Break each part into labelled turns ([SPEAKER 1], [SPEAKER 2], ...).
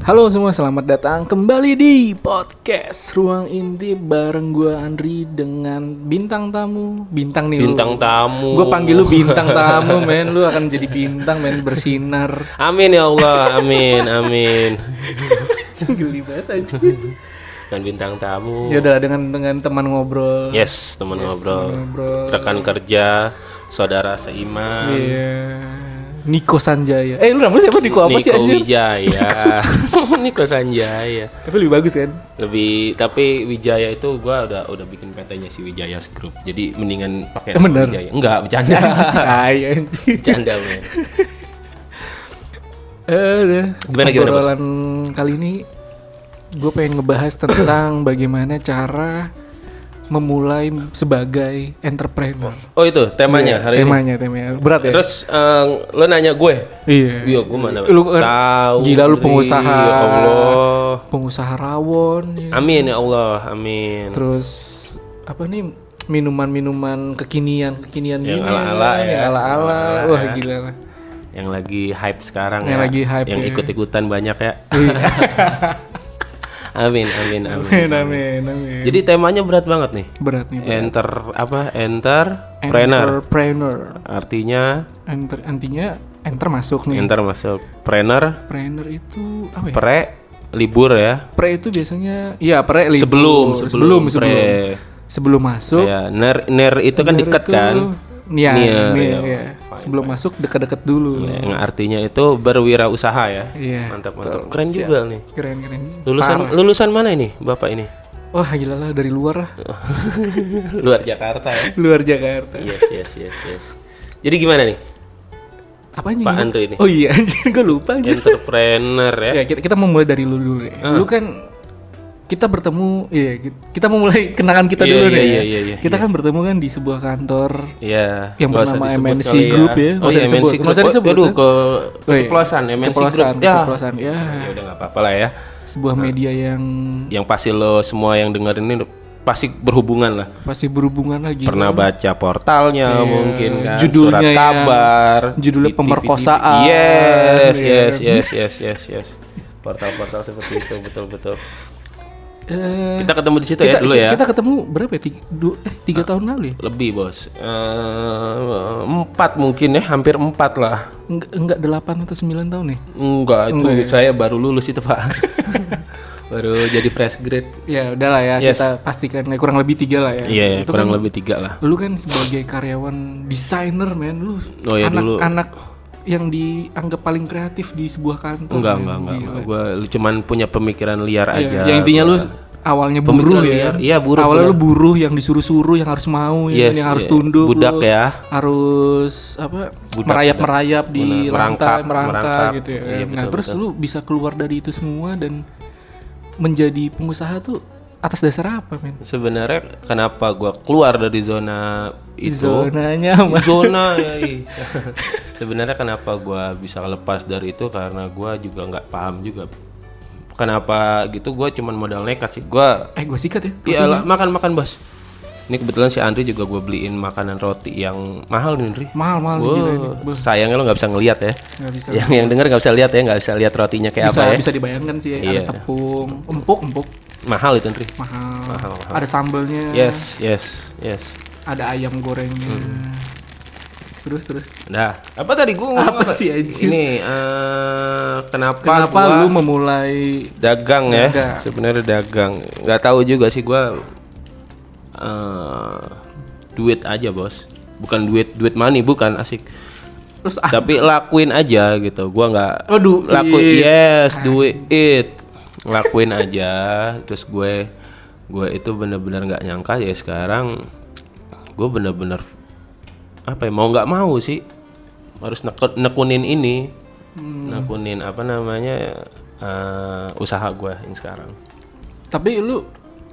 [SPEAKER 1] Halo semua, selamat datang kembali di podcast Ruang Intip bareng gue Andri dengan bintang tamu, bintang nih lu.
[SPEAKER 2] Bintang tamu.
[SPEAKER 1] Gue panggil lu bintang tamu, men. Lu akan jadi bintang, men bersinar.
[SPEAKER 2] Amin ya Allah, amin, amin.
[SPEAKER 1] Geli banget anjir.
[SPEAKER 2] Dan Kan bintang tamu.
[SPEAKER 1] Ya udahlah dengan dengan teman ngobrol.
[SPEAKER 2] Yes, teman ngobrol.
[SPEAKER 1] teman ngobrol.
[SPEAKER 2] Rekan kerja, saudara seiman.
[SPEAKER 1] Iya. Niko Sanjaya. Eh, lu namanya siapa? Niko apa sih
[SPEAKER 2] Niko
[SPEAKER 1] anjir?
[SPEAKER 2] Wijaya. Niko Sanjaya.
[SPEAKER 1] Tapi lebih bagus kan?
[SPEAKER 2] Lebih tapi Wijaya itu gua udah udah bikin PT-nya si Wijaya Group. Jadi mendingan pakai
[SPEAKER 1] Eh, bener.
[SPEAKER 2] Wijaya. Enggak, bercanda.
[SPEAKER 1] Tai anjir.
[SPEAKER 2] bercanda, men.
[SPEAKER 1] Eh, udah.
[SPEAKER 2] Gimana, gimana, Bos?
[SPEAKER 1] Obrolan kali ini gue pengen ngebahas tentang bagaimana cara memulai sebagai entrepreneur.
[SPEAKER 2] Oh, itu
[SPEAKER 1] Iya,
[SPEAKER 2] temanya hari ini.
[SPEAKER 1] temanya, temanya berat ya.
[SPEAKER 2] Terus eh, lo nanya gue,
[SPEAKER 1] iya.
[SPEAKER 2] Iya, gue mana?
[SPEAKER 1] Lu kan- gila lu
[SPEAKER 2] Ri,
[SPEAKER 1] pengusaha.
[SPEAKER 2] Ya Allah.
[SPEAKER 1] Pengusaha rawon. ya.
[SPEAKER 2] Amin ya Allah, amin.
[SPEAKER 1] Terus apa nih minuman-minuman kekinian kekinian
[SPEAKER 2] Yang
[SPEAKER 1] gini,
[SPEAKER 2] ala-ala ya.
[SPEAKER 1] yang ala-ala. Wah gila lah.
[SPEAKER 2] Yang lagi hype sekarang
[SPEAKER 1] Yang
[SPEAKER 2] ya.
[SPEAKER 1] lagi hype, Iya.
[SPEAKER 2] Yang
[SPEAKER 1] ya.
[SPEAKER 2] ikut-ikutan banyak ya. amin, amin, amin.
[SPEAKER 1] Amin amin amin.
[SPEAKER 2] Jadi temanya berat banget nih.
[SPEAKER 1] Berat nih.
[SPEAKER 2] Enter apa? Enter trainer.
[SPEAKER 1] Entrepreneur.
[SPEAKER 2] Artinya
[SPEAKER 1] Enter, antinya enter masuk nih.
[SPEAKER 2] enter masuk trainer
[SPEAKER 1] Entrepreneur itu apa ya?
[SPEAKER 2] pre libur ya.
[SPEAKER 1] Pre itu biasanya iya pre libur.
[SPEAKER 2] Sebelum,
[SPEAKER 1] sebelum
[SPEAKER 2] sebelum,
[SPEAKER 1] sebelum
[SPEAKER 2] pre.
[SPEAKER 1] sebelum masuk
[SPEAKER 2] Ya, ner ner itu kan
[SPEAKER 1] Bener
[SPEAKER 2] deket
[SPEAKER 1] itu-
[SPEAKER 2] kan.
[SPEAKER 1] Iya,
[SPEAKER 2] Iya,
[SPEAKER 1] iya,
[SPEAKER 2] iya.
[SPEAKER 1] iya. Sebelum masuk dekat-dekat dulu.
[SPEAKER 2] Yang Nah, artinya itu berwirausaha ya.
[SPEAKER 1] Iya.
[SPEAKER 2] Mantap, mantap. Keren juga nih.
[SPEAKER 1] Keren-keren.
[SPEAKER 2] Lulusan lulusan mana ini, Bapak ini?
[SPEAKER 1] Wah, gila lah dari luar lah.
[SPEAKER 2] Luar Jakarta ya.
[SPEAKER 1] luar Jakarta.
[SPEAKER 2] Yes, yes, yes, yes. Jadi gimana nih?
[SPEAKER 1] Apa
[SPEAKER 2] Pak Andri ini.
[SPEAKER 1] Oh iya, anjir gue lupa anjir.
[SPEAKER 2] Entrepreneur
[SPEAKER 1] Ya,
[SPEAKER 2] ya. Ah.
[SPEAKER 1] kita, kita memulai dari lu dulu deh. Lu kan kita bertemu, iya, ki- kita memulai kenangan kita
[SPEAKER 2] Iya,
[SPEAKER 1] dulu
[SPEAKER 2] iya,
[SPEAKER 1] nih.
[SPEAKER 2] iya,
[SPEAKER 1] ya.
[SPEAKER 2] iya, iya,
[SPEAKER 1] kita kan bertemu kan di sebuah kantor
[SPEAKER 2] Iya.
[SPEAKER 1] Yang
[SPEAKER 2] nggak usah
[SPEAKER 1] bernama
[SPEAKER 2] disebut
[SPEAKER 1] MNC
[SPEAKER 2] kali
[SPEAKER 1] Group ya, nggak usah
[SPEAKER 2] Oh, iya,
[SPEAKER 1] disebut.
[SPEAKER 2] MNC Group.
[SPEAKER 1] Nggak usah
[SPEAKER 2] Oh,
[SPEAKER 1] disebut,
[SPEAKER 2] Aduh,
[SPEAKER 1] ya.
[SPEAKER 2] ke
[SPEAKER 1] Oh, iya.
[SPEAKER 2] keceplosan MNC
[SPEAKER 1] keceplosan,
[SPEAKER 2] Group. Ya.
[SPEAKER 1] keceplosan. Ya,
[SPEAKER 2] Ya udah nggak apa-apa lah ya.
[SPEAKER 1] sebuah media yang
[SPEAKER 2] Yang pasti lo semua yang dengerin ini udah pasti berhubungan lah.
[SPEAKER 1] pasti berhubungan lagi.
[SPEAKER 2] Pernah baca portalnya mungkin
[SPEAKER 1] Hmm.
[SPEAKER 2] kan.
[SPEAKER 1] Iya. Judulnya ya.
[SPEAKER 2] Surat
[SPEAKER 1] yang-
[SPEAKER 2] kabar.
[SPEAKER 1] judulnya
[SPEAKER 2] di
[SPEAKER 1] pemerkosaan.
[SPEAKER 2] Yes,
[SPEAKER 1] Iya.
[SPEAKER 2] yes, yes, yes, yes, yes. Portal-portal seperti itu betul-betul.
[SPEAKER 1] Eh,
[SPEAKER 2] Kita ketemu di situ
[SPEAKER 1] kita,
[SPEAKER 2] ya dulu
[SPEAKER 1] kita,
[SPEAKER 2] ya. Ah.
[SPEAKER 1] kita ketemu berapa ya? Tiga, dua- eh, tiga tahun lalu ya?
[SPEAKER 2] lebih bos Eh, empat mungkin ya hampir empat lah
[SPEAKER 1] Enggak, enggak delapan atau sembilan tahun ya? nih?
[SPEAKER 2] enggak ya? itu saya baru lulus itu pak baru jadi fresh grade
[SPEAKER 1] Ya udahlah ya,
[SPEAKER 2] Yes.
[SPEAKER 1] kita pastikan ya, kurang lebih tiga lah ya.
[SPEAKER 2] iya
[SPEAKER 1] Itu
[SPEAKER 2] kurang
[SPEAKER 1] kan
[SPEAKER 2] lebih tiga lah
[SPEAKER 1] lu kan sebagai karyawan desainer men, lu
[SPEAKER 2] Oh ya, dulu.
[SPEAKER 1] anak-anak yang dianggap paling kreatif di sebuah kantor.
[SPEAKER 2] enggak
[SPEAKER 1] men. Iya.
[SPEAKER 2] enggak enggak, enggak. gue cuman punya pemikiran liar aja
[SPEAKER 1] Ya, yang intinya lu awalnya buruh ya.
[SPEAKER 2] Iya, liar. Iya, buruh,
[SPEAKER 1] Awalnya lu buruh yang disuruh-suruh, yang harus mau, ya,
[SPEAKER 2] Yes,
[SPEAKER 1] yang harus
[SPEAKER 2] iya.
[SPEAKER 1] tunduk. lu
[SPEAKER 2] Budak ya.
[SPEAKER 1] Harus apa? merayap-merayap di
[SPEAKER 2] Benar,
[SPEAKER 1] lantai,
[SPEAKER 2] merangkak,
[SPEAKER 1] merangkak,
[SPEAKER 2] merangkak.
[SPEAKER 1] gitu ya.
[SPEAKER 2] Iya,
[SPEAKER 1] nah,
[SPEAKER 2] betul,
[SPEAKER 1] terus lu bisa keluar dari itu semua dan menjadi pengusaha tuh atas dasar apa, men?
[SPEAKER 2] sebenarnya kenapa gue keluar dari zona itu
[SPEAKER 1] Zona nyaman.
[SPEAKER 2] zona ya, iya. sebenarnya kenapa gua bisa lepas dari itu karena gua juga nggak paham juga kenapa gitu gua cuman modal nekat sih gua
[SPEAKER 1] Eh, gue sikat ya.
[SPEAKER 2] Iya lah, makan makan bos. Ini kebetulan si Andri juga gue beliin makanan roti yang mahal nih Andri.
[SPEAKER 1] Mahal-mahal
[SPEAKER 2] Wow,
[SPEAKER 1] gila gitu ini.
[SPEAKER 2] sayangnya lo nggak bisa ngelihat ya.
[SPEAKER 1] Nggak bisa.
[SPEAKER 2] Yang yang denger nggak bisa lihat ya, nggak bisa lihat rotinya kayak
[SPEAKER 1] Bisa
[SPEAKER 2] apa ya.
[SPEAKER 1] bisa dibayangkan sih ya,
[SPEAKER 2] Iya.
[SPEAKER 1] ada tepung, empuk-empuk,
[SPEAKER 2] Mahal itu Andri.
[SPEAKER 1] mahal.
[SPEAKER 2] Mahal, mahal.
[SPEAKER 1] Ada sambalnya,
[SPEAKER 2] Yes, Hmm. yes, yes.
[SPEAKER 1] ada ayam gorengnya. Terus terus
[SPEAKER 2] Nah, apa tadi gue ngomong
[SPEAKER 1] Apa sih, anjir?
[SPEAKER 2] Ini eh, kenapa,
[SPEAKER 1] Kenapa lu
[SPEAKER 2] gua
[SPEAKER 1] memulai
[SPEAKER 2] dagang ya?
[SPEAKER 1] Dagang.
[SPEAKER 2] Sebenarnya dagang. Nggak tahu juga sih gua eh, duit aja bos. Bukan duit duit money bukan asik.
[SPEAKER 1] terus ah,
[SPEAKER 2] tapi lakuin aja gitu gua nggak
[SPEAKER 1] Oh, do
[SPEAKER 2] lakuin
[SPEAKER 1] it.
[SPEAKER 2] yes do it lakuin aja terus gue gue itu bener-bener nggak nyangka ya sekarang gue bener-bener apa ya mau nggak mau sih harus neke- nekunin ini nekunin apa namanya eh, usaha gue yang sekarang
[SPEAKER 1] tapi lu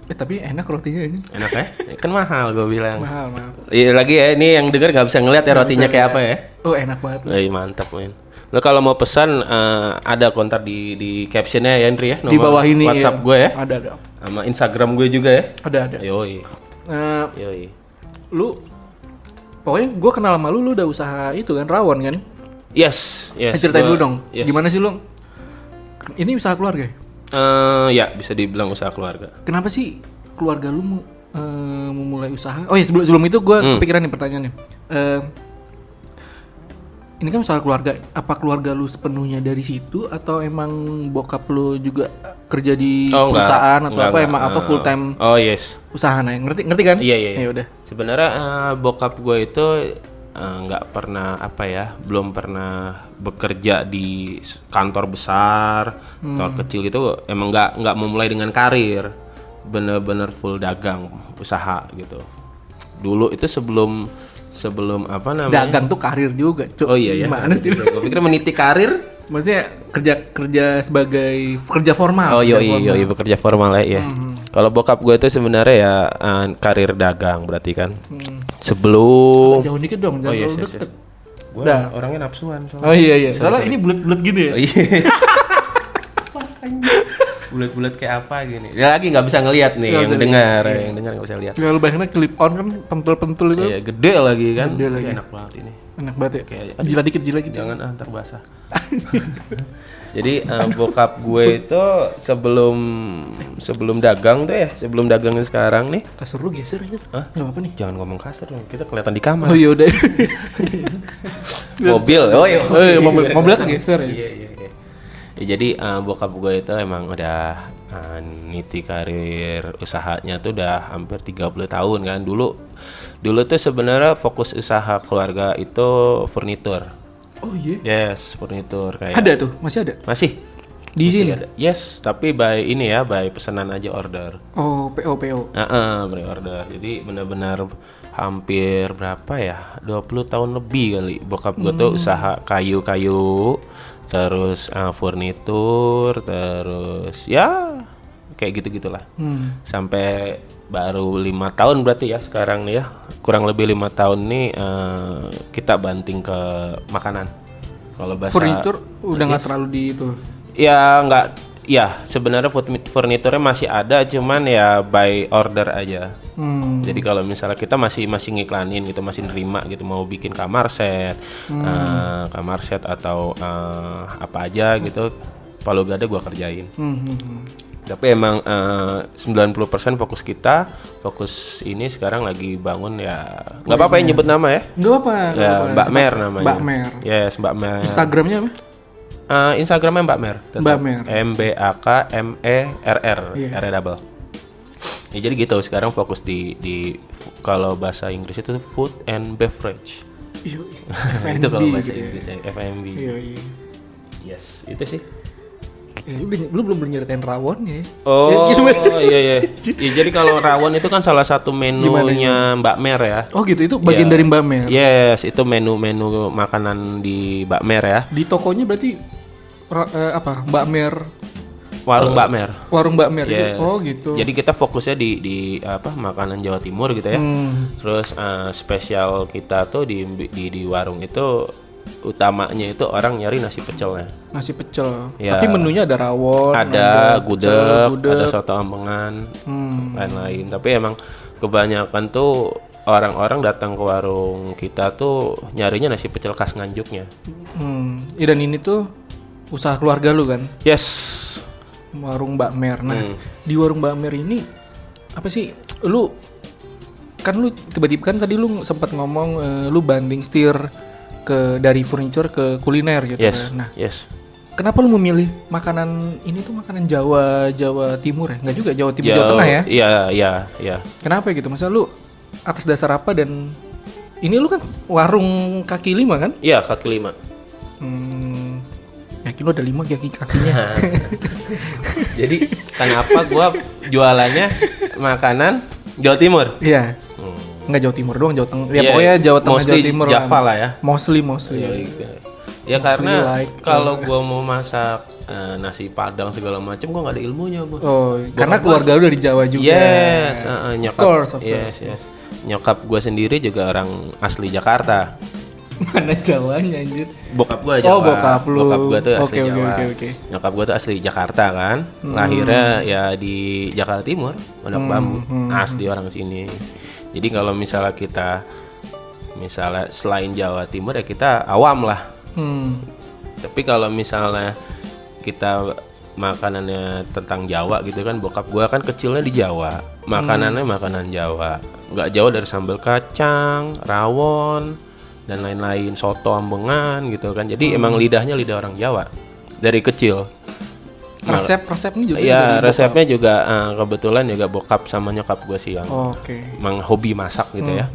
[SPEAKER 1] eh tapi enak rotinya ini.
[SPEAKER 2] enak ya kan mahal gue bilang
[SPEAKER 1] Mahal, mahal.
[SPEAKER 2] Iya lagi ya ini yang denger nggak bisa ngeliat ya rotinya kayak apa ya
[SPEAKER 1] Oh, enak banget. lu.
[SPEAKER 2] Eh, mantap men. Lo kalau mau pesan eh, ada kontak di di captionnya ya Andri ya.
[SPEAKER 1] Di
[SPEAKER 2] nomor
[SPEAKER 1] bawah ini iya.
[SPEAKER 2] WhatsApp gue ya.
[SPEAKER 1] Ada ada.
[SPEAKER 2] Sama Instagram gue juga ya.
[SPEAKER 1] Ada ada.
[SPEAKER 2] Yoi.
[SPEAKER 1] Eh,
[SPEAKER 2] Yoi.
[SPEAKER 1] lu pokoknya gue kenal sama lu lu udah usaha itu kan rawon kan
[SPEAKER 2] Yes, yes.
[SPEAKER 1] Eh, ceritain
[SPEAKER 2] gua- ya,
[SPEAKER 1] dulu dong
[SPEAKER 2] yes.
[SPEAKER 1] gimana sih lu ini usaha keluarga ya?
[SPEAKER 2] Eh, ya bisa dibilang usaha keluarga.
[SPEAKER 1] kenapa sih keluarga lu mu- eh, memulai usaha oh ya sebelum sebelum itu gue
[SPEAKER 2] Hmm.
[SPEAKER 1] kepikiran nih pertanyaannya Eh, ini kan usaha keluarga apa keluarga lu sepenuhnya dari situ atau emang bokap lu juga kerja di
[SPEAKER 2] Oh, enggak.
[SPEAKER 1] perusahaan atau
[SPEAKER 2] Enggak,
[SPEAKER 1] apa
[SPEAKER 2] enggak.
[SPEAKER 1] emang apa full time
[SPEAKER 2] Oh yes.
[SPEAKER 1] usaha nah ngerti ngerti kan
[SPEAKER 2] Iya iya. iya.
[SPEAKER 1] ya udah
[SPEAKER 2] Sebenarnya eh, bokap gue itu eh, nggak pernah apa ya, belum pernah bekerja di s- kantor besar, kantor
[SPEAKER 1] Hmm.
[SPEAKER 2] kecil gitu. Emang nggak nggak memulai dengan karir, bener-bener full dagang usaha gitu. Dulu itu sebelum sebelum apa namanya?
[SPEAKER 1] dagang tuh karir juga Cuk.
[SPEAKER 2] Oh iya ya.
[SPEAKER 1] gimana sih lu?
[SPEAKER 2] Gue pikir meniti karir.
[SPEAKER 1] maksudnya kerja kerja sebagai kerja formal Hmm.
[SPEAKER 2] Oh
[SPEAKER 1] iya
[SPEAKER 2] iya iya bekerja formal ya. iya. Kalau bokap gue itu sebenarnya ya eh, karir dagang berarti kan.
[SPEAKER 1] Hmm.
[SPEAKER 2] Sebelum
[SPEAKER 1] jauh dikit dong
[SPEAKER 2] Oh,
[SPEAKER 1] jangan terlalu
[SPEAKER 2] yes, yes.
[SPEAKER 1] deket.
[SPEAKER 2] gue orangnya nafsuan soalnya.
[SPEAKER 1] oh iya iya soalnya ini bulat-bulat gini ya
[SPEAKER 2] Oh, iya. Bulat-bulat kayak apa gini. Dia lagi nggak bisa Iya. ngelihat nih
[SPEAKER 1] Nggak
[SPEAKER 2] yang
[SPEAKER 1] bisa
[SPEAKER 2] dengar, yang dengar nggak bisa lihat.
[SPEAKER 1] Gak lu bayanginnya clip on kan pentul-pentul itu
[SPEAKER 2] Iya, gede lagi kan.
[SPEAKER 1] Gede lagi.
[SPEAKER 2] Enak banget ini.
[SPEAKER 1] enak banget ya.
[SPEAKER 2] Kayak-
[SPEAKER 1] Jilat dikit gitu. jilat dikit.
[SPEAKER 2] Jangan ah, ntar basah. Jadi eh, bokap gue itu sebelum sebelum dagang tuh ya, sebelum dagangnya sekarang nih.
[SPEAKER 1] Kasur lu geser aja.
[SPEAKER 2] Hah?
[SPEAKER 1] Gak apa-apa nih.
[SPEAKER 2] Jangan ngomong kasar dong, kita kelihatan di kamar.
[SPEAKER 1] Oh iya udah.
[SPEAKER 2] mobil oh iya
[SPEAKER 1] oh iya mobil mobil kan geser ya.
[SPEAKER 2] iya iya iya. Ya, jadi eh, bokap gue itu emang udah eh, niti karir usahanya tuh udah hampir 30 tahun kan dulu dulu tuh sebenarnya fokus usaha keluarga itu furnitur
[SPEAKER 1] Oh iya.
[SPEAKER 2] yes furnitur kayak
[SPEAKER 1] Ada tuh, masih ada.
[SPEAKER 2] masih
[SPEAKER 1] Di
[SPEAKER 2] Masih
[SPEAKER 1] sini.
[SPEAKER 2] ada. yes tapi by ini ya by pesanan aja order
[SPEAKER 1] Oh, PO PO.
[SPEAKER 2] Heeh, pre-order. Jadi benar-benar hampir berapa ya? 20 tahun lebih kali. Bokap gue tuh usaha kayu-kayu, terus eh, furnitur, terus ya kayak gitu-gitulah.
[SPEAKER 1] Hmm.
[SPEAKER 2] Sampai baru lima tahun berarti ya sekarang nih ya. Kurang lebih lima tahun nih eh, kita banting ke makanan. Kalau bahasa
[SPEAKER 1] Furniture udah nggak terlalu di itu.
[SPEAKER 2] Ya nggak, ya sebenarnya furni- furniturnya masih ada, cuman ya by order aja.
[SPEAKER 1] Hmm.
[SPEAKER 2] Jadi kalau misalnya kita masih masih ngiklanin gitu, masih nerima gitu, mau bikin kamar set,
[SPEAKER 1] Hmm.
[SPEAKER 2] eh, kamar set atau eh, apa aja gitu, kalau gak ada gua kerjain.
[SPEAKER 1] Hmm, hmm, hmm.
[SPEAKER 2] Tapi emang eh, 90% fokus kita, fokus ini sekarang lagi bangun ya. nggak apa-apa ya nyebut nama ya.
[SPEAKER 1] Nggak apa-apa. Iya. nggak
[SPEAKER 2] Ya,
[SPEAKER 1] apa-apa.
[SPEAKER 2] Mbak Mer namanya.
[SPEAKER 1] Mbak Mer.
[SPEAKER 2] Yes, Mbak Mer.
[SPEAKER 1] Instagramnya apa?
[SPEAKER 2] Eh, Instagramnya Mbak Mer. tetap.
[SPEAKER 1] Mbak Mer. Iya.
[SPEAKER 2] M B A K M E R R R E double. Ya, jadi gitu sekarang fokus di di kalau bahasa Inggris itu food and beverage. Nah,
[SPEAKER 1] Iya.
[SPEAKER 2] itu
[SPEAKER 1] F&B
[SPEAKER 2] kalau bahasa
[SPEAKER 1] gitu ya.
[SPEAKER 2] Inggrisnya F&B.
[SPEAKER 1] Iya, iya.
[SPEAKER 2] Yes, itu sih.
[SPEAKER 1] Ya, lu, belum- lu belum nyeritain rawonnya ya.
[SPEAKER 2] Oh,
[SPEAKER 1] Ya, gimana sih?
[SPEAKER 2] iya iya. Ya, jadi kalau rawon itu kan salah satu menunya Mbak Mer ya.
[SPEAKER 1] Oh gitu, itu bagian dari Mbak Mer.
[SPEAKER 2] Yes, itu menu-menu makanan di Mbak Mer ya.
[SPEAKER 1] Di tokonya berarti ra- eh, apa? Mbak Mer,
[SPEAKER 2] Warung Mbak Mer.
[SPEAKER 1] warung Mbak Mer itu.
[SPEAKER 2] Yes. Iya.
[SPEAKER 1] Oh gitu.
[SPEAKER 2] Jadi kita fokusnya di di apa makanan Jawa Timur gitu ya.
[SPEAKER 1] Hmm,
[SPEAKER 2] Terus eh, spesial kita tuh di, di di warung itu utamanya itu orang nyari nasi pecelnya.
[SPEAKER 1] nasi pecel.
[SPEAKER 2] Ya.
[SPEAKER 1] Tapi menunya Oh, ada rawon,
[SPEAKER 2] Ada
[SPEAKER 1] pecel, Hmm.
[SPEAKER 2] gudeg, ada soto ambengan, lain-lain. Tapi emang kebanyakan tuh orang-orang datang ke warung kita tuh nyarinya nasi pecel khas Nganjuknya.
[SPEAKER 1] Hmm. Ya, dan ini tuh usaha keluarga lu kan,
[SPEAKER 2] Yes.
[SPEAKER 1] warung Mbak Mer. Nah, di warung Mbak Mer ini apa sih? Lu kan lu tiba-tiba kan tadi lu sempat ngomong eh, lu banding setir ke dari furniture ke kuliner gitu.
[SPEAKER 2] Yes.
[SPEAKER 1] kan. Nah,
[SPEAKER 2] Yes.
[SPEAKER 1] kenapa lu memilih makanan ini tuh makanan Jawa Jawa Timur ya? Nggak juga Jawa Timur Jawa
[SPEAKER 2] Jauh-
[SPEAKER 1] Tengah ya?
[SPEAKER 2] Iya, iya, iya.
[SPEAKER 1] Kenapa gitu? Masa lu atas dasar apa dan ini lu kan warung kaki lima kan?
[SPEAKER 2] Iya, kaki lima.
[SPEAKER 1] Hmm, yakin lu ada lima kaki kakinya.
[SPEAKER 2] Jadi kenapa gua jualannya makanan Jawa Timur?
[SPEAKER 1] Iya. Nggak Jawa Timur doang, Jawa Tengah. Ya pokoknya Jawa Tengah,
[SPEAKER 2] Iya, mostly
[SPEAKER 1] Jawa Timur kan.
[SPEAKER 2] Java lah ya.
[SPEAKER 1] Mostly, mostly.
[SPEAKER 2] Ya karena
[SPEAKER 1] like, eh.
[SPEAKER 2] kalau gua mau masak eh, nasi padang segala macam gua nggak ada ilmunya, Bos.
[SPEAKER 1] Oh,
[SPEAKER 2] kan
[SPEAKER 1] karena keluarga lu dari Jawa juga.
[SPEAKER 2] Yes, eh, eh, nyokap.
[SPEAKER 1] course, of
[SPEAKER 2] yes, yes. Nyokap gua sendiri juga orang asli Jakarta.
[SPEAKER 1] Mana Jawanya anjir?
[SPEAKER 2] Bokap gua
[SPEAKER 1] Oh,
[SPEAKER 2] Jawa.
[SPEAKER 1] bokap lu.
[SPEAKER 2] gua tuh
[SPEAKER 1] Oke,
[SPEAKER 2] asli
[SPEAKER 1] oke,
[SPEAKER 2] Jawa.
[SPEAKER 1] oke, oke. Hmm.
[SPEAKER 2] Nyokap gua tuh asli Jakarta kan.
[SPEAKER 1] hmm,
[SPEAKER 2] Lahirnya ya di Jakarta Timur, Pondok Bambu. Asli orang sini. Jadi kalau misalnya kita misalnya selain Jawa Timur ya kita awam lah.
[SPEAKER 1] Hmm.
[SPEAKER 2] Tapi kalau misalnya kita makanannya tentang Jawa gitu kan bokap gua kan kecilnya di Jawa. Makanannya makanan Jawa. Nggak jauh dari sambal kacang, rawon dan lain-lain soto ambengan gitu kan. Jadi emang lidahnya lidah orang Jawa dari kecil.
[SPEAKER 1] Resep resepnya juga.
[SPEAKER 2] Iya,
[SPEAKER 1] dari-
[SPEAKER 2] resepnya juga eh, kebetulan juga bokap sama nyokap gua sih yang
[SPEAKER 1] Oke.
[SPEAKER 2] emang hobi masak gitu
[SPEAKER 1] Hmm,
[SPEAKER 2] ya.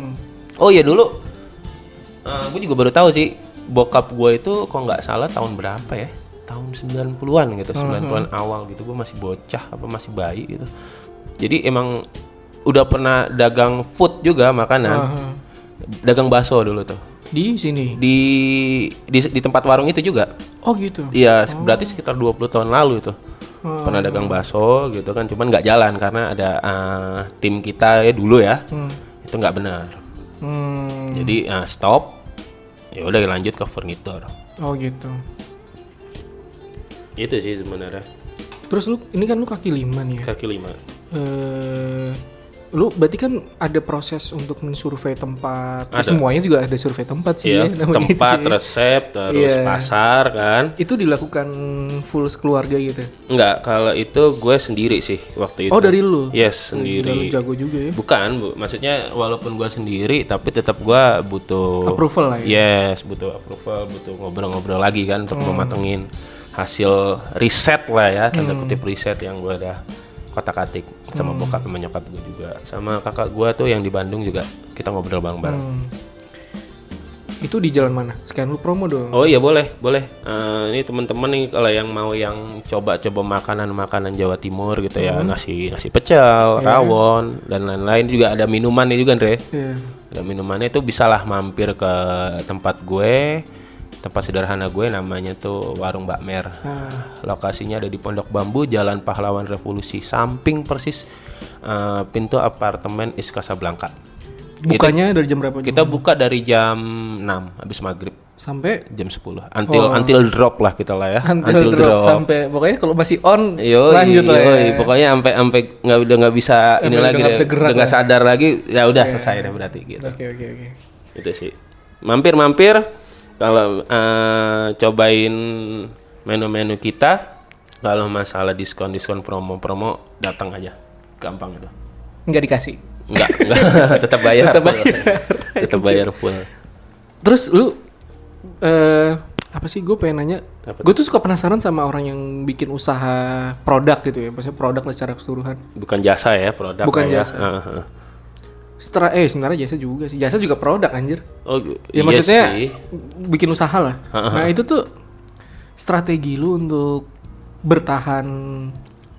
[SPEAKER 2] Oh iya dulu, gue juga baru tahu sih bokap gue itu kok nggak salah tahun berapa ya? Tahun 90-an gitu, 90-an awal gitu. Gue masih bocah apa masih bayi gitu. Jadi emang udah pernah dagang food juga makanan. Dagang bakso dulu tuh.
[SPEAKER 1] Di sini.
[SPEAKER 2] Di, di di tempat warung itu juga.
[SPEAKER 1] Oh gitu.
[SPEAKER 2] Iya, se- berarti sekitar 20 tahun lalu itu. Pernah dagang bakso gitu kan, cuman nggak jalan karena ada eh, tim kita ya dulu ya. Itu nggak benar.
[SPEAKER 1] Hmm.
[SPEAKER 2] Jadi eh, stop. Ya udah lanjut ke furnitur.
[SPEAKER 1] Oh gitu.
[SPEAKER 2] Itu sih sebenarnya
[SPEAKER 1] Terus lu ini kan lu kaki lima nih ya.
[SPEAKER 2] kaki lima.
[SPEAKER 1] Eh, lu berarti kan ada proses untuk mensurvei tempat. Ya, semuanya juga ada survei tempat sih
[SPEAKER 2] Iya,
[SPEAKER 1] ya, namanya itu
[SPEAKER 2] tempat,
[SPEAKER 1] ya.
[SPEAKER 2] resep, terus
[SPEAKER 1] Iya.
[SPEAKER 2] pasar kan.
[SPEAKER 1] Itu dilakukan full sekeluarga gitu.
[SPEAKER 2] Nggak, kalau itu gue sendiri sih waktu itu.
[SPEAKER 1] Oh, dari lu?
[SPEAKER 2] Yes,
[SPEAKER 1] Gila, lu
[SPEAKER 2] sendiri.
[SPEAKER 1] jago juga ya.
[SPEAKER 2] Bukan, bu. maksudnya walaupun gue sendiri, tapi tetap gue butuh
[SPEAKER 1] Approval lah ya.
[SPEAKER 2] Yes, butuh approval, butuh ngobrol-ngobrol lagi kan untuk mematengin hasil riset lah ya, tanda kutip riset yang gue udah kotak-katik sama bokap sama nyokap gue juga. Sama kakak gue tuh yang di Bandung juga kita ngobrol bareng-bareng.
[SPEAKER 1] Hmm. Itu di jalan mana? Sekian lu promo dong.
[SPEAKER 2] Oh iya boleh, boleh. Eh, ini teman-teman nih kalau yang mau yang coba-coba makanan-makanan Jawa Timur gitu ya, nasi nasi pecel, rawon dan lain-lain juga ada minuman nih juga, Andre.
[SPEAKER 1] Iya.
[SPEAKER 2] Ada minumannya itu bisalah mampir ke tempat gue. Tempat sederhana gue namanya tuh Warung Mbak Mer.
[SPEAKER 1] Nah,
[SPEAKER 2] Lokasinya ada di Pondok Bambu, Jalan Pahlawan Revolusi, samping persis eh, pintu apartemen Iskasa Blanka.
[SPEAKER 1] Bukannya dari jam berapa? Jam?
[SPEAKER 2] Kita buka dari jam 6 habis maghrib
[SPEAKER 1] Sampai
[SPEAKER 2] jam 10. Until until drop lah kita lah ya.
[SPEAKER 1] Oh. until, drop. sampai pokoknya kalau masih on
[SPEAKER 2] Yoi,
[SPEAKER 1] lanjut lah ya.
[SPEAKER 2] yoi. Pokoknya sampai sampai nggak udah nggak bisa ini
[SPEAKER 1] udah
[SPEAKER 2] lagi
[SPEAKER 1] nggak
[SPEAKER 2] deh.
[SPEAKER 1] bisa gerak
[SPEAKER 2] udah nggak sadar lagi ya udah selesai deh berarti gitu.
[SPEAKER 1] Oke oke oke.
[SPEAKER 2] Itu sih. Mampir-mampir kalau eh, cobain menu-menu kita kalau masalah diskon-diskon promo-promo datang aja. Gampang itu.
[SPEAKER 1] Nggak dikasih.
[SPEAKER 2] Enggak, enggak tetap bayar.
[SPEAKER 1] Tetap bayar.
[SPEAKER 2] Tetap bayar full.
[SPEAKER 1] Terus lu eh apa sih gue pengen nanya gue tuh suka penasaran sama orang yang bikin usaha produk gitu ya maksudnya produk secara keseluruhan
[SPEAKER 2] Bukan jasa ya produk
[SPEAKER 1] Bukan
[SPEAKER 2] lah ya.
[SPEAKER 1] jasa.
[SPEAKER 2] Ah, ah.
[SPEAKER 1] setelah eh sebenarnya jasa juga sih jasa juga produk anjir
[SPEAKER 2] Oh,
[SPEAKER 1] ya
[SPEAKER 2] iya
[SPEAKER 1] maksudnya
[SPEAKER 2] sih.
[SPEAKER 1] bikin usaha lah nah itu tuh strategi lu untuk bertahan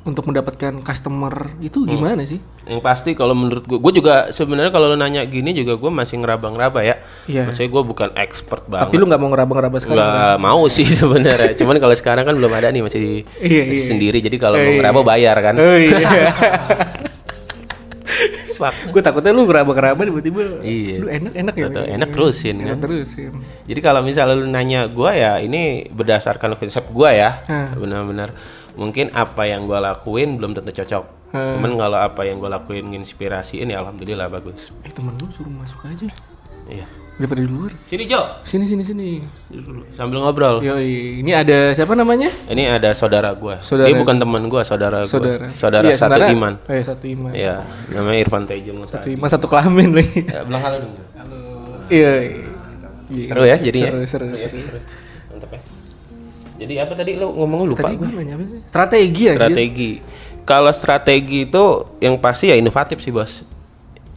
[SPEAKER 1] untuk mendapatkan customer
[SPEAKER 2] Hmm.
[SPEAKER 1] itu gimana sih
[SPEAKER 2] Yang pasti kalau menurut gue, gue juga sebenarnya kalau lo nanya gini juga gue masih ngeraba-ngeraba ya.
[SPEAKER 1] Iya.
[SPEAKER 2] Maksudnya gue bukan expert
[SPEAKER 1] tapi
[SPEAKER 2] banget.
[SPEAKER 1] lu nggak mau ngeraba-ngeraba sekarang kan?
[SPEAKER 2] Nggak mau sih sebenarnya. Cuman kalau sekarang kan belum ada nih masih di-
[SPEAKER 1] Iya, iya.
[SPEAKER 2] sendiri. Jadi kalau mau ngeraba bayar kan.
[SPEAKER 1] oh iya
[SPEAKER 2] Fuck.
[SPEAKER 1] gue takutnya lu ngeraba-ngeraba tiba-tiba
[SPEAKER 2] Iya.
[SPEAKER 1] lu enak enak ya
[SPEAKER 2] Atau enak terusin kan.
[SPEAKER 1] Enak terusin
[SPEAKER 2] Jadi kalau misalnya lu nanya gue ya, ini berdasarkan konsep gue ya,
[SPEAKER 1] Hmm.
[SPEAKER 2] benar-benar mungkin apa yang gue lakuin belum tentu cocok. Cuman kalau apa yang gue lakuin nginspirasiin ya alhamdulillah bagus.
[SPEAKER 1] eh temen lu suruh masuk aja
[SPEAKER 2] Iya.
[SPEAKER 1] daripada di luar
[SPEAKER 2] Sini Jo,
[SPEAKER 1] sini sini sini
[SPEAKER 2] sambil ngobrol.
[SPEAKER 1] Iya. yoi ini ada siapa namanya
[SPEAKER 2] Ini ada saudara gua.
[SPEAKER 1] Saudara.
[SPEAKER 2] Ini bukan teman gua, saudara,
[SPEAKER 1] saudara
[SPEAKER 2] gua. Saudara
[SPEAKER 1] Iya,
[SPEAKER 2] satu
[SPEAKER 1] saudara-
[SPEAKER 2] iman.
[SPEAKER 1] oh, iya, satu iman
[SPEAKER 2] Iya, namanya Irfan Tejo
[SPEAKER 1] satu iman satu kelamin lagi
[SPEAKER 2] Bilang halo dong.
[SPEAKER 1] iya iya.
[SPEAKER 2] Seru ya jadinya.
[SPEAKER 1] seru seru seru
[SPEAKER 2] Mantap ya. Jadi apa tadi lu ngomong lu lupa
[SPEAKER 1] tadi
[SPEAKER 2] gua.
[SPEAKER 1] gue nanya apa sih strategi ya, aja
[SPEAKER 2] Strategi. Kalau strategi itu yang pasti ya inovatif sih, Bos.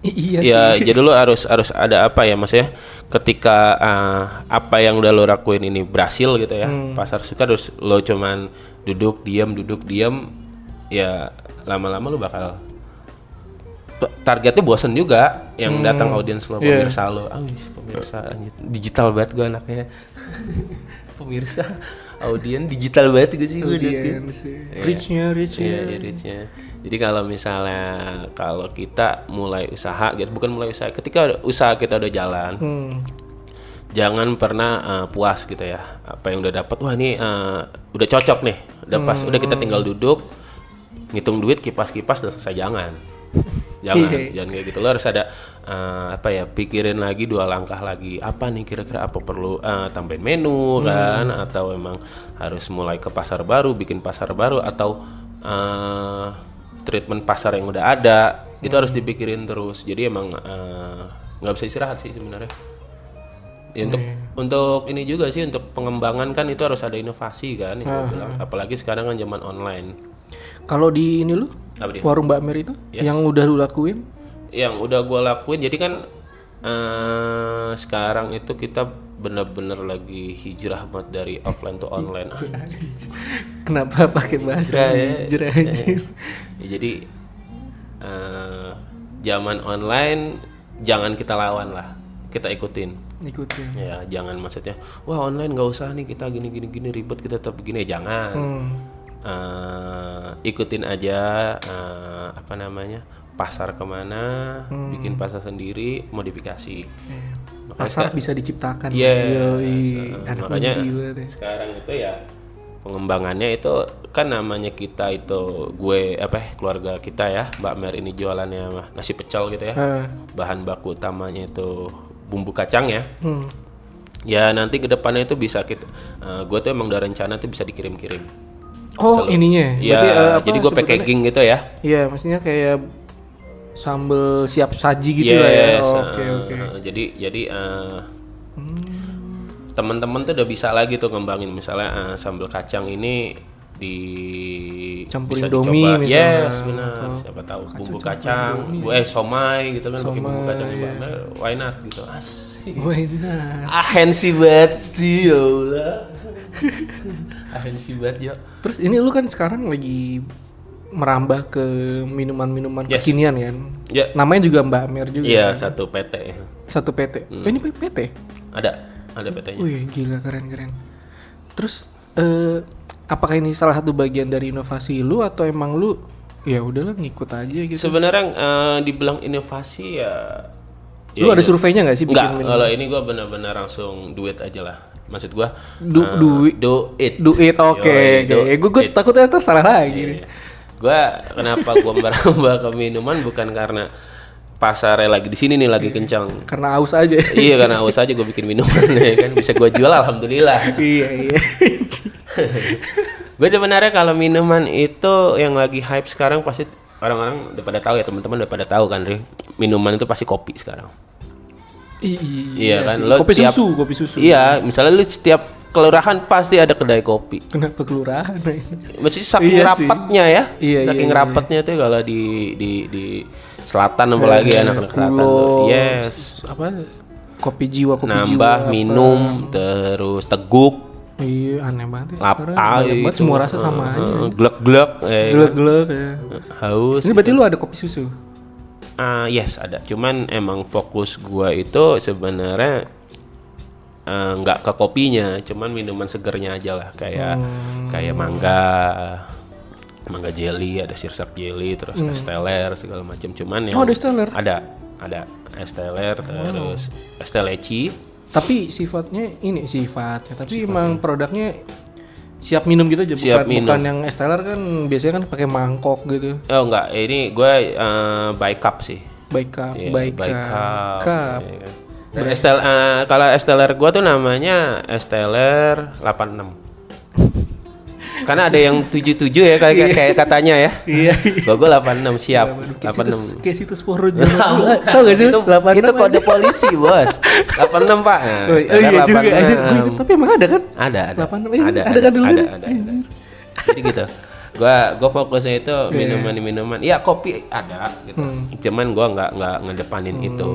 [SPEAKER 1] iya sih
[SPEAKER 2] Ya, jadi lu harus harus ada apa ya maksudnya ketika ah, apa yang udah lo lakuin ini berhasil gitu ya.
[SPEAKER 1] Hmm.
[SPEAKER 2] Pasar suka terus lo cuman duduk diam duduk diam ya lama-lama lu bakal P- targetnya bosen juga yang datang audiens lo
[SPEAKER 1] Hmm. Iya.
[SPEAKER 2] pemirsa lo ah wih, pemirsa anjir. digital banget gue anaknya pemirsa audiens digital banget gue sih gue
[SPEAKER 1] Kemudian sih reachnya reachnya
[SPEAKER 2] Iya, iya, reach-nya. Jadi kalau misalnya kalau kita mulai usaha gitu, bukan mulai usaha, ketika usaha kita udah jalan,
[SPEAKER 1] hmm.
[SPEAKER 2] jangan pernah eh, puas gitu ya. Apa yang udah dapat, wah ini eh, udah cocok nih, udah pas, udah kita tinggal duduk, ngitung duit, kipas-kipas, udah selesai jangan. jangan
[SPEAKER 1] Iya.
[SPEAKER 2] jangan kayak gitu lo harus ada eh, apa ya pikirin lagi dua langkah lagi apa nih kira-kira apa perlu eh, tambahin menu kan atau emang harus mulai ke pasar baru bikin pasar baru atau eh, treatment pasar yang udah ada itu harus dipikirin terus jadi emang eh, nggak bisa istirahat sih sebenarnya Ya, untuk untuk ini juga sih untuk pengembangan kan itu harus ada inovasi kan yang gua bilang. apalagi sekarang kan zaman online
[SPEAKER 1] Kalau di ini lu,
[SPEAKER 2] Apa dia?
[SPEAKER 1] warung Mbak Mer itu yang udah lu lakuin,
[SPEAKER 2] yang udah gue lakuin jadi kan eh, sekarang itu kita bener-bener lagi hijrah banget dari offline to online
[SPEAKER 1] kenapa pakai
[SPEAKER 2] Iya,
[SPEAKER 1] bahasa hijrah anjir?
[SPEAKER 2] Ya, jadi eh, zaman online jangan kita lawan lah kita ikutin
[SPEAKER 1] Ikutin.
[SPEAKER 2] ya jangan maksudnya wah online nggak usah nih kita gini gini gini ribet kita tetap begini Ya, jangan
[SPEAKER 1] Hmm.
[SPEAKER 2] Eh, ikutin aja eh, apa namanya pasar kemana
[SPEAKER 1] Hmm.
[SPEAKER 2] bikin pasar sendiri modifikasi
[SPEAKER 1] Pasar bisa diciptakan.
[SPEAKER 2] Iya,
[SPEAKER 1] Yoi,
[SPEAKER 2] so,
[SPEAKER 1] anak
[SPEAKER 2] makanya-
[SPEAKER 1] indie banget ya.
[SPEAKER 2] sekarang itu ya pengembangannya itu kan namanya kita itu gue apa ya, keluarga kita ya Mbak Mer ini jualannya mah nasi pecel gitu ya
[SPEAKER 1] Eh,
[SPEAKER 2] bahan baku utamanya itu bumbu kacang ya
[SPEAKER 1] hmm.
[SPEAKER 2] ya nanti kedepannya itu bisa kita eh, gue tuh emang udah rencana tuh bisa dikirim-kirim
[SPEAKER 1] Oh ininya,
[SPEAKER 2] ya
[SPEAKER 1] berarti eh, apa
[SPEAKER 2] jadi gue
[SPEAKER 1] sebutannya?
[SPEAKER 2] packaging gitu ya
[SPEAKER 1] Iya, maksudnya kayak sambel siap saji gitu lah ya.
[SPEAKER 2] Yes,
[SPEAKER 1] Oh,
[SPEAKER 2] eh,
[SPEAKER 1] Oke oke. Hmm.
[SPEAKER 2] eh, Jadi jadi eh, teman-teman tuh udah bisa lagi tuh ngembangin misalnya eh, sambal kacang ini di
[SPEAKER 1] Campurin
[SPEAKER 2] bisa
[SPEAKER 1] domi
[SPEAKER 2] dicoba.
[SPEAKER 1] misalnya,
[SPEAKER 2] Yes, benar. Siapa tahu bumbu kacang,
[SPEAKER 1] domi.
[SPEAKER 2] bu- eh somai gitu kan pakai bumbu kacang yeah. Why not gitu. Asik.
[SPEAKER 1] Wah enak.
[SPEAKER 2] Ah fancy banget sih ya Allah. Ah, fancy banget ya.
[SPEAKER 1] Terus ini lu kan sekarang lagi merambah ke minuman-minuman
[SPEAKER 2] Yes.
[SPEAKER 1] kekinian kan?
[SPEAKER 2] Ya.
[SPEAKER 1] Namanya juga Mbak Mer juga.
[SPEAKER 2] Iya, Hmm. satu PT.
[SPEAKER 1] Satu PT. Oh, ini PT?
[SPEAKER 2] Iya. Ada ada PT-nya.
[SPEAKER 1] Wih gila keren-keren. Terus eh, apakah ini salah satu bagian dari inovasi lu atau emang lu ya udahlah ngikut aja gitu?
[SPEAKER 2] Sebenarnya eh, dibilang inovasi ya
[SPEAKER 1] lu ada surveinya nggak sih bikin
[SPEAKER 2] Enggak,
[SPEAKER 1] min-
[SPEAKER 2] kalau ini gua benar-benar langsung duit aja lah. Maksud gua
[SPEAKER 1] Du-
[SPEAKER 2] eh,
[SPEAKER 1] duit.
[SPEAKER 2] do it.
[SPEAKER 1] Do it, oke.
[SPEAKER 2] Yoi, do
[SPEAKER 1] Gue gue takutnya ntar salah lagi.
[SPEAKER 2] Iya. Gua kenapa gua merambah ke minuman bukan karena pasarnya lagi di sini nih lagi kencang.
[SPEAKER 1] Karena aus aja.
[SPEAKER 2] iya karena aus aja gua bikin minuman ya kan bisa gua jual alhamdulillah.
[SPEAKER 1] iya iya.
[SPEAKER 2] Gue sebenarnya kalau minuman itu yang lagi hype sekarang pasti orang-orang udah pada tahu ya teman-teman udah pada tahu kan, Ri. Minuman itu pasti kopi sekarang.
[SPEAKER 1] I-
[SPEAKER 2] Iya kan,
[SPEAKER 1] sih.
[SPEAKER 2] lo
[SPEAKER 1] Kopi
[SPEAKER 2] tiap-
[SPEAKER 1] susu, kopi susu.
[SPEAKER 2] Iya, misalnya lu setiap kelurahan pasti ada kedai kopi.
[SPEAKER 1] Kenapa kelurahan? guys?
[SPEAKER 2] Maksudnya saking
[SPEAKER 1] Iya sih.
[SPEAKER 2] rapatnya ya,
[SPEAKER 1] Iya,
[SPEAKER 2] saking
[SPEAKER 1] iya, iya.
[SPEAKER 2] rapatnya tuh kalau di di di selatan apalagi ya,
[SPEAKER 1] Eh,
[SPEAKER 2] anak-anak selatan
[SPEAKER 1] Pulau,
[SPEAKER 2] tuh. Yes.
[SPEAKER 1] Apa? Kopi jiwa, kopi jiwa.
[SPEAKER 2] Nambah
[SPEAKER 1] apa.
[SPEAKER 2] minum terus teguk,
[SPEAKER 1] Iya, aneh banget. ya.
[SPEAKER 2] lap
[SPEAKER 1] Sekarang banyak banget semua rasa sama aja.
[SPEAKER 2] Glek-glek eh,
[SPEAKER 1] Gelek-gelek ya.
[SPEAKER 2] haus.
[SPEAKER 1] Ini berarti lu ada kopi susu?
[SPEAKER 2] Ah, yes, ada. Cuman emang fokus gua itu sebenarnya eh, nggak ke kopinya, cuman minuman segernya aja lah kayak
[SPEAKER 1] Hmm.
[SPEAKER 2] kayak mangga mangga jelly, ada sirsak jelly, terus es teler segala macam. Cuman yang
[SPEAKER 1] Hmm. Oh, ada es teler.
[SPEAKER 2] Ada ada es teler, terus es teh leci.
[SPEAKER 1] Tapi sifatnya ini sifatnya, tapi emang produknya siap minum gitu aja
[SPEAKER 2] Siap
[SPEAKER 1] bukan,
[SPEAKER 2] minum.
[SPEAKER 1] bukan yang esteller kan biasanya kan pakai mangkok gitu.
[SPEAKER 2] Oh enggak, ini gua eh, by cup sih.
[SPEAKER 1] Baik cup,
[SPEAKER 2] Iya,
[SPEAKER 1] baik
[SPEAKER 2] by
[SPEAKER 1] cup.
[SPEAKER 2] cup.
[SPEAKER 1] Cup.
[SPEAKER 2] Iya kan. Dan es tel- eh, kalau es teler gua tuh namanya es teler 86. Karena ada yang 77 ya kayak kayak katanya ya.
[SPEAKER 1] Iya.
[SPEAKER 2] Gua gua 86 siap.
[SPEAKER 1] Kayak situs
[SPEAKER 2] 86.
[SPEAKER 1] kayak situs porno zaman dulu. Tahu gak sih?
[SPEAKER 2] itu,
[SPEAKER 1] 86
[SPEAKER 2] itu kode polisi, Bos. 86, Pak. Nah,
[SPEAKER 1] Oh,
[SPEAKER 2] es teler
[SPEAKER 1] iya juga
[SPEAKER 2] 86.
[SPEAKER 1] anjir. Gua ingat, tapi emang ada kan?
[SPEAKER 2] Ada, ada.
[SPEAKER 1] 86, iya,
[SPEAKER 2] ada,
[SPEAKER 1] ada kan dulu
[SPEAKER 2] Ada,
[SPEAKER 1] nih?
[SPEAKER 2] ada, ada. Jadi gitu. Gua gua fokusnya itu
[SPEAKER 1] Iya.
[SPEAKER 2] minuman-minuman. Ya kopi ada gitu.
[SPEAKER 1] Hmm.
[SPEAKER 2] Cuman gua nggak nggak ngedepanin itu.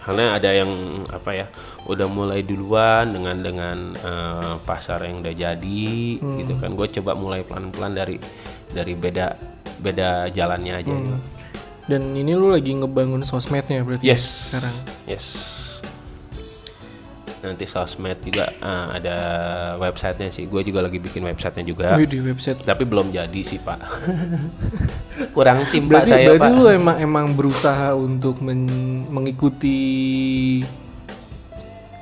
[SPEAKER 2] Karena ada yang apa ya, udah mulai duluan dengan dengan eh, pasar yang udah jadi
[SPEAKER 1] Hmm.
[SPEAKER 2] gitu kan. Gue coba mulai pelan-pelan dari dari beda beda jalannya aja. gitu.
[SPEAKER 1] Hmm. Dan ini lu lagi ngebangun sosmednya berarti
[SPEAKER 2] Yes.
[SPEAKER 1] sekarang.
[SPEAKER 2] Yes. Nanti sosmed juga eh, ada websitenya sih. Gue juga lagi bikin websitenya juga.
[SPEAKER 1] Wih, di website.
[SPEAKER 2] Tapi belum jadi sih pak. Kurang tim pak
[SPEAKER 1] Berarti,
[SPEAKER 2] saya
[SPEAKER 1] berarti
[SPEAKER 2] pak.
[SPEAKER 1] lu emang emang berusaha untuk men- mengikuti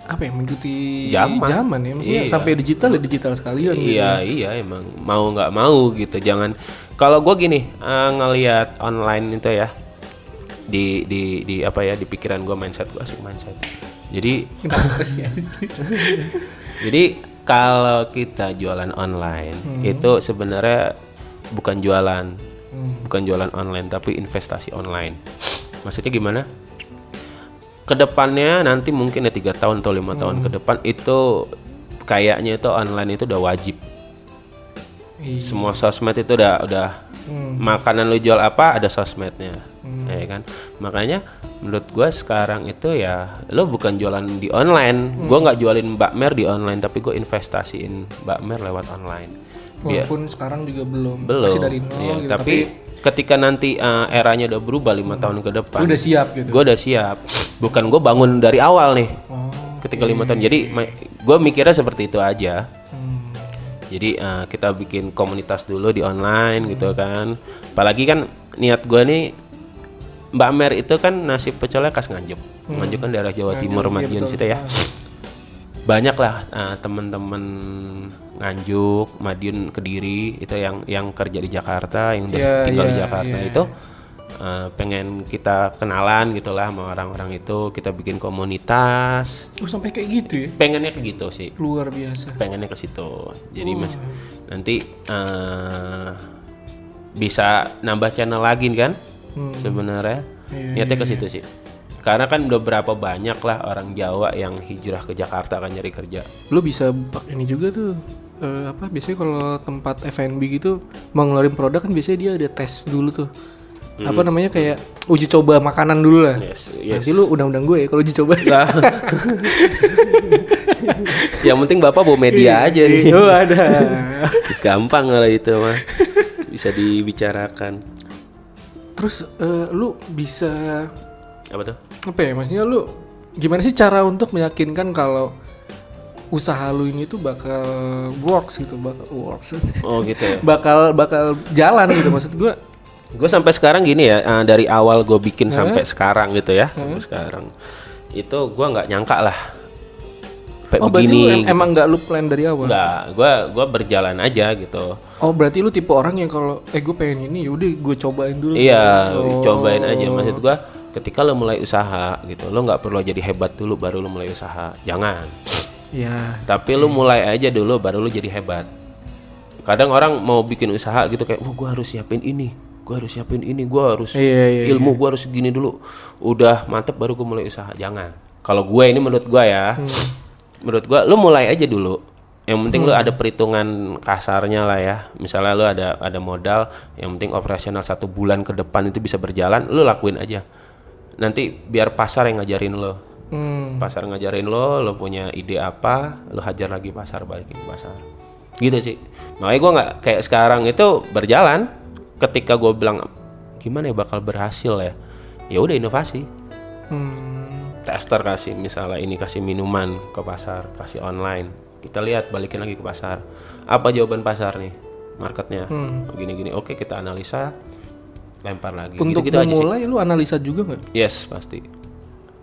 [SPEAKER 1] apa ya mengikuti
[SPEAKER 2] Zaman.
[SPEAKER 1] ya maksudnya
[SPEAKER 2] Iya.
[SPEAKER 1] sampai digital ya digital sekalian gitu.
[SPEAKER 2] Iya iya emang mau nggak mau gitu. Jangan kalau gue gini eh, ngelihat online itu ya di di di apa ya di pikiran gue mindset gue asik mindset jadi
[SPEAKER 1] Kenapa sih
[SPEAKER 2] Iya.
[SPEAKER 1] anjing?
[SPEAKER 2] jadi kalau kita jualan online itu sebenarnya bukan jualan, bukan jualan online tapi investasi online. Maksudnya gimana? Kedepannya nanti mungkin ya tiga tahun atau lima tahun ke depan itu kayaknya itu online itu udah wajib.
[SPEAKER 1] Iya.
[SPEAKER 2] Semua sosmed itu udah udah
[SPEAKER 1] Hmm.
[SPEAKER 2] makanan lu jual apa ada sosmednya, ya kan? Makanya menurut gua sekarang itu ya lu bukan jualan di online.
[SPEAKER 1] Hmm.
[SPEAKER 2] Gua nggak jualin Mbak Mer di online tapi gue investasiin Mbak Mer lewat online. Biar-
[SPEAKER 1] Walaupun sekarang juga belum.
[SPEAKER 2] belum
[SPEAKER 1] Masih dari nol
[SPEAKER 2] Iya,
[SPEAKER 1] gitu.
[SPEAKER 2] tapi, ketika nanti eh, eranya udah berubah lima tahun ke depan
[SPEAKER 1] Lu udah siap gitu.
[SPEAKER 2] gue udah siap bukan gue bangun dari awal nih
[SPEAKER 1] Oh.
[SPEAKER 2] ketika lima tahun jadi gue mikirnya seperti itu aja
[SPEAKER 1] Hmm.
[SPEAKER 2] jadi eh, kita bikin komunitas dulu di online gitu kan apalagi kan niat gue nih Mbak Mer itu kan nasi pecelnya khas Nganjuk
[SPEAKER 1] Hmm.
[SPEAKER 2] Nganjuk kan daerah Jawa Timur
[SPEAKER 1] iya,
[SPEAKER 2] Madiun situ ya banyak lah eh, temen-temen Nganjuk, Madiun, Kediri itu yang yang kerja di Jakarta, yang udah
[SPEAKER 1] Iya,
[SPEAKER 2] tinggal di
[SPEAKER 1] iya,
[SPEAKER 2] Jakarta itu eh, pengen kita kenalan gitulah sama orang-orang itu, kita bikin komunitas.
[SPEAKER 1] Oh, sampai kayak gitu ya.
[SPEAKER 2] Pengennya ke gitu sih,
[SPEAKER 1] Luar biasa.
[SPEAKER 2] pengennya ke situ. Jadi
[SPEAKER 1] Hmm.
[SPEAKER 2] mas nanti eh, bisa nambah channel lagi kan?
[SPEAKER 1] Hmm.
[SPEAKER 2] Sebenarnya
[SPEAKER 1] Iya,
[SPEAKER 2] niatnya ke situ sih. Karena kan udah berapa banyak lah orang Jawa yang hijrah ke Jakarta kan nyari kerja.
[SPEAKER 1] Lu bisa pak ini juga tuh. eh, apa biasanya kalau tempat F&B gitu mau ngeluarin produk kan biasanya dia ada tes dulu tuh. Apa namanya kayak uji coba makanan dulu lah.
[SPEAKER 2] Yes, Hmm. Iya, yes.
[SPEAKER 1] Nanti lu undang-undang gue ya kalau uji coba.
[SPEAKER 2] Lah. Yang penting bapak bawa media aja nih.
[SPEAKER 1] Oh, ada.
[SPEAKER 2] Gampang kalau itu mah. Bisa dibicarakan.
[SPEAKER 1] Terus eh, lu bisa
[SPEAKER 2] Apa tuh?
[SPEAKER 1] apa ya maksudnya lu gimana sih cara untuk meyakinkan kalau usaha lu ini tuh bakal works gitu bakal works
[SPEAKER 2] Oh gitu ya.
[SPEAKER 1] bakal bakal jalan gitu maksud gua
[SPEAKER 2] Gue sampai sekarang gini ya, eh, dari awal gue bikin
[SPEAKER 1] Hmm.
[SPEAKER 2] sampai sekarang gitu ya, sampai sekarang. Itu gua nggak nyangka lah. Kayak
[SPEAKER 1] oh berarti
[SPEAKER 2] begini.
[SPEAKER 1] lu em- emang nggak lu plan dari awal
[SPEAKER 2] Enggak, gua gua berjalan aja gitu.
[SPEAKER 1] oh berarti lu tipe orang yang kalau eh gue pengen ini yaudah gue cobain dulu
[SPEAKER 2] Iya,
[SPEAKER 1] Oh.
[SPEAKER 2] cobain aja maksud gua. Ketika lo mulai usaha gitu, lo nggak perlu jadi hebat dulu baru lo mulai usaha. Jangan.
[SPEAKER 1] ya
[SPEAKER 2] Tapi lu mulai aja dulu baru lu jadi hebat. Kadang orang mau bikin usaha gitu kayak, "Wah, gua harus siapin ini, gua harus siapin ini, gua harus
[SPEAKER 1] Iya, iya,
[SPEAKER 2] ilmu, gua harus gini dulu." Udah mantep baru gua mulai usaha. Jangan. Kalau gue ini menurut gua ya.
[SPEAKER 1] Hmm.
[SPEAKER 2] Menurut gua lu mulai aja dulu. Yang penting
[SPEAKER 1] Hmm.
[SPEAKER 2] lu ada perhitungan kasarnya lah ya. Misalnya lu ada ada modal, yang penting operasional satu bulan ke depan itu bisa berjalan, lu lakuin aja. Nanti biar pasar yang ngajarin lo
[SPEAKER 1] hmm,
[SPEAKER 2] pasar ngajarin lo lo punya ide apa lo hajar lagi pasar balikin ke pasar gitu sih makanya gue nggak kayak sekarang itu berjalan ketika gue bilang gimana ya bakal berhasil ya ya udah inovasi
[SPEAKER 1] hmm.
[SPEAKER 2] tester kasih misalnya ini kasih minuman ke pasar kasih online kita lihat balikin lagi ke pasar apa jawaban pasar nih marketnya
[SPEAKER 1] Hmm.
[SPEAKER 2] gini-gini oke kita analisa lempar lagi
[SPEAKER 1] untuk
[SPEAKER 2] gitu-gitu aja sih
[SPEAKER 1] memulai lu analisa juga nggak
[SPEAKER 2] yes pasti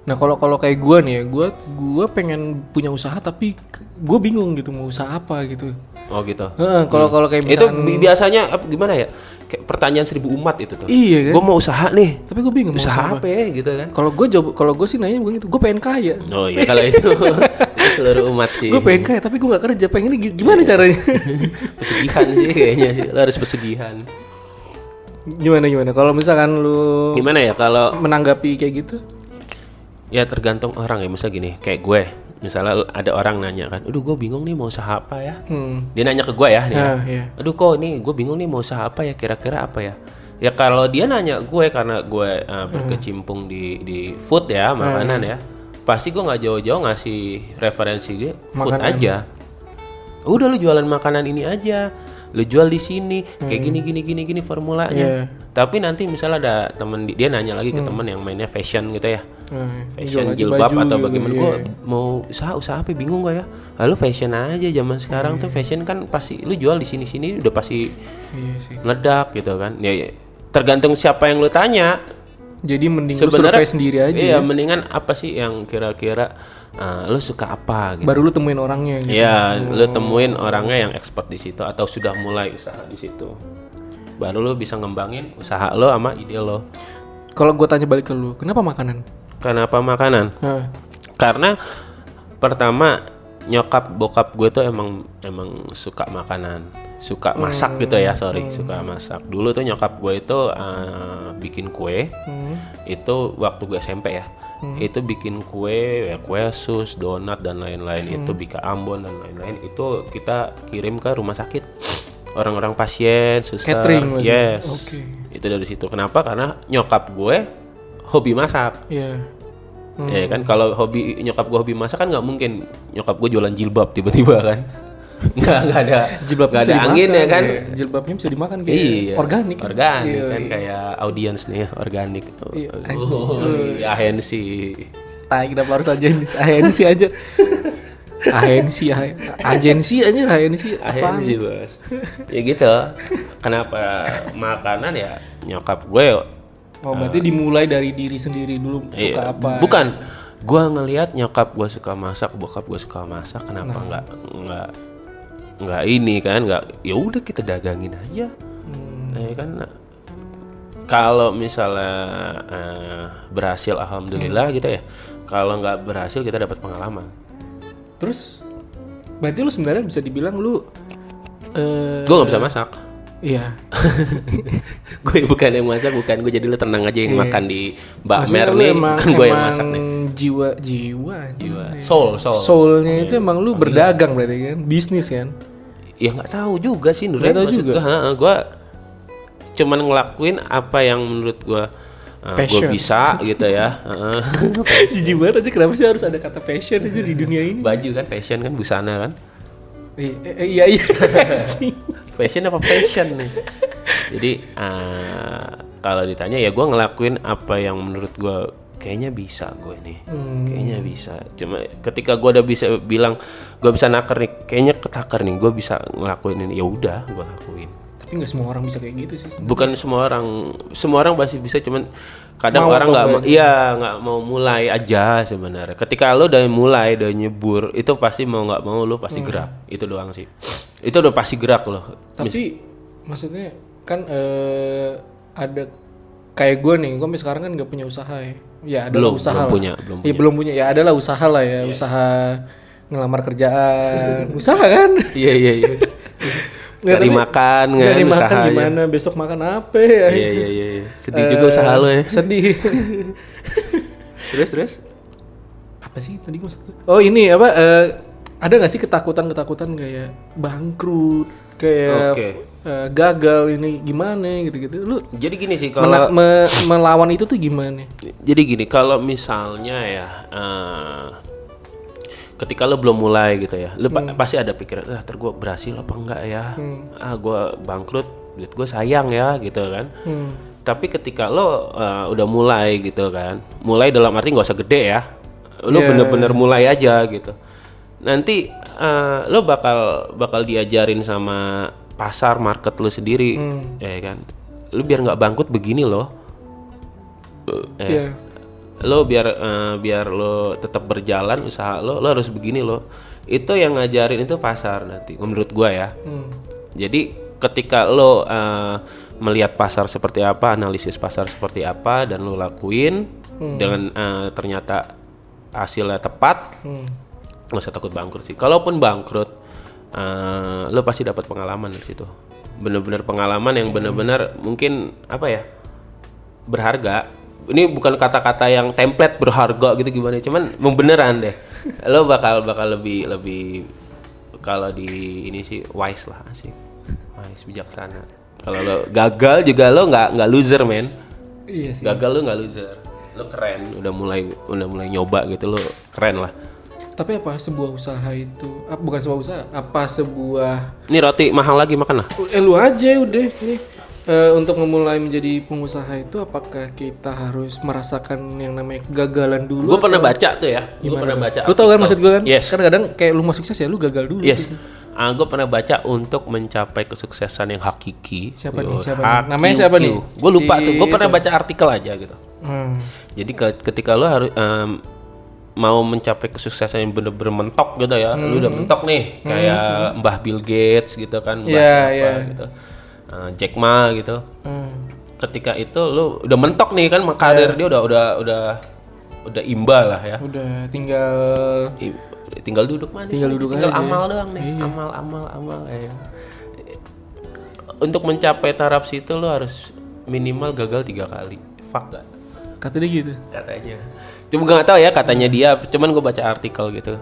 [SPEAKER 1] Nah kalau kalau kayak gue nih, ya, gue gue pengen punya usaha tapi gue bingung gitu mau usaha apa gitu.
[SPEAKER 2] oh gitu
[SPEAKER 1] Heeh, kalau kalau kayak
[SPEAKER 2] itu
[SPEAKER 1] misalkan,
[SPEAKER 2] bi- biasanya apa- gimana ya kayak pertanyaan seribu umat itu tuh
[SPEAKER 1] Iya, kan?
[SPEAKER 2] gue mau usaha nih
[SPEAKER 1] tapi gue bingung mau
[SPEAKER 2] usaha,
[SPEAKER 1] usaha. apa.
[SPEAKER 2] apa ya gitu kan
[SPEAKER 1] Kalau gue jawab kalau gue sih nanya begini, gue pengen kaya.
[SPEAKER 2] oh iya kalau itu itu seluruh umat sih
[SPEAKER 1] Gue pengen kaya tapi gue nggak kerja. Pengen ini gi- gimana
[SPEAKER 2] Iya.
[SPEAKER 1] caranya?
[SPEAKER 2] pesugihan sih kayaknya sih lo harus pesugihan
[SPEAKER 1] gimana gimana? Kalau misalkan lu
[SPEAKER 2] gimana ya kalau
[SPEAKER 1] menanggapi kayak gitu,
[SPEAKER 2] ya tergantung orang ya misalnya gini kayak gue misalnya ada orang nanya kan aduh gue bingung nih mau usaha apa ya
[SPEAKER 1] hmm,
[SPEAKER 2] dia nanya ke gue ya nih ya.
[SPEAKER 1] ya, ya.
[SPEAKER 2] aduh kok ini gue bingung nih mau usaha apa ya kira-kira apa ya ya kalau dia nanya gue karena gue
[SPEAKER 1] Hmm.
[SPEAKER 2] eh, berkecimpung di di food ya makanan ya pasti gue nggak jauh-jauh ngasih referensi gue food
[SPEAKER 1] Makanan.
[SPEAKER 2] aja udah lu jualan makanan ini aja lu jual di sini kayak gini gini gini gini formulanya
[SPEAKER 1] Hmm. Iya. Hmm.
[SPEAKER 2] tapi nanti misalnya ada temen di- dia nanya lagi ke temen yang mainnya fashion gitu ya
[SPEAKER 1] Nah,
[SPEAKER 2] fashion
[SPEAKER 1] jual aja
[SPEAKER 2] jilbab
[SPEAKER 1] baju
[SPEAKER 2] atau
[SPEAKER 1] gitu,
[SPEAKER 2] bagaimana
[SPEAKER 1] iya.
[SPEAKER 2] gue mau usaha usaha apa bingung gue ya lalu fashion aja zaman sekarang tuh fashion kan pasti lu jual di sini sini udah pasti
[SPEAKER 1] Iya sih.
[SPEAKER 2] meledak gitu kan ya, ya. tergantung siapa yang lu tanya
[SPEAKER 1] Jadi mending lu survei sendiri aja. ya.
[SPEAKER 2] iya mendingan apa sih yang kira-kira eh, lu suka apa
[SPEAKER 1] ya,
[SPEAKER 2] gitu
[SPEAKER 1] Baru lu temuin orangnya. Gitu.
[SPEAKER 2] Iya, lu temuin orangnya yang expert di situ atau sudah mulai usaha di situ. baru lo bisa ngembangin usaha lo sama ide lo
[SPEAKER 1] Kalau gue tanya balik ke lu, kenapa makanan?
[SPEAKER 2] kenapa makanan
[SPEAKER 1] Nah,
[SPEAKER 2] karena pertama nyokap bokap gue tuh emang emang suka makanan suka
[SPEAKER 1] Hmm,
[SPEAKER 2] masak gitu ya sorry suka masak dulu tuh nyokap gue itu eh, bikin kue
[SPEAKER 1] Hmm.
[SPEAKER 2] itu waktu gue SMP ya itu bikin kue ya, kue sus donat dan lain-lain itu
[SPEAKER 1] Hmm.
[SPEAKER 2] bika ambon dan lain-lain itu kita kirim ke rumah sakit orang-orang pasien suster
[SPEAKER 1] Catering lagi.
[SPEAKER 2] yes
[SPEAKER 1] Oke.
[SPEAKER 2] itu dari situ kenapa karena nyokap gue hobi masak
[SPEAKER 1] iya. Hmm.
[SPEAKER 2] Ya kan kalau hobi nyokap gue hobi masak kan nggak mungkin nyokap gue jualan jilbab tiba-tiba kan. Nggak nggak ada
[SPEAKER 1] Jilbab
[SPEAKER 2] nggak ada angin ya kan. Iya.
[SPEAKER 1] Jilbabnya bisa dimakan kayak iya. organik.
[SPEAKER 2] Organik
[SPEAKER 1] Iya,
[SPEAKER 2] kan kayak audiens nih ya, organik.
[SPEAKER 1] Iya.
[SPEAKER 2] Oh, iya, ahensi.
[SPEAKER 1] Tai kenapa harus agensi agensi aja. agensi a- agensi aja agensi apa?
[SPEAKER 2] Ahensi bos. ya gitu. Kenapa makanan ya nyokap gue
[SPEAKER 1] Oh, berarti dimulai dari diri sendiri dulu suka
[SPEAKER 2] Iya,
[SPEAKER 1] apa? gitu.
[SPEAKER 2] Bukan. Gua ngelihat nyokap gua suka masak, bokap gua suka masak, kenapa
[SPEAKER 1] Nah.
[SPEAKER 2] nggak nggak nggak ini kan? Nggak. Ya udah kita dagangin aja.
[SPEAKER 1] Hmm.
[SPEAKER 2] Ya kan. Kalau misalnya eh, berhasil, alhamdulillah
[SPEAKER 1] Hmm.
[SPEAKER 2] gitu ya. Kalau nggak berhasil, kita dapat pengalaman.
[SPEAKER 1] Terus berarti lu sebenarnya bisa dibilang lu eh
[SPEAKER 2] Gua nggak bisa masak.
[SPEAKER 1] iya.
[SPEAKER 2] gue bukan yang masak, bukan gue jadi lu tenang aja yang makan di Mbak
[SPEAKER 1] Iya. Maksudnya
[SPEAKER 2] Mer
[SPEAKER 1] lu
[SPEAKER 2] nih,
[SPEAKER 1] emang,
[SPEAKER 2] bukan gue yang
[SPEAKER 1] emang iya.
[SPEAKER 2] masak nih.
[SPEAKER 1] jiwa jiwa
[SPEAKER 2] Gua. Soul, soul.
[SPEAKER 1] soulnya
[SPEAKER 2] Iya.
[SPEAKER 1] itu emang lu berdagang berarti kan bisnis kan
[SPEAKER 2] ya nggak tahu juga sih Nur ya.
[SPEAKER 1] Nggak tahu
[SPEAKER 2] maksud
[SPEAKER 1] juga.
[SPEAKER 2] gua, ha, gua cuman ngelakuin apa yang menurut gua uh, gua
[SPEAKER 1] Passion.
[SPEAKER 2] bisa gitu ya Heeh.
[SPEAKER 1] jijik banget aja kenapa sih harus ada kata fashion aja di dunia ini
[SPEAKER 2] baju kan fashion kan busana kan
[SPEAKER 1] Eh, eh, eh, iya iya Anjing.
[SPEAKER 2] fashion apa fashion nih jadi uh, kalau ditanya ya gua ngelakuin apa yang menurut gua kayaknya bisa gue nih kayaknya bisa cuma ketika gua udah bisa bilang gua bisa naker nih kayaknya ketaker nih gua bisa ngelakuin ini ya udah gua lakuin
[SPEAKER 1] tapi nggak semua orang bisa kayak gitu sih
[SPEAKER 2] bukan semua orang semua orang pasti bisa cuman kadang
[SPEAKER 1] Mau
[SPEAKER 2] orang
[SPEAKER 1] atau
[SPEAKER 2] nggak
[SPEAKER 1] enggak
[SPEAKER 2] ma- iya nggak mau mulai aja sebenarnya ketika lo udah mulai udah nyebur itu pasti mau nggak mau lo pasti gerak itu doang sih itu udah pasti gerak loh
[SPEAKER 1] tapi maksudnya kan eh, ada kayak gue nih gue sampai sekarang kan nggak punya usaha ya ya adalah
[SPEAKER 2] Belum,
[SPEAKER 1] usaha
[SPEAKER 2] belum
[SPEAKER 1] lah.
[SPEAKER 2] punya, Iya. belum
[SPEAKER 1] ya belum punya ya adalah usaha lah ya usaha ngelamar kerjaan usaha kan
[SPEAKER 2] iya iya iya
[SPEAKER 1] Nggak,
[SPEAKER 2] cari
[SPEAKER 1] tapi
[SPEAKER 2] makan kan
[SPEAKER 1] dari makan
[SPEAKER 2] usahanya.
[SPEAKER 1] gimana besok makan apa ya
[SPEAKER 2] iya iya iya iya. sedih juga usaha lo ya
[SPEAKER 1] sedih
[SPEAKER 2] terus terus
[SPEAKER 1] apa sih tadi maksud gue? oh ini apa eh, ada nggak sih ketakutan ketakutan kayak bangkrut kayak
[SPEAKER 2] Oke.
[SPEAKER 1] eh, gagal ini gimana gitu gitu lu
[SPEAKER 2] jadi gini sih kalau
[SPEAKER 1] mena- me- melawan itu tuh gimana
[SPEAKER 2] jadi gini kalau misalnya ya eh, ketika lo belum mulai gitu ya lo pa- pasti ada pikiran ah ter gue berhasil apa enggak ya ah gue bangkrut duit gue sayang ya gitu kan tapi ketika lo eh, udah mulai gitu kan mulai dalam arti nggak usah gede ya lo bener-bener mulai aja gitu nanti eh, lo bakal bakal diajarin sama pasar market lo sendiri ya kan lo biar nggak bangkrut begini loh
[SPEAKER 1] ya
[SPEAKER 2] lo biar eh, biar lo tetap berjalan usaha lo lo harus begini lo itu yang ngajarin itu pasar nanti menurut gua ya jadi ketika lo eh, melihat pasar seperti apa analisis pasar seperti apa dan lo lakuin dengan eh, ternyata hasilnya tepat
[SPEAKER 1] Hmm.
[SPEAKER 2] nggak usah takut bangkrut sih kalaupun bangkrut eh, lo pasti dapat pengalaman dari situ bener-bener pengalaman yang bener-bener mungkin apa ya berharga ini bukan kata-kata yang template berharga gitu gimana cuman emang beneran deh lo bakal bakal lebih lebih kalau di ini sih wise lah sih wise bijaksana kalau lo gagal juga lo nggak nggak loser men
[SPEAKER 1] iya sih
[SPEAKER 2] gagal lo nggak loser lo keren udah mulai udah mulai nyoba gitu lo keren lah
[SPEAKER 1] tapi apa sebuah usaha itu ah, bukan sebuah usaha apa sebuah
[SPEAKER 2] ini roti mahal lagi makan lah
[SPEAKER 1] eh lu aja udah nih Eh, untuk memulai menjadi pengusaha itu apakah kita harus merasakan yang namanya kegagalan dulu
[SPEAKER 2] gue pernah baca tuh ya gue pernah baca
[SPEAKER 1] lu tau kan maksud gue kan
[SPEAKER 2] Yes.
[SPEAKER 1] karena kadang kayak lu mau sukses ya lu gagal dulu
[SPEAKER 2] Yes. Ah, gue pernah baca untuk mencapai kesuksesan yang hakiki.
[SPEAKER 1] Siapa nih? Siapa nih? Namanya siapa nih?
[SPEAKER 2] Gue lupa
[SPEAKER 1] Si
[SPEAKER 2] tuh. Gue pernah baca artikel aja gitu.
[SPEAKER 1] Hmm.
[SPEAKER 2] Jadi ke- ketika lo harus em, mau mencapai kesuksesan yang bener-bener mentok gitu
[SPEAKER 1] Hmm.
[SPEAKER 2] ya, lu udah mentok nih, kayak Mbah Bill Gates gitu kan, Mbah
[SPEAKER 1] Iya,
[SPEAKER 2] siapa
[SPEAKER 1] iya.
[SPEAKER 2] gitu. eh, Jack Ma gitu
[SPEAKER 1] hmm.
[SPEAKER 2] ketika itu lu udah mentok nih kan
[SPEAKER 1] Iya.
[SPEAKER 2] karir dia udah udah udah udah imba lah ya
[SPEAKER 1] Udah tinggal
[SPEAKER 2] I- Iya, tinggal duduk manis
[SPEAKER 1] Tinggal
[SPEAKER 2] nih,
[SPEAKER 1] duduk
[SPEAKER 2] tinggal
[SPEAKER 1] aja. ya. Iya.
[SPEAKER 2] amal doang nih amal amal amal ya untuk mencapai taraf situ lo harus minimal gagal tiga kali fuck gak
[SPEAKER 1] kata dia gitu.
[SPEAKER 2] katanya cuma gue nggak tahu ya katanya dia cuman gue baca artikel gitu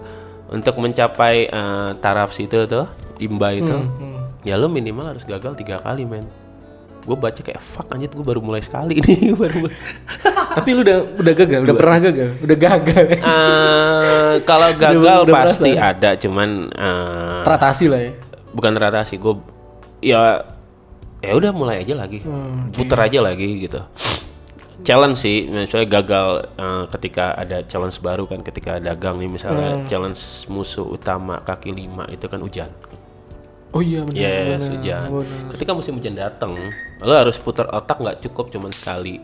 [SPEAKER 2] untuk mencapai eh, taraf situ tuh imba itu
[SPEAKER 1] Hmm.
[SPEAKER 2] ya lo minimal harus gagal tiga kali men gue baca kayak fuck anjir gue baru mulai sekali nih baru
[SPEAKER 1] Tapi lu udah udah gagal, udah pernah gagal, udah gagal.
[SPEAKER 2] Eh, kalau gagal
[SPEAKER 1] udah ya?
[SPEAKER 2] pasti ada cuman eh,
[SPEAKER 1] Teratasi lah ya.
[SPEAKER 2] bukan rata sih gue ya ya udah mulai aja lagi
[SPEAKER 1] Hmm,
[SPEAKER 2] puter aja lagi gitu challenge sih misalnya gagal eh, ketika ada challenge baru kan ketika dagang nih misalnya
[SPEAKER 1] Hmm.
[SPEAKER 2] challenge musuh utama kaki lima itu kan hujan
[SPEAKER 1] Oh iya benar.
[SPEAKER 2] yes hujan ketika musim hujan datang lo harus putar otak nggak cukup cuman sekali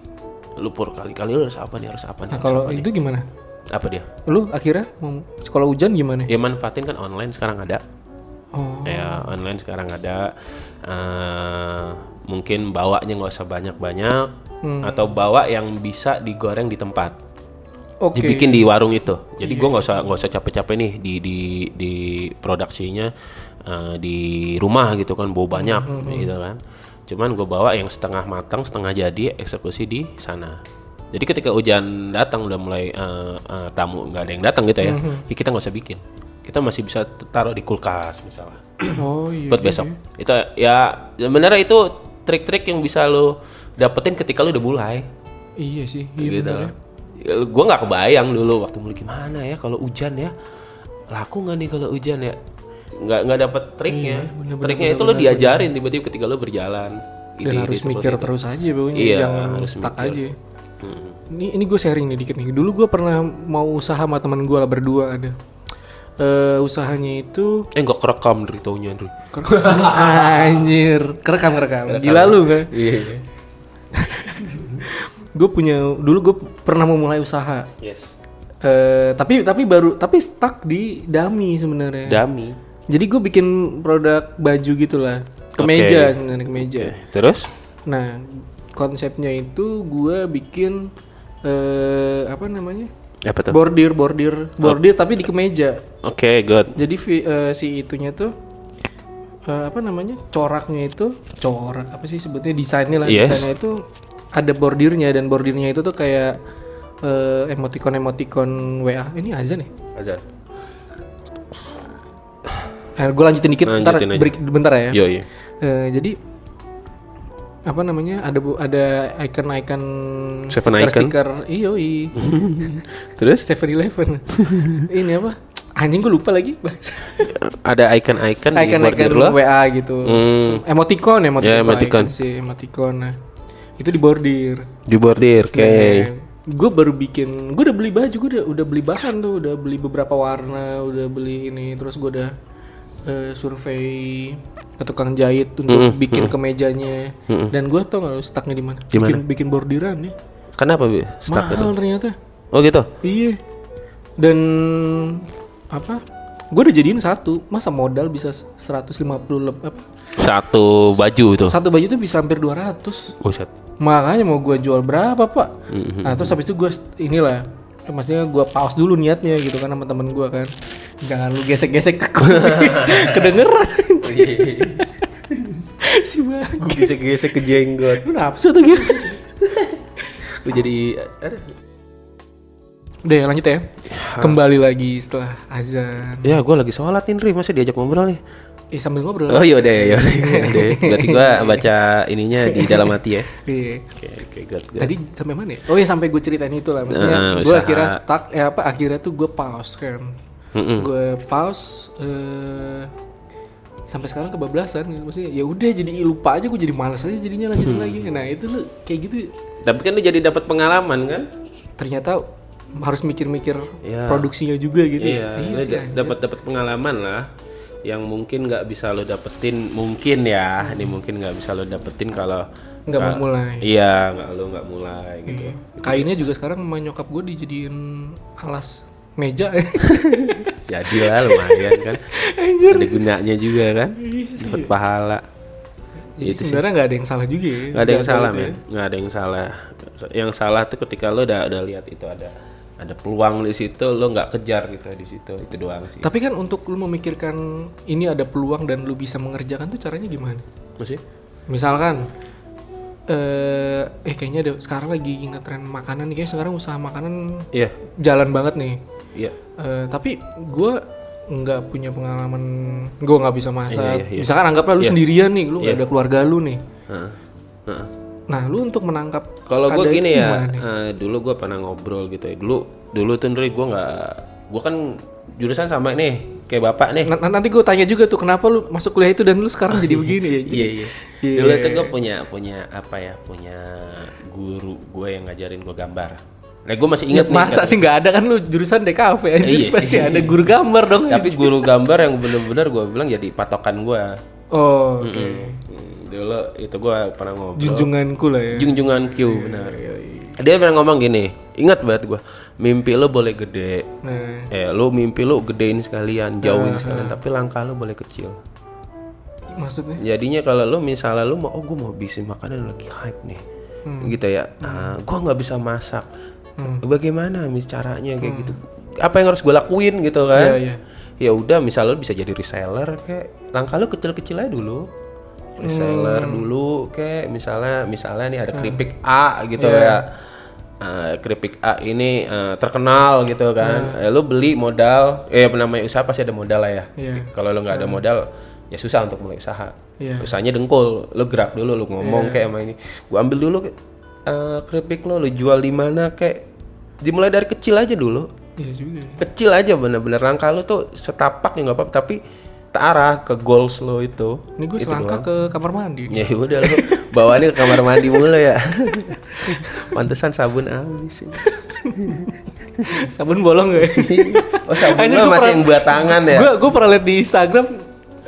[SPEAKER 2] lu pur kali kali lu harus apa nih harus apa nih
[SPEAKER 1] Nah,
[SPEAKER 2] harus
[SPEAKER 1] kalau
[SPEAKER 2] apa nih?
[SPEAKER 1] itu gimana?
[SPEAKER 2] apa dia
[SPEAKER 1] Lu akhirnya mau sekolah hujan gimana?
[SPEAKER 2] ya manfaatin kan online sekarang ada
[SPEAKER 1] Oh,
[SPEAKER 2] ya online sekarang ada eh mungkin bawanya nggak usah banyak-banyak atau bawa yang bisa digoreng di tempat
[SPEAKER 1] oke.
[SPEAKER 2] dibikin di warung itu jadi gua nggak usah nggak usah capek-capek nih di di di produksinya eh, di rumah gitu kan bau banyak gitu kan cuman gue bawa yang setengah matang setengah jadi eksekusi di sana jadi ketika hujan datang udah mulai eh, eh, tamu nggak ada yang datang gitu ya, ya kita nggak usah bikin kita masih bisa taruh di kulkas misalnya
[SPEAKER 1] Oh iya.
[SPEAKER 2] buat besok. Itu ya sebenarnya itu trik-trik yang bisa lo dapetin ketika lo udah mulai
[SPEAKER 1] Iya sih, iya
[SPEAKER 2] gitu.
[SPEAKER 1] benar. ya.
[SPEAKER 2] Ya, Gua nggak kebayang dulu waktu mulai gimana ya kalau hujan ya. Laku nggak nih kalau hujan ya? Nggak nggak dapet triknya. triknya itu lo diajarin tiba-tiba ketika lo berjalan.
[SPEAKER 1] Dan
[SPEAKER 2] Ide-ide
[SPEAKER 1] harus
[SPEAKER 2] seperti
[SPEAKER 1] mikir terus aja pokoknya
[SPEAKER 2] Iya,
[SPEAKER 1] jangan
[SPEAKER 2] harus Hmm.
[SPEAKER 1] stuck aja. Ini ini gue sharing nih dikit nih. Dulu gue pernah mau usaha sama teman gue lah berdua ada. Eh usahanya itu
[SPEAKER 2] Eh nggak kerekam dari taunya Andrew.
[SPEAKER 1] anjir, kerekam kerekam. Gila lu kan?
[SPEAKER 2] Iya.
[SPEAKER 1] Gue punya dulu gue pernah mau mulai usaha.
[SPEAKER 2] Yes.
[SPEAKER 1] Eh tapi tapi baru tapi stuck di dami sebenarnya.
[SPEAKER 2] Dami.
[SPEAKER 1] Jadi gue bikin produk baju gitulah, kemeja sebenarnya kemeja.
[SPEAKER 2] Eh. Terus?
[SPEAKER 1] Nah konsepnya itu gue bikin eh apa namanya
[SPEAKER 2] Apa tuh? Oh. Oke,
[SPEAKER 1] bordir bordir bordir tapi di kemeja.
[SPEAKER 2] good.
[SPEAKER 1] Jadi vi- eh, si itunya tuh eh, apa namanya coraknya itu corak apa sih sebetulnya desainnya lah
[SPEAKER 2] Yes.
[SPEAKER 1] desainnya itu ada bordirnya dan bordirnya itu tuh kayak eh, emotikon emotikon WA ini azan ya?
[SPEAKER 2] Azan.
[SPEAKER 1] gue Eh, lanjutin dikit, bentar,
[SPEAKER 2] Nah, Lanjutin aja.
[SPEAKER 1] break bentar ya.
[SPEAKER 2] Yo, yo.
[SPEAKER 1] Eh, jadi apa namanya ada bu- ada icon-icon
[SPEAKER 2] Seven
[SPEAKER 1] stiker-
[SPEAKER 2] icon?
[SPEAKER 1] stiker iyo i
[SPEAKER 2] Terus?
[SPEAKER 1] Seven Eleven ini apa anjing gue lupa lagi bahasa
[SPEAKER 2] Ada icon-icon di
[SPEAKER 1] icon
[SPEAKER 2] bordir
[SPEAKER 1] icon
[SPEAKER 2] lo.
[SPEAKER 1] WA gitu
[SPEAKER 2] Hmm.
[SPEAKER 1] emoticon emoticon,
[SPEAKER 2] Ya,
[SPEAKER 1] icon
[SPEAKER 2] emoticon.
[SPEAKER 1] sih emoticon nah itu di bordir
[SPEAKER 2] Di bordir, oke.
[SPEAKER 1] Iya. gue baru bikin gue udah beli baju gue udah udah beli bahan tuh udah beli beberapa warna udah beli ini terus gue udah eh, survei ke tukang jahit untuk bikin kemejanya dan gue tau nggak lu stucknya di mana bikin bikin bordiran ya
[SPEAKER 2] Kenapa Bi? stuck gitu?
[SPEAKER 1] mahal ternyata
[SPEAKER 2] Oh gitu.
[SPEAKER 1] iya dan apa gue udah jadiin satu masa modal bisa 150 leb apa
[SPEAKER 2] Satu baju itu.
[SPEAKER 1] satu baju tuh bisa hampir 200
[SPEAKER 2] Buset.
[SPEAKER 1] makanya mau gua jual berapa pak nah terus habis itu gue inilah eh, maksudnya gua pause dulu niatnya gitu kan sama temen gua kan jangan lu gesek-gesek ke kedengeran anjir. si bang
[SPEAKER 2] Gesek-gesek ke jenggot.
[SPEAKER 1] lu nafsu tuh gitu
[SPEAKER 2] Lu jadi
[SPEAKER 1] udah ya, lanjut ya kembali lagi setelah azan
[SPEAKER 2] Ya, gua lagi sholat nih, Ri. Masa diajak ngobrol nih?
[SPEAKER 1] eh sambil ngobrol
[SPEAKER 2] Oh, yaudah, ya, yaudah. Yaudah. Berarti gua baca ininya di dalam hati ya.
[SPEAKER 1] Iya.
[SPEAKER 2] Oke, oke, good, good.
[SPEAKER 1] Tadi sampai mana ya? Oh ya sampai gue ceritain itu lah maksudnya.
[SPEAKER 2] Nah,
[SPEAKER 1] gue
[SPEAKER 2] usaha.
[SPEAKER 1] akhirnya stuck ya apa akhirnya tuh gue pause kan. Gue pause eh, sampai sekarang kebablasan gitu. maksudnya ya udah jadi lupa aja gue jadi malas aja jadinya lanjut lagi. Nah, itu lu kayak gitu
[SPEAKER 2] Tapi kan lu jadi dapat pengalaman kan?
[SPEAKER 1] ternyata harus mikir-mikir
[SPEAKER 2] Iya.
[SPEAKER 1] produksinya juga gitu. ya.
[SPEAKER 2] Iya, lu
[SPEAKER 1] sih,
[SPEAKER 2] da- dapat dapat pengalaman lah yang mungkin nggak bisa lo dapetin mungkin ya ini mungkin nggak bisa lo dapetin kalau
[SPEAKER 1] nggak mau mulai.
[SPEAKER 2] iya nggak lo nggak mulai gitu
[SPEAKER 1] Iya. Kainnya juga sekarang sama nyokap gue dijadiin alas meja.
[SPEAKER 2] Iya, jadi
[SPEAKER 1] Iya
[SPEAKER 2] lah lumayan kan ada gunanya juga kan dapat pahala
[SPEAKER 1] Jadi
[SPEAKER 2] Itu sih.
[SPEAKER 1] sebenarnya nggak ada yang salah juga ya.
[SPEAKER 2] nggak ada yang
[SPEAKER 1] Jadwal
[SPEAKER 2] salah
[SPEAKER 1] Iya, itu ya.
[SPEAKER 2] men nggak ada yang salah yang salah tuh ketika lo udah udah lihat itu ada ada peluang di situ lo nggak kejar gitu di situ itu doang sih
[SPEAKER 1] Tapi kan untuk lu memikirkan ini ada peluang dan lu bisa mengerjakan tuh caranya gimana?
[SPEAKER 2] masih
[SPEAKER 1] Misalkan eh eh kayaknya ada sekarang lagi ngetren makanan nih kayak sekarang usaha makanan
[SPEAKER 2] iya
[SPEAKER 1] jalan banget nih.
[SPEAKER 2] iya
[SPEAKER 1] Eh, tapi gue nggak punya pengalaman gue nggak bisa masak.
[SPEAKER 2] Iya, iya, iya.
[SPEAKER 1] Misalkan anggaplah lu sendirian nih, lu nggak ada keluarga lu nih.
[SPEAKER 2] Heeh. Heeh.
[SPEAKER 1] Nah, lu untuk menangkap
[SPEAKER 2] Kalau gue
[SPEAKER 1] ada itu
[SPEAKER 2] gini ya,
[SPEAKER 1] gimana?
[SPEAKER 2] eh, dulu gue pernah ngobrol gitu ya. Dulu, dulu tuh Nri gue nggak, gue kan jurusan sama nih, kayak bapak nih.
[SPEAKER 1] Na- Nah, nanti gue tanya juga tuh kenapa lu masuk kuliah itu dan lu sekarang jadi begini ya. Jadi-
[SPEAKER 2] Iya iya. Dulu tuh gue punya punya apa ya, punya guru gue yang ngajarin gue gambar. Nah gue masih ingat nih,
[SPEAKER 1] Masa sih nggak ada kan lu jurusan DKV anjir
[SPEAKER 2] Iya sih.
[SPEAKER 1] ya? pasti ada guru gambar dong.
[SPEAKER 2] tapi guru gambar yang bener-bener gue bilang jadi patokan gue.
[SPEAKER 1] Oh,
[SPEAKER 2] Hmm. Dulu itu gue pernah ngobrol.
[SPEAKER 1] junjunganku lah ya.
[SPEAKER 2] Jungjungan Q benar. Dia pernah ngomong gini, ingat banget gue, mimpi lo boleh gede,
[SPEAKER 1] Nah,
[SPEAKER 2] Eh, lu mimpi lu gedein sekalian, jauhin sekalian, tapi langkah lu boleh kecil.
[SPEAKER 1] maksudnya
[SPEAKER 2] Jadinya kalau lu misalnya lu mau, oh gue mau bisnis makanan lagi hype nih, gitu ya. Ah, gue nggak bisa masak. Bagaimana mis caranya kayak gitu? Apa yang harus gue lakuin gitu kan?
[SPEAKER 1] Iya, iya.
[SPEAKER 2] Ya udah, misalnya lu bisa jadi reseller kayak langkah lu kecil-kecil aja dulu. Reseller
[SPEAKER 1] Hmm.
[SPEAKER 2] dulu kayak misalnya misalnya nih ada keripik A gitu
[SPEAKER 1] Iya.
[SPEAKER 2] ya. Eh, keripik A ini eh, terkenal gitu kan.
[SPEAKER 1] Hmm.
[SPEAKER 2] Eh, lu beli modal, eh namanya usaha pasti ada modal lah ya.
[SPEAKER 1] Iya.
[SPEAKER 2] Kalau lu nggak ada modal, ya susah untuk mulai usaha.
[SPEAKER 1] Iya.
[SPEAKER 2] Usahanya dengkul, lu gerak dulu, lu ngomong kayak sama ini. Gua ambil dulu eh, keripik lo, lu jual di mana kayak dimulai dari kecil aja dulu.
[SPEAKER 1] iya juga. ya.
[SPEAKER 2] Kecil aja bener-bener langkah lu tuh setapak ya nggak apa-apa, tapi terarah ke goals lo itu.
[SPEAKER 1] Ini gue selangkah ke kamar mandi. nih.
[SPEAKER 2] Ya udah lu bawaannya ke kamar mandi mulu ya. Pantesan sabun habis. ini.
[SPEAKER 1] Sabun bolong gak?
[SPEAKER 2] Oh sabun
[SPEAKER 1] Anjir,
[SPEAKER 2] lo
[SPEAKER 1] gua
[SPEAKER 2] masih
[SPEAKER 1] pernah-
[SPEAKER 2] yang buat tangan ya?
[SPEAKER 1] Gue gue pernah liat di Instagram,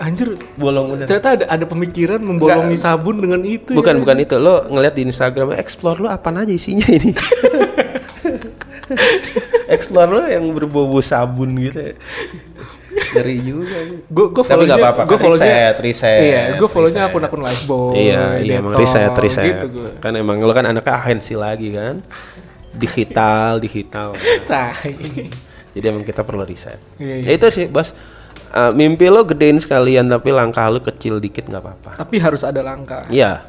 [SPEAKER 1] anjir
[SPEAKER 2] Bolong bener.
[SPEAKER 1] ternyata ada ada pemikiran membolongi sabun dengan itu. ya.
[SPEAKER 2] Bukan bukan itu. Lo ngeliat di Instagram explore lo apa aja isinya ini. explore lo yang berbau sabun gitu. ya. Ngeri juga.
[SPEAKER 1] Gue gue
[SPEAKER 2] Tapi nggak apa-apa.
[SPEAKER 1] Gue
[SPEAKER 2] kan
[SPEAKER 1] follownya
[SPEAKER 2] riset, riset.
[SPEAKER 1] Iya, gue follownya
[SPEAKER 2] riset.
[SPEAKER 1] akun-akun lifeboy.
[SPEAKER 2] Iya, iya emang
[SPEAKER 1] Oh, Dettol,
[SPEAKER 2] riset, riset.
[SPEAKER 1] Gitu gue.
[SPEAKER 2] Kan emang lo kan anaknya ahensi lagi kan. Digital, digital.
[SPEAKER 1] Tai.
[SPEAKER 2] Jadi emang kita perlu riset.
[SPEAKER 1] Iya,
[SPEAKER 2] Ya itu sih, Bas. Eh, mimpi lo gedein sekalian tapi langkah lo kecil dikit nggak apa-apa.
[SPEAKER 1] Tapi harus ada langkah.
[SPEAKER 2] Iya.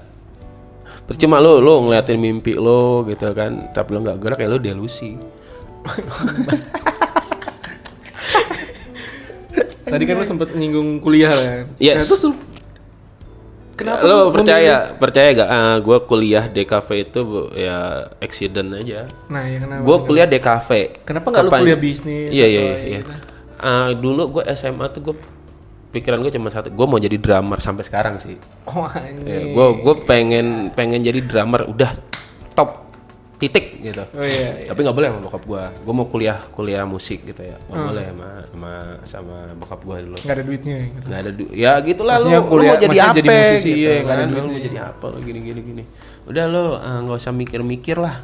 [SPEAKER 2] Percuma lo lo ngeliatin mimpi lo gitu kan, tapi lo nggak gerak ya lo delusi.
[SPEAKER 1] Nah, Tadi kan lu sempet nyinggung kuliah kan. Nah,
[SPEAKER 2] Yes.
[SPEAKER 1] terus lu kenapa lu
[SPEAKER 2] lo percaya percaya gak? Ah, gua kuliah DKV itu bu- ya accident aja.
[SPEAKER 1] memilih- Nah, ya kenapa?
[SPEAKER 2] Gua kuliah DKV.
[SPEAKER 1] Kenapa nggak lu
[SPEAKER 2] Kapan-
[SPEAKER 1] kuliah bisnis?
[SPEAKER 2] Iya iya
[SPEAKER 1] atau
[SPEAKER 2] iya.
[SPEAKER 1] gitu?
[SPEAKER 2] Ah, dulu gue SMA tuh gue pikiran gue cuma satu, gue mau jadi drummer sampai sekarang sih.
[SPEAKER 1] Oh, anjing.
[SPEAKER 2] Gue gue pengen pengen jadi drummer udah top titik gitu.
[SPEAKER 1] Oh iya. iya.
[SPEAKER 2] tapi nggak boleh sama bokap gua gua mau kuliah kuliah musik gitu ya
[SPEAKER 1] Hmm.
[SPEAKER 2] nggak boleh sama sama sama bokap gua dulu
[SPEAKER 1] Nggak ada duitnya gitu.
[SPEAKER 2] nggak ada du- ya gitulah lu,
[SPEAKER 1] Maksudnya
[SPEAKER 2] lu
[SPEAKER 1] kuliah-
[SPEAKER 2] mau jadi
[SPEAKER 1] maksudnya
[SPEAKER 2] apa
[SPEAKER 1] jadi musisi,
[SPEAKER 2] gitu,
[SPEAKER 1] iya,
[SPEAKER 2] kan?
[SPEAKER 1] nggak ada
[SPEAKER 2] lu mau jadi apa lu gini gini gini udah lo eh, nggak usah mikir-mikir lah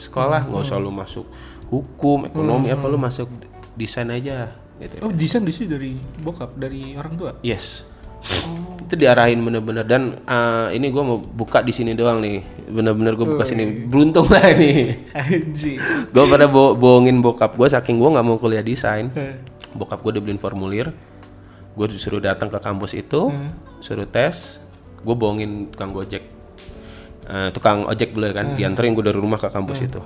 [SPEAKER 2] Ke sekolah nggak usah lu masuk hukum ekonomi apa
[SPEAKER 1] Hmm.
[SPEAKER 2] lu masuk desain aja gitu
[SPEAKER 1] Oh, desain desain dari bokap, dari orang tua.
[SPEAKER 2] Yes. Itu diarahin bener-bener dan eh, ini gua mau buka di sini doang nih. Bener-bener gue buka sini. Beruntung lah ini.
[SPEAKER 1] Anjing.
[SPEAKER 2] gue pada bo- bohongin bokap gue saking gue nggak mau kuliah desain. Bokap gue dibeliin formulir. Gue disuruh datang ke kampus itu, suruh tes. Gue bohongin tukang gojek. Eh, tukang ojek dulu ya kan, dianterin gue dari rumah ke kampus itu.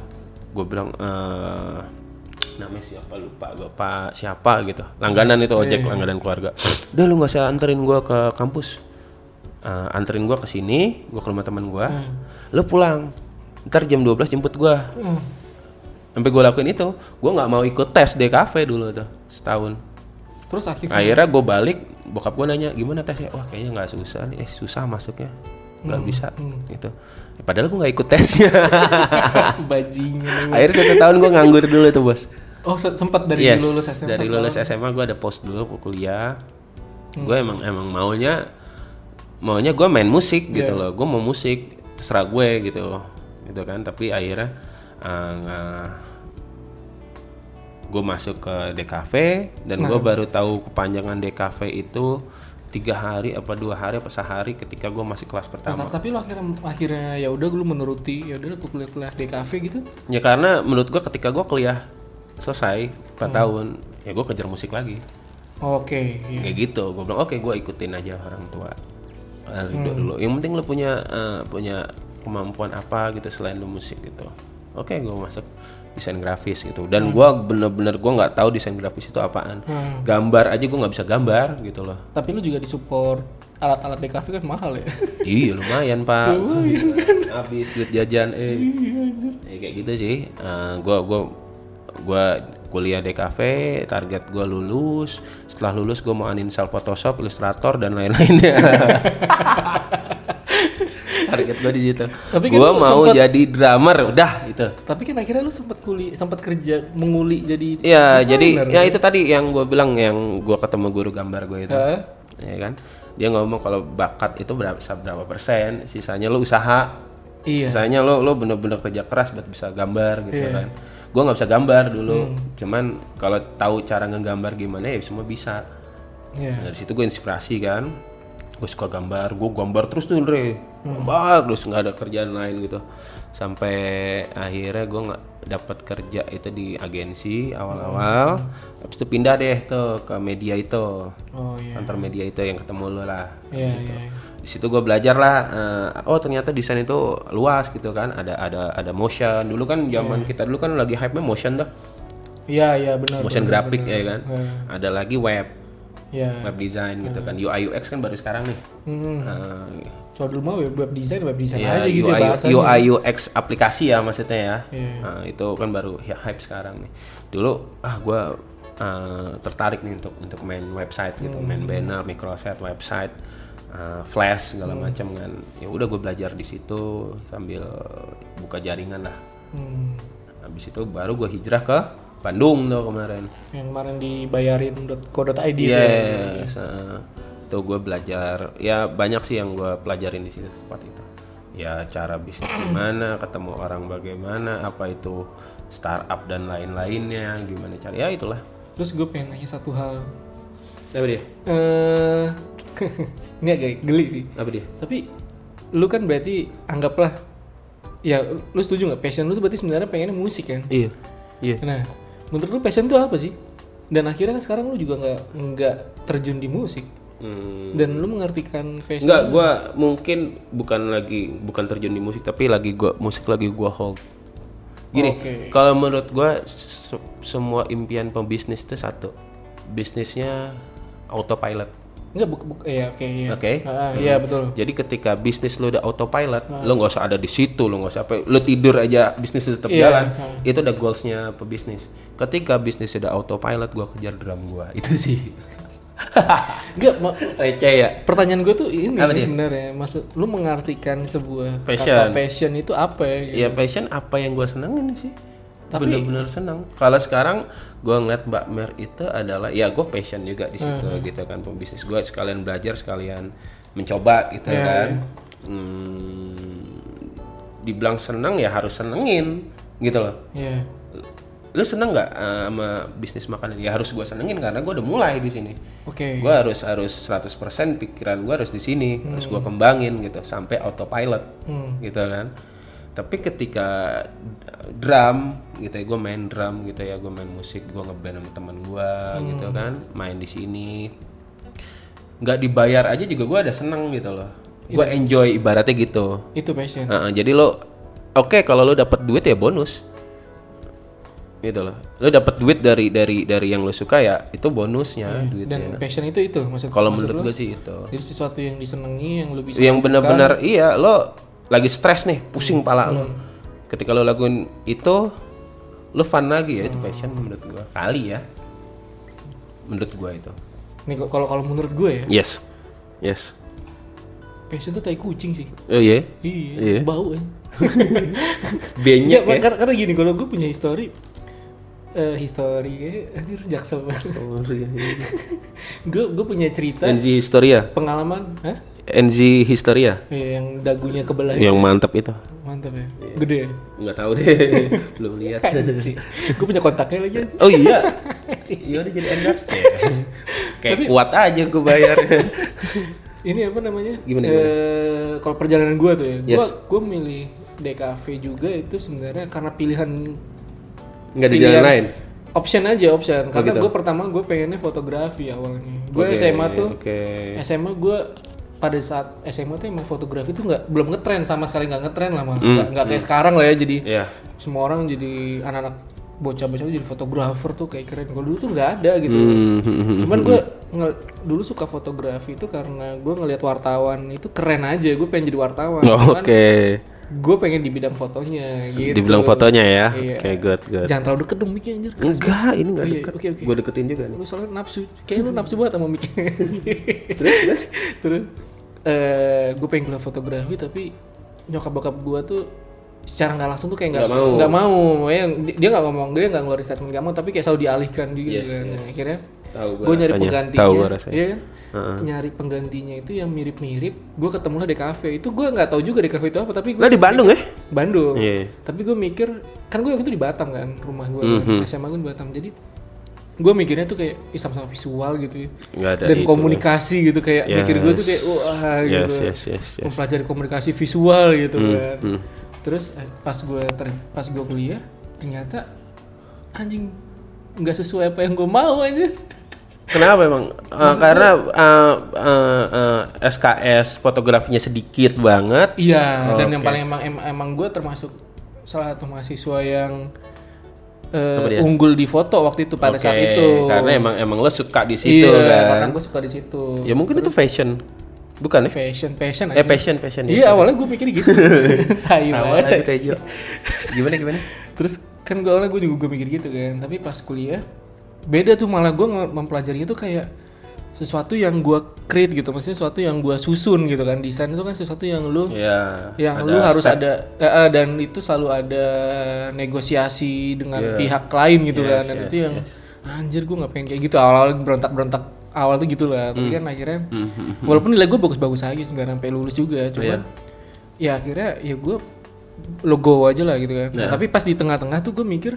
[SPEAKER 2] Gue bilang eh namanya siapa lupa gue pak siapa gitu langganan itu ojek langganan keluarga udah lu nggak usah anterin gue ke kampus Eh, anterin gue ke sini gue ke rumah teman gue lu pulang ntar jam 12 jemput gue sampai gue lakuin itu gue nggak mau ikut tes DKV dulu tuh setahun
[SPEAKER 1] Terus akhirnya
[SPEAKER 2] akhirnya gue balik bokap gue nanya gimana tesnya wah kayaknya nggak susah nih eh susah masuknya nggak bisa gitu padahal gue nggak ikut tesnya
[SPEAKER 1] bajingan.
[SPEAKER 2] akhirnya satu tahun gue nganggur dulu tuh bos
[SPEAKER 1] Oh, se- sempat dari
[SPEAKER 2] Yes,
[SPEAKER 1] lulus SMA.
[SPEAKER 2] dari lulus SMA gue ada post dulu ke kuliah
[SPEAKER 1] Hmm.
[SPEAKER 2] gue emang emang maunya maunya gue main musik gitu
[SPEAKER 1] Iya.
[SPEAKER 2] loh gue mau musik terserah gue gitu gitu kan tapi akhirnya eh,
[SPEAKER 1] Nah.
[SPEAKER 2] gue masuk ke DKV dan gue baru tahu kepanjangan DKV itu tiga hari apa dua hari apa sehari ketika gue masih kelas pertama.
[SPEAKER 1] Bentar, tapi lo akhirnya akhirnya ya udah lu menuruti ya udah gue kuliah-kuliah di kafe gitu.
[SPEAKER 2] Ya karena menurut gue ketika gue kuliah selesai 4
[SPEAKER 1] Hmm.
[SPEAKER 2] tahun ya gue kejar musik lagi
[SPEAKER 1] Oke, iya.
[SPEAKER 2] kayak gitu gue bilang oke gue ikutin aja orang tua Eh, ridho dulu yang penting lu punya eh, punya kemampuan apa gitu selain lu musik gitu oke gue masuk desain grafis gitu dan gua bener-bener gue nggak tahu desain grafis itu apaan gambar aja gue nggak bisa gambar gitu loh
[SPEAKER 1] Tapi lu juga disupport alat-alat di kafe kan mahal ya.
[SPEAKER 2] iya lumayan pak lumayan
[SPEAKER 1] kan?
[SPEAKER 2] habis duit jajan eh
[SPEAKER 1] Iya,
[SPEAKER 2] Ya, kayak gitu sih Eh, gua gua gua kuliah di kafe target gua lulus setelah lulus gua mau uninstall Photoshop Illustrator dan lain-lainnya target gua di situ
[SPEAKER 1] Tapi kan
[SPEAKER 2] gua
[SPEAKER 1] lu
[SPEAKER 2] mau
[SPEAKER 1] sempet-
[SPEAKER 2] jadi drummer udah gitu. itu
[SPEAKER 1] tapi kan akhirnya lu sempat kuliah, sempat kerja menguli jadi
[SPEAKER 2] ya jadi ya itu tadi yang gua bilang yang gua ketemu guru gambar gua itu
[SPEAKER 1] Heeh.
[SPEAKER 2] ya kan dia ngomong kalau bakat itu berapa berapa persen sisanya lo usaha
[SPEAKER 1] Iya.
[SPEAKER 2] sisanya lo lo bener-bener kerja keras buat bisa gambar gitu kan gue nggak bisa gambar dulu
[SPEAKER 1] Hmm.
[SPEAKER 2] cuman kalau tahu cara ngegambar gimana ya semua bisa
[SPEAKER 1] Iya.
[SPEAKER 2] Nah, dari situ gue inspirasi kan gue suka gambar gue gambar terus tuh Andre
[SPEAKER 1] Hmm.
[SPEAKER 2] gambar terus nggak ada kerjaan lain gitu sampai akhirnya gue nggak dapat kerja itu di agensi awal-awal
[SPEAKER 1] Hmm.
[SPEAKER 2] habis itu pindah deh tuh ke media itu
[SPEAKER 1] Oh iya.
[SPEAKER 2] antar media itu yang ketemu lu lah
[SPEAKER 1] Iya, iya. iya.
[SPEAKER 2] di situ gue belajar lah eh, oh ternyata desain itu luas gitu kan ada ada ada motion dulu kan zaman kita dulu kan lagi hype nya motion dah
[SPEAKER 1] Iya, iya benar.
[SPEAKER 2] motion
[SPEAKER 1] benar,
[SPEAKER 2] grafik ya kan ada lagi web
[SPEAKER 1] benar. Iya.
[SPEAKER 2] web design gitu kan UI UX kan baru sekarang nih
[SPEAKER 1] Hmm.
[SPEAKER 2] Eh,
[SPEAKER 1] Soal dulu mah web, web design, web design
[SPEAKER 2] ya,
[SPEAKER 1] aja gitu ya
[SPEAKER 2] UI,
[SPEAKER 1] bahasanya.
[SPEAKER 2] UI UX aplikasi ya maksudnya ya
[SPEAKER 1] Iya.
[SPEAKER 2] Nah, itu kan baru hi- hype sekarang nih dulu ah gue tertarik nih untuk untuk main website gitu main
[SPEAKER 1] Hmm.
[SPEAKER 2] banner microset website eh, flash segala
[SPEAKER 1] Hmm.
[SPEAKER 2] macam kan ya udah gue belajar di situ sambil buka jaringan lah
[SPEAKER 1] Hmm.
[SPEAKER 2] habis itu baru gue hijrah ke Bandung tuh kemarin
[SPEAKER 1] Yang kemarin dibayarin .co.id
[SPEAKER 2] Gitu. Iya.
[SPEAKER 1] itu. ya.
[SPEAKER 2] Yes. ah. Tuh gue belajar ya banyak sih yang gue pelajarin di situ tempat itu. Ya cara bisnis gimana, ketemu orang bagaimana, apa itu startup dan lain-lainnya, gimana cara ya itulah.
[SPEAKER 1] Terus gue pengen nanya satu hal.
[SPEAKER 2] Apa dia?
[SPEAKER 1] Eh, ini agak geli sih.
[SPEAKER 2] Apa dia?
[SPEAKER 1] Tapi lu kan berarti anggaplah ya lu setuju nggak passion lu tuh berarti sebenarnya pengennya musik kan?
[SPEAKER 2] Iya. Iya.
[SPEAKER 1] Nah, menurut lu passion tuh apa sih? Dan akhirnya kan sekarang lu juga nggak nggak terjun di musik
[SPEAKER 2] Hmm.
[SPEAKER 1] dan lu mengartikan passion.
[SPEAKER 2] Enggak, gue mungkin bukan lagi bukan terjun di musik, tapi lagi gua musik lagi gue hold. Gini,
[SPEAKER 1] Oke.
[SPEAKER 2] kalau menurut gue semua impian pembisnis itu satu, bisnisnya autopilot.
[SPEAKER 1] Enggak buk buk ya oke iya.
[SPEAKER 2] Oke.
[SPEAKER 1] Ah, iya betul. Nah.
[SPEAKER 2] Jadi ketika bisnis lu udah autopilot, lu nggak usah ada di situ, lu nggak usah apa, lu tidur aja bisnis tetap
[SPEAKER 1] Iya,
[SPEAKER 2] jalan. Itu udah goalsnya pebisnis. Ketika bisnis udah autopilot, gua kejar drum gua. Itu sih
[SPEAKER 1] Enggak ma-
[SPEAKER 2] receh ya.
[SPEAKER 1] pertanyaan gue tuh ini
[SPEAKER 2] Apa dia?
[SPEAKER 1] sebenarnya maksud lu mengartikan sebuah
[SPEAKER 2] Passion.
[SPEAKER 1] kata passion itu apa ya? gitu?
[SPEAKER 2] Ya passion apa yang gua senengin sih?
[SPEAKER 1] Tapi-
[SPEAKER 2] bener-bener senang. Kalau sekarang gua ngeliat Mbak Mer itu adalah ya gua passion juga di situ
[SPEAKER 1] Hmm.
[SPEAKER 2] gitu kan pembisnis gua sekalian belajar sekalian mencoba gitu
[SPEAKER 1] Iya,
[SPEAKER 2] kan. Hmm, dibilang senang ya harus senengin gitu loh.
[SPEAKER 1] Iya.
[SPEAKER 2] lu seneng nggak eh, sama bisnis makanan ya harus gue senengin karena gue udah mulai di sini
[SPEAKER 1] Oke.
[SPEAKER 2] gue harus harus 100% pikiran gue harus di sini harus gue kembangin gitu sampai autopilot gitu kan tapi ketika drum gitu ya gue main drum gitu ya gue main musik gue ngeband sama teman gue gitu kan main di sini nggak dibayar aja juga gue ada seneng gitu loh gue enjoy ibaratnya gitu
[SPEAKER 1] Itu passion.
[SPEAKER 2] Heeh, jadi lo oke kalau lo dapat duit ya bonus. Gitu loh. Lo dapat duit dari dari dari yang lo suka ya itu bonusnya duitnya.
[SPEAKER 1] Iya, Dan passion itu itu maksud
[SPEAKER 2] Gitu ya. Kalau
[SPEAKER 1] maksud
[SPEAKER 2] menurut
[SPEAKER 1] lu?
[SPEAKER 2] gue sih itu.
[SPEAKER 1] Jadi sesuatu yang disenangi yang lu bisa
[SPEAKER 2] Yang benar-benar iya lo lagi stres nih,
[SPEAKER 1] Hmm.
[SPEAKER 2] pusing pala lo. Ketika lo lakuin itu lo fun lagi ya
[SPEAKER 1] Hmm.
[SPEAKER 2] itu passion menurut gua. Kali ya. Menurut gua itu.
[SPEAKER 1] Nih kok- kalau kalau menurut gue ya,
[SPEAKER 2] Yes. Yes.
[SPEAKER 1] passion tuh tai kucing sih.
[SPEAKER 2] Oh iya.
[SPEAKER 1] Iya,
[SPEAKER 2] Iya.
[SPEAKER 1] bau ya.
[SPEAKER 2] Banyak
[SPEAKER 1] Iya,
[SPEAKER 2] ya.
[SPEAKER 1] karena, karena gini kalau gue punya history eh history kayak anjir jaksel banget. gue gue punya cerita
[SPEAKER 2] NG Historia.
[SPEAKER 1] pengalaman, hah?
[SPEAKER 2] NG Historia.
[SPEAKER 1] Iya, yang dagunya kebelah.
[SPEAKER 2] Yang mantap itu.
[SPEAKER 1] Mantap ya. Gede ya.
[SPEAKER 2] Nggak tahu deh, belum lihat.
[SPEAKER 1] gitu. gue punya kontaknya lagi aja.
[SPEAKER 2] Oh iya. Iya udah jadi endorse. Kayak kuat aja gue bayarnya.
[SPEAKER 1] ini apa namanya?
[SPEAKER 2] Gimana,
[SPEAKER 1] Eh, kalau perjalanan gue tuh ya, gue
[SPEAKER 2] Yes.
[SPEAKER 1] gue milih DKV juga itu sebenarnya karena pilihan
[SPEAKER 2] Nggak ada
[SPEAKER 1] Iya.
[SPEAKER 2] jalan lain. Oh, gitu.
[SPEAKER 1] option aja option. Karena gue pertama gue pengennya fotografi awalnya. Gue SMA tuh,
[SPEAKER 2] Oke.
[SPEAKER 1] SMA gue pada saat SMA tuh emang fotografi tuh nggak belum ngetren sama sekali nggak ngetren lah
[SPEAKER 2] Hmm,
[SPEAKER 1] malah nggak nggak kayak sekarang lah ya jadi
[SPEAKER 2] Ya.
[SPEAKER 1] semua orang jadi anak-anak bocah-bocah jadi fotografer tuh kayak keren. Kalau dulu tuh nggak ada gitu.
[SPEAKER 2] Hmm,
[SPEAKER 1] Cuman gue ngel- dulu suka fotografi itu karena gue ngelihat wartawan itu keren aja. Gue pengen jadi wartawan. Cuman
[SPEAKER 2] Oh, Oke.
[SPEAKER 1] gue pengen di bidang fotonya gitu. Iya.
[SPEAKER 2] Dibilang Hmm. fotonya ya. Oke, good, good.
[SPEAKER 1] Jangan terlalu deket dong mikir anjir.
[SPEAKER 2] Enggak, ini enggak
[SPEAKER 1] Oh, iya,
[SPEAKER 2] deket.
[SPEAKER 1] oke, oke.
[SPEAKER 2] Gue deketin juga nih.
[SPEAKER 1] Lu soalnya nafsu. Kayaknya lu nafsu banget sama mikir.
[SPEAKER 2] Terus, terus.
[SPEAKER 1] Terus gue pengen kuliah fotografi tapi nyokap bokap gue tuh secara nggak langsung tuh kayak nggak
[SPEAKER 2] Nggak mau.
[SPEAKER 1] nggak mau, ya dia nggak ngomong dia nggak ngeluarin statement nggak mau tapi kayak selalu dialihkan gitu
[SPEAKER 2] Yes,
[SPEAKER 1] kan. akhirnya
[SPEAKER 2] Tahu
[SPEAKER 1] gue nyari penggantinya
[SPEAKER 2] Tahu gue rasanya.
[SPEAKER 1] iya kan? nyari penggantinya itu yang mirip-mirip gue ketemulah DKV itu gue nggak tahu juga DKV itu apa tapi gue
[SPEAKER 2] Lah di Bandung ya?
[SPEAKER 1] Bandung
[SPEAKER 2] Iya.
[SPEAKER 1] tapi gue mikir kan gue waktu itu di Batam kan rumah gue
[SPEAKER 2] Mhm.
[SPEAKER 1] SMA gue di Batam jadi gue mikirnya tuh kayak "Ih, sama-sama visual gitu ya
[SPEAKER 2] Nggak ada
[SPEAKER 1] dan
[SPEAKER 2] itu.
[SPEAKER 1] komunikasi gitu kayak mikir gue tuh kayak wah gitu
[SPEAKER 2] Yes, yes, yes, yes. Mhm,
[SPEAKER 1] mempelajari komunikasi visual gitu kan terus eh, pas gue ter- pas gue kuliah ternyata anjing nggak sesuai apa yang gue mau aja
[SPEAKER 2] Kenapa emang? Eh, karena eh, eh, eh, SKS fotografinya sedikit banget.
[SPEAKER 1] Iya, dan yang paling emang em- emang gue termasuk salah satu mahasiswa yang eh,
[SPEAKER 2] Apa dia?
[SPEAKER 1] unggul di foto waktu itu pada saat
[SPEAKER 2] Oke,
[SPEAKER 1] itu.
[SPEAKER 2] Karena emang emang lo suka di situ
[SPEAKER 1] iya,
[SPEAKER 2] kan.
[SPEAKER 1] karena gue suka di situ.
[SPEAKER 2] Ya mungkin itu fashion. Bukan ya?
[SPEAKER 1] Fashion, fashion aja.
[SPEAKER 2] Eh fashion, fashion. ya.
[SPEAKER 1] Iya, awalnya gue mikir gitu. tai
[SPEAKER 2] Tawa lagi
[SPEAKER 1] banget.
[SPEAKER 2] Tejo. Gimana gimana?
[SPEAKER 1] Terus kan gue awalnya gue juga gua mikir gitu kan, tapi pas kuliah beda tuh malah gue mempelajarinya tuh kayak sesuatu yang gue create gitu, maksudnya sesuatu yang gue susun gitu kan. Desain itu kan sesuatu yang lu
[SPEAKER 2] Ya.
[SPEAKER 1] yang Iya, lu harus ada eh, eh, dan itu selalu ada negosiasi dengan pihak lain gitu kan dan itu yang anjir gue nggak pengen kayak gitu awal-awal berontak-berontak awal tuh gitu lah tapi kan akhirnya walaupun nilai gue bagus-bagus aja sebenarnya sampai lulus juga cuman ya akhirnya ya gue logo aja lah gitu kan tapi pas di tengah-tengah tuh gue mikir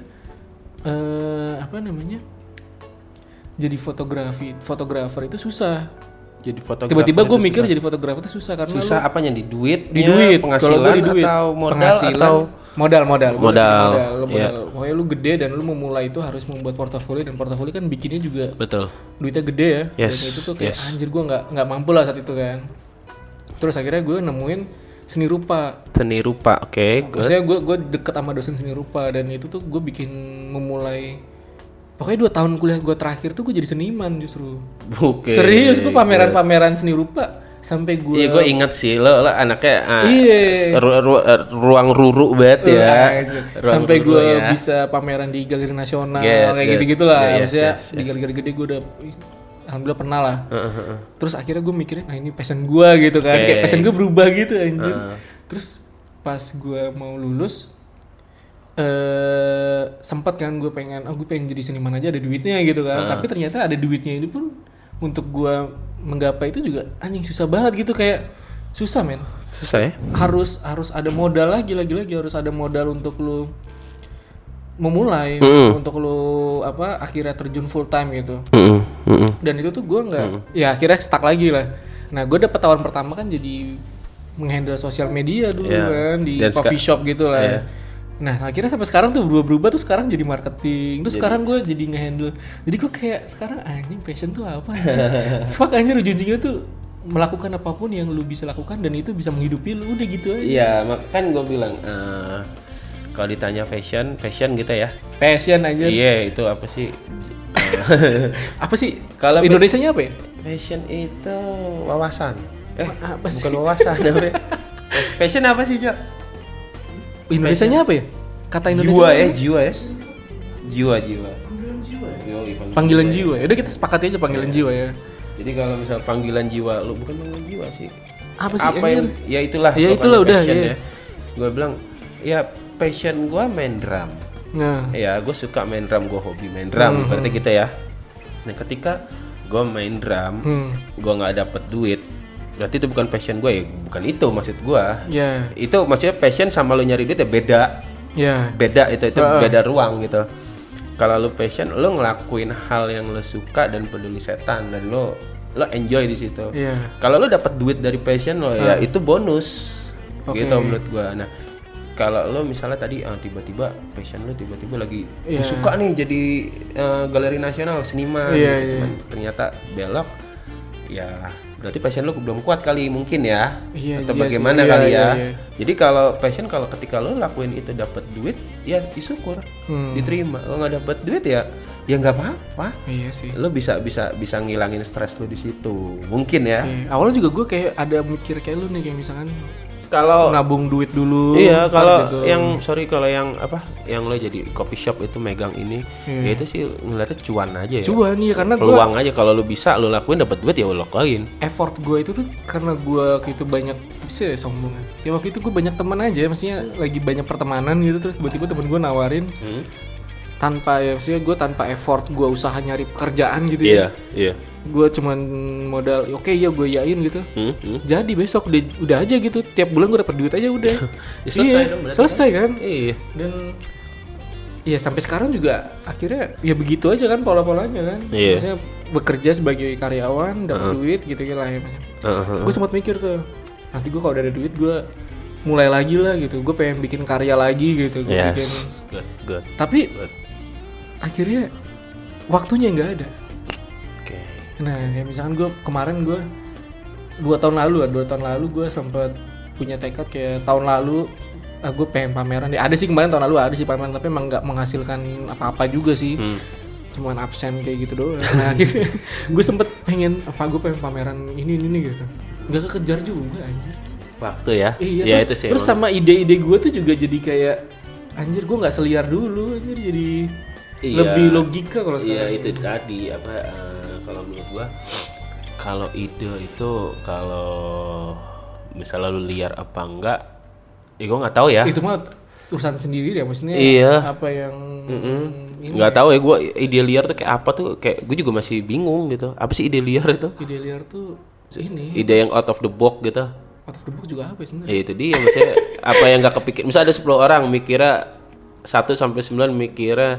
[SPEAKER 1] eh apa namanya jadi fotografi fotografer itu susah
[SPEAKER 2] jadi fotografer.
[SPEAKER 1] tiba-tiba gue mikir jadi fotografer itu susah karena
[SPEAKER 2] susah apanya di duit,
[SPEAKER 1] di duit
[SPEAKER 2] penghasilan
[SPEAKER 1] Iya, kalau gua di duit
[SPEAKER 2] atau modal
[SPEAKER 1] penghasilan
[SPEAKER 2] atau
[SPEAKER 1] modal modal Gua
[SPEAKER 2] Modal, iya.
[SPEAKER 1] bikin modal, lu modal. pokoknya lu gede dan lu memulai itu harus membuat portofolio dan portofolio kan bikinnya juga
[SPEAKER 2] betul.
[SPEAKER 1] duitnya gede ya
[SPEAKER 2] Yes,
[SPEAKER 1] Dan itu tuh kayak
[SPEAKER 2] yes.
[SPEAKER 1] anjir gua nggak nggak mampu lah saat itu kan terus akhirnya gue nemuin seni rupa
[SPEAKER 2] Seni rupa, oke. good.
[SPEAKER 1] maksudnya gue gue deket sama dosen seni rupa dan itu tuh gue bikin memulai pokoknya dua tahun kuliah gue terakhir tuh gue jadi seniman justru
[SPEAKER 2] Oke.
[SPEAKER 1] serius gue pameran-pameran seni rupa sampai gue
[SPEAKER 2] Iya gue ingat sih lo, lo anaknya ah,
[SPEAKER 1] Iya.
[SPEAKER 2] s- ru- ru- eh, ruang ruru banget ya. Ruang Iya,
[SPEAKER 1] sampai
[SPEAKER 2] ruru
[SPEAKER 1] gue
[SPEAKER 2] ya.
[SPEAKER 1] bisa pameran di galeri nasional
[SPEAKER 2] Get,
[SPEAKER 1] kayak
[SPEAKER 2] get.
[SPEAKER 1] gitu gitulah
[SPEAKER 2] Yeah, yes,
[SPEAKER 1] maksudnya
[SPEAKER 2] yes,
[SPEAKER 1] di galeri-galeri gede gue udah ih, alhamdulillah pernah lah terus akhirnya gue mikirin nah ini passion gua gitu kan kayak
[SPEAKER 2] Oke.
[SPEAKER 1] passion gue berubah gitu anjir terus pas gua mau lulus eh sempat kan gue pengen oh gue pengen jadi seniman aja ada duitnya gitu kan tapi ternyata ada duitnya ini pun untuk gua menggapai itu juga anjing susah banget gitu kayak susah men
[SPEAKER 2] susah ya.
[SPEAKER 1] harus harus ada modal lagi lagi lagi harus ada modal untuk lu memulai untuk lu apa akhirnya terjun full time gitu
[SPEAKER 2] Mm-mm, mm-mm.
[SPEAKER 1] dan itu tuh gua nggak ya akhirnya stuck lagi lah nah gue dapet tawaran pertama kan jadi menghandle sosial media dulu
[SPEAKER 2] Iya.
[SPEAKER 1] kan di
[SPEAKER 2] Dan Iya.
[SPEAKER 1] coffee shop gitu lah nah akhirnya sampai sekarang tuh berubah-berubah tuh sekarang jadi marketing terus sekarang gue jadi ngehandle jadi gue kayak sekarang anjing passion tuh apa anjing fuck anjir ujung-ujungnya tuh melakukan apapun yang lu bisa lakukan dan itu bisa menghidupi lu udah gitu aja
[SPEAKER 2] Iya, mak- kan gue bilang eh, kalau ditanya fashion, fashion gitu ya.
[SPEAKER 1] passion aja
[SPEAKER 2] Iya, itu apa sih?
[SPEAKER 1] apa sih kalau
[SPEAKER 2] Kalau
[SPEAKER 1] Indonesia nya apa ya
[SPEAKER 2] Fashion itu wawasan. Eh,
[SPEAKER 1] apa sih
[SPEAKER 2] bukan wawasan apa ya? Eh, Fashion apa sih, Cok?
[SPEAKER 1] Indonesia nya apa ya kata Indonesia
[SPEAKER 2] Jiwa ya, jiwa ya. Jiwa, jiwa. Yoi, panggilan.
[SPEAKER 1] panggilan jiwa ya udah kita sepakati aja panggilan jiwa ya
[SPEAKER 2] Jadi kalau misal panggilan jiwa, lu bukan panggilan jiwa sih.
[SPEAKER 1] apa sih
[SPEAKER 2] apa yang
[SPEAKER 1] anjir?
[SPEAKER 2] ya
[SPEAKER 1] Ya
[SPEAKER 2] itulah pokoknya
[SPEAKER 1] itulah udah,
[SPEAKER 2] passion
[SPEAKER 1] iya.
[SPEAKER 2] ya. Gue bilang ya passion gua main drum.
[SPEAKER 1] nah
[SPEAKER 2] Ya, gue suka main drum, gue hobi main
[SPEAKER 1] Hmm.
[SPEAKER 2] drum, berarti gitu ya. Nah, ketika gue main drum,
[SPEAKER 1] hmm
[SPEAKER 2] gue nggak dapet duit, berarti itu bukan passion gue ya, bukan itu maksud gue.
[SPEAKER 1] ya
[SPEAKER 2] Itu maksudnya passion sama lo nyari duit ya beda,
[SPEAKER 1] ya
[SPEAKER 2] beda itu itu beda ruang gitu. kalau lu passion lu ngelakuin hal yang lu suka dan peduli setan dan lu lu enjoy di situ
[SPEAKER 1] Iya.
[SPEAKER 2] kalau lu dapat duit dari passion lo ya itu bonus
[SPEAKER 1] Oke.
[SPEAKER 2] gitu menurut gua nah kalau lo misalnya tadi ah, tiba-tiba passion lo tiba-tiba lagi "Gua
[SPEAKER 1] Iya.
[SPEAKER 2] suka nih jadi eh, galeri nasional seniman
[SPEAKER 1] Iya,
[SPEAKER 2] gitu.
[SPEAKER 1] iya.
[SPEAKER 2] Cuman ternyata belok ya berarti passion lo belum kuat kali mungkin ya
[SPEAKER 1] Iya, iya
[SPEAKER 2] atau
[SPEAKER 1] sih.
[SPEAKER 2] bagaimana
[SPEAKER 1] Iya,
[SPEAKER 2] kali
[SPEAKER 1] iya,
[SPEAKER 2] ya
[SPEAKER 1] iya.
[SPEAKER 2] jadi kalau passion kalau ketika lo lakuin itu dapat duit ya disyukur
[SPEAKER 1] Hmm.
[SPEAKER 2] diterima lo nggak dapat duit ya ya nggak apa-apa
[SPEAKER 1] Iya sih.
[SPEAKER 2] lo bisa bisa bisa ngilangin stres lo di situ mungkin ya
[SPEAKER 1] Iya. Awalnya juga gue kayak ada mikir kayak lu nih kayak misalkan
[SPEAKER 2] kalau
[SPEAKER 1] nabung duit dulu.
[SPEAKER 2] Iya,
[SPEAKER 1] ntar
[SPEAKER 2] kalau
[SPEAKER 1] gitu.
[SPEAKER 2] yang sorry kalau yang apa yang lo jadi coffee shop itu megang ini, ya itu sih ngeliatnya cuan aja ya.
[SPEAKER 1] Iya. cuan ya karena gue
[SPEAKER 2] Peluang aja kalau lo bisa lo lakuin dapat duit ya lo lakuin.
[SPEAKER 1] effort gue itu tuh karena gue waktu itu banyak bisa ya sombong ya. ya waktu itu gue banyak teman aja maksudnya lagi banyak pertemanan gitu terus tiba-tiba temen gue nawarin
[SPEAKER 2] Hmm.
[SPEAKER 1] tanpa ya maksudnya gue tanpa effort gue usaha nyari pekerjaan gitu ya
[SPEAKER 2] iya.
[SPEAKER 1] gue cuman modal oke ya gue yain gitu
[SPEAKER 2] Hmm, hmm.
[SPEAKER 1] jadi besok udah, udah aja gitu tiap bulan gue dapet duit aja udah
[SPEAKER 2] Ya, selesai
[SPEAKER 1] Iya,
[SPEAKER 2] dong berarti.
[SPEAKER 1] selesai kan
[SPEAKER 2] Iya.
[SPEAKER 1] dan ya sampai sekarang juga akhirnya ya begitu aja kan pola-polanya kan
[SPEAKER 2] Iya.
[SPEAKER 1] maksudnya bekerja sebagai karyawan dapat duit gitu gitu lah ya
[SPEAKER 2] Heeh.
[SPEAKER 1] gue sempat mikir tuh nanti gue kalau udah ada duit gue mulai lagi lah gitu gue pengen bikin karya lagi gitu gue bikin
[SPEAKER 2] Yes. Good, good.
[SPEAKER 1] tapi akhirnya waktunya nggak ada
[SPEAKER 2] Oke.
[SPEAKER 1] nah kayak misalkan gue kemarin gue dua tahun lalu lah dua tahun lalu gue sempat punya tekad kayak tahun lalu gue pengen pameran ya ada sih kemarin tahun lalu ada sih pameran tapi emang nggak menghasilkan apa-apa juga sih
[SPEAKER 2] Hmm.
[SPEAKER 1] cuman absen kayak gitu doang nah akhirnya gue sempet pengen apa gue pengen pameran ini ini, ini gitu nggak kekejar juga anjir
[SPEAKER 2] Waktu ya.
[SPEAKER 1] Iya,
[SPEAKER 2] ya
[SPEAKER 1] terus,
[SPEAKER 2] itu sih.
[SPEAKER 1] terus sama
[SPEAKER 2] emang.
[SPEAKER 1] ide-ide gue tuh juga jadi kayak anjir gue nggak seliar dulu anjir jadi
[SPEAKER 2] Iya.
[SPEAKER 1] lebih logika kalau
[SPEAKER 2] Iya
[SPEAKER 1] sekarang.
[SPEAKER 2] itu tadi apa eh, kalau menurut gua kalau ide itu kalau misalnya lu liar apa enggak, ya gua nggak tahu ya.
[SPEAKER 1] Itu mah urusan sendiri ya maksudnya
[SPEAKER 2] Iya.
[SPEAKER 1] apa yang ini
[SPEAKER 2] nggak tahu ya gue ide liar tuh kayak apa tuh kayak gue juga masih bingung gitu apa sih ide liar itu
[SPEAKER 1] ide liar tuh ini
[SPEAKER 2] ide yang out of the box gitu
[SPEAKER 1] out of the box juga apa ya sebenarnya?
[SPEAKER 2] ya itu dia maksudnya apa yang nggak kepikir misalnya ada 10 orang mikirnya 1 sampai 9 mikirnya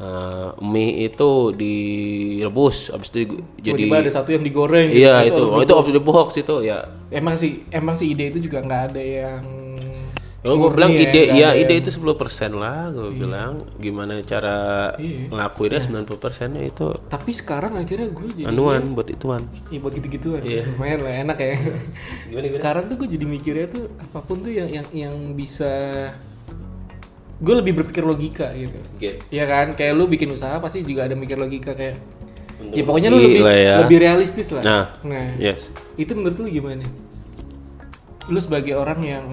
[SPEAKER 2] eh, mie itu direbus habis itu di- jadi
[SPEAKER 1] Tiba-tiba ada satu yang digoreng. gitu.
[SPEAKER 2] iya Oh, itu oh, itu out of the box itu ya
[SPEAKER 1] Emang sih emang sih ide itu juga nggak ada yang
[SPEAKER 2] Kalau gue bilang
[SPEAKER 1] murni
[SPEAKER 2] ide,
[SPEAKER 1] nggak
[SPEAKER 2] ya
[SPEAKER 1] ada
[SPEAKER 2] ide
[SPEAKER 1] yang-
[SPEAKER 2] itu 10% lah gue bilang gimana cara
[SPEAKER 1] Iya.
[SPEAKER 2] ngelakuinnya 90% nya itu
[SPEAKER 1] Tapi sekarang akhirnya gue jadi
[SPEAKER 2] anuan buat ituan
[SPEAKER 1] Iya buat gitu-gituan. Lumayan lah enak ya. Sekarang tuh gue jadi mikirnya tuh apapun tuh yang yang yang bisa gue lebih berpikir logika gitu.
[SPEAKER 2] Oke.
[SPEAKER 1] Iya kan? Kayak lu bikin usaha pasti juga ada mikir logika kayak Ya pokoknya lu
[SPEAKER 2] Gila
[SPEAKER 1] lebih
[SPEAKER 2] ya.
[SPEAKER 1] lebih realistis lah.
[SPEAKER 2] Nah.
[SPEAKER 1] Nah,
[SPEAKER 2] yes
[SPEAKER 1] itu menurut lu gimana? Lu sebagai orang yang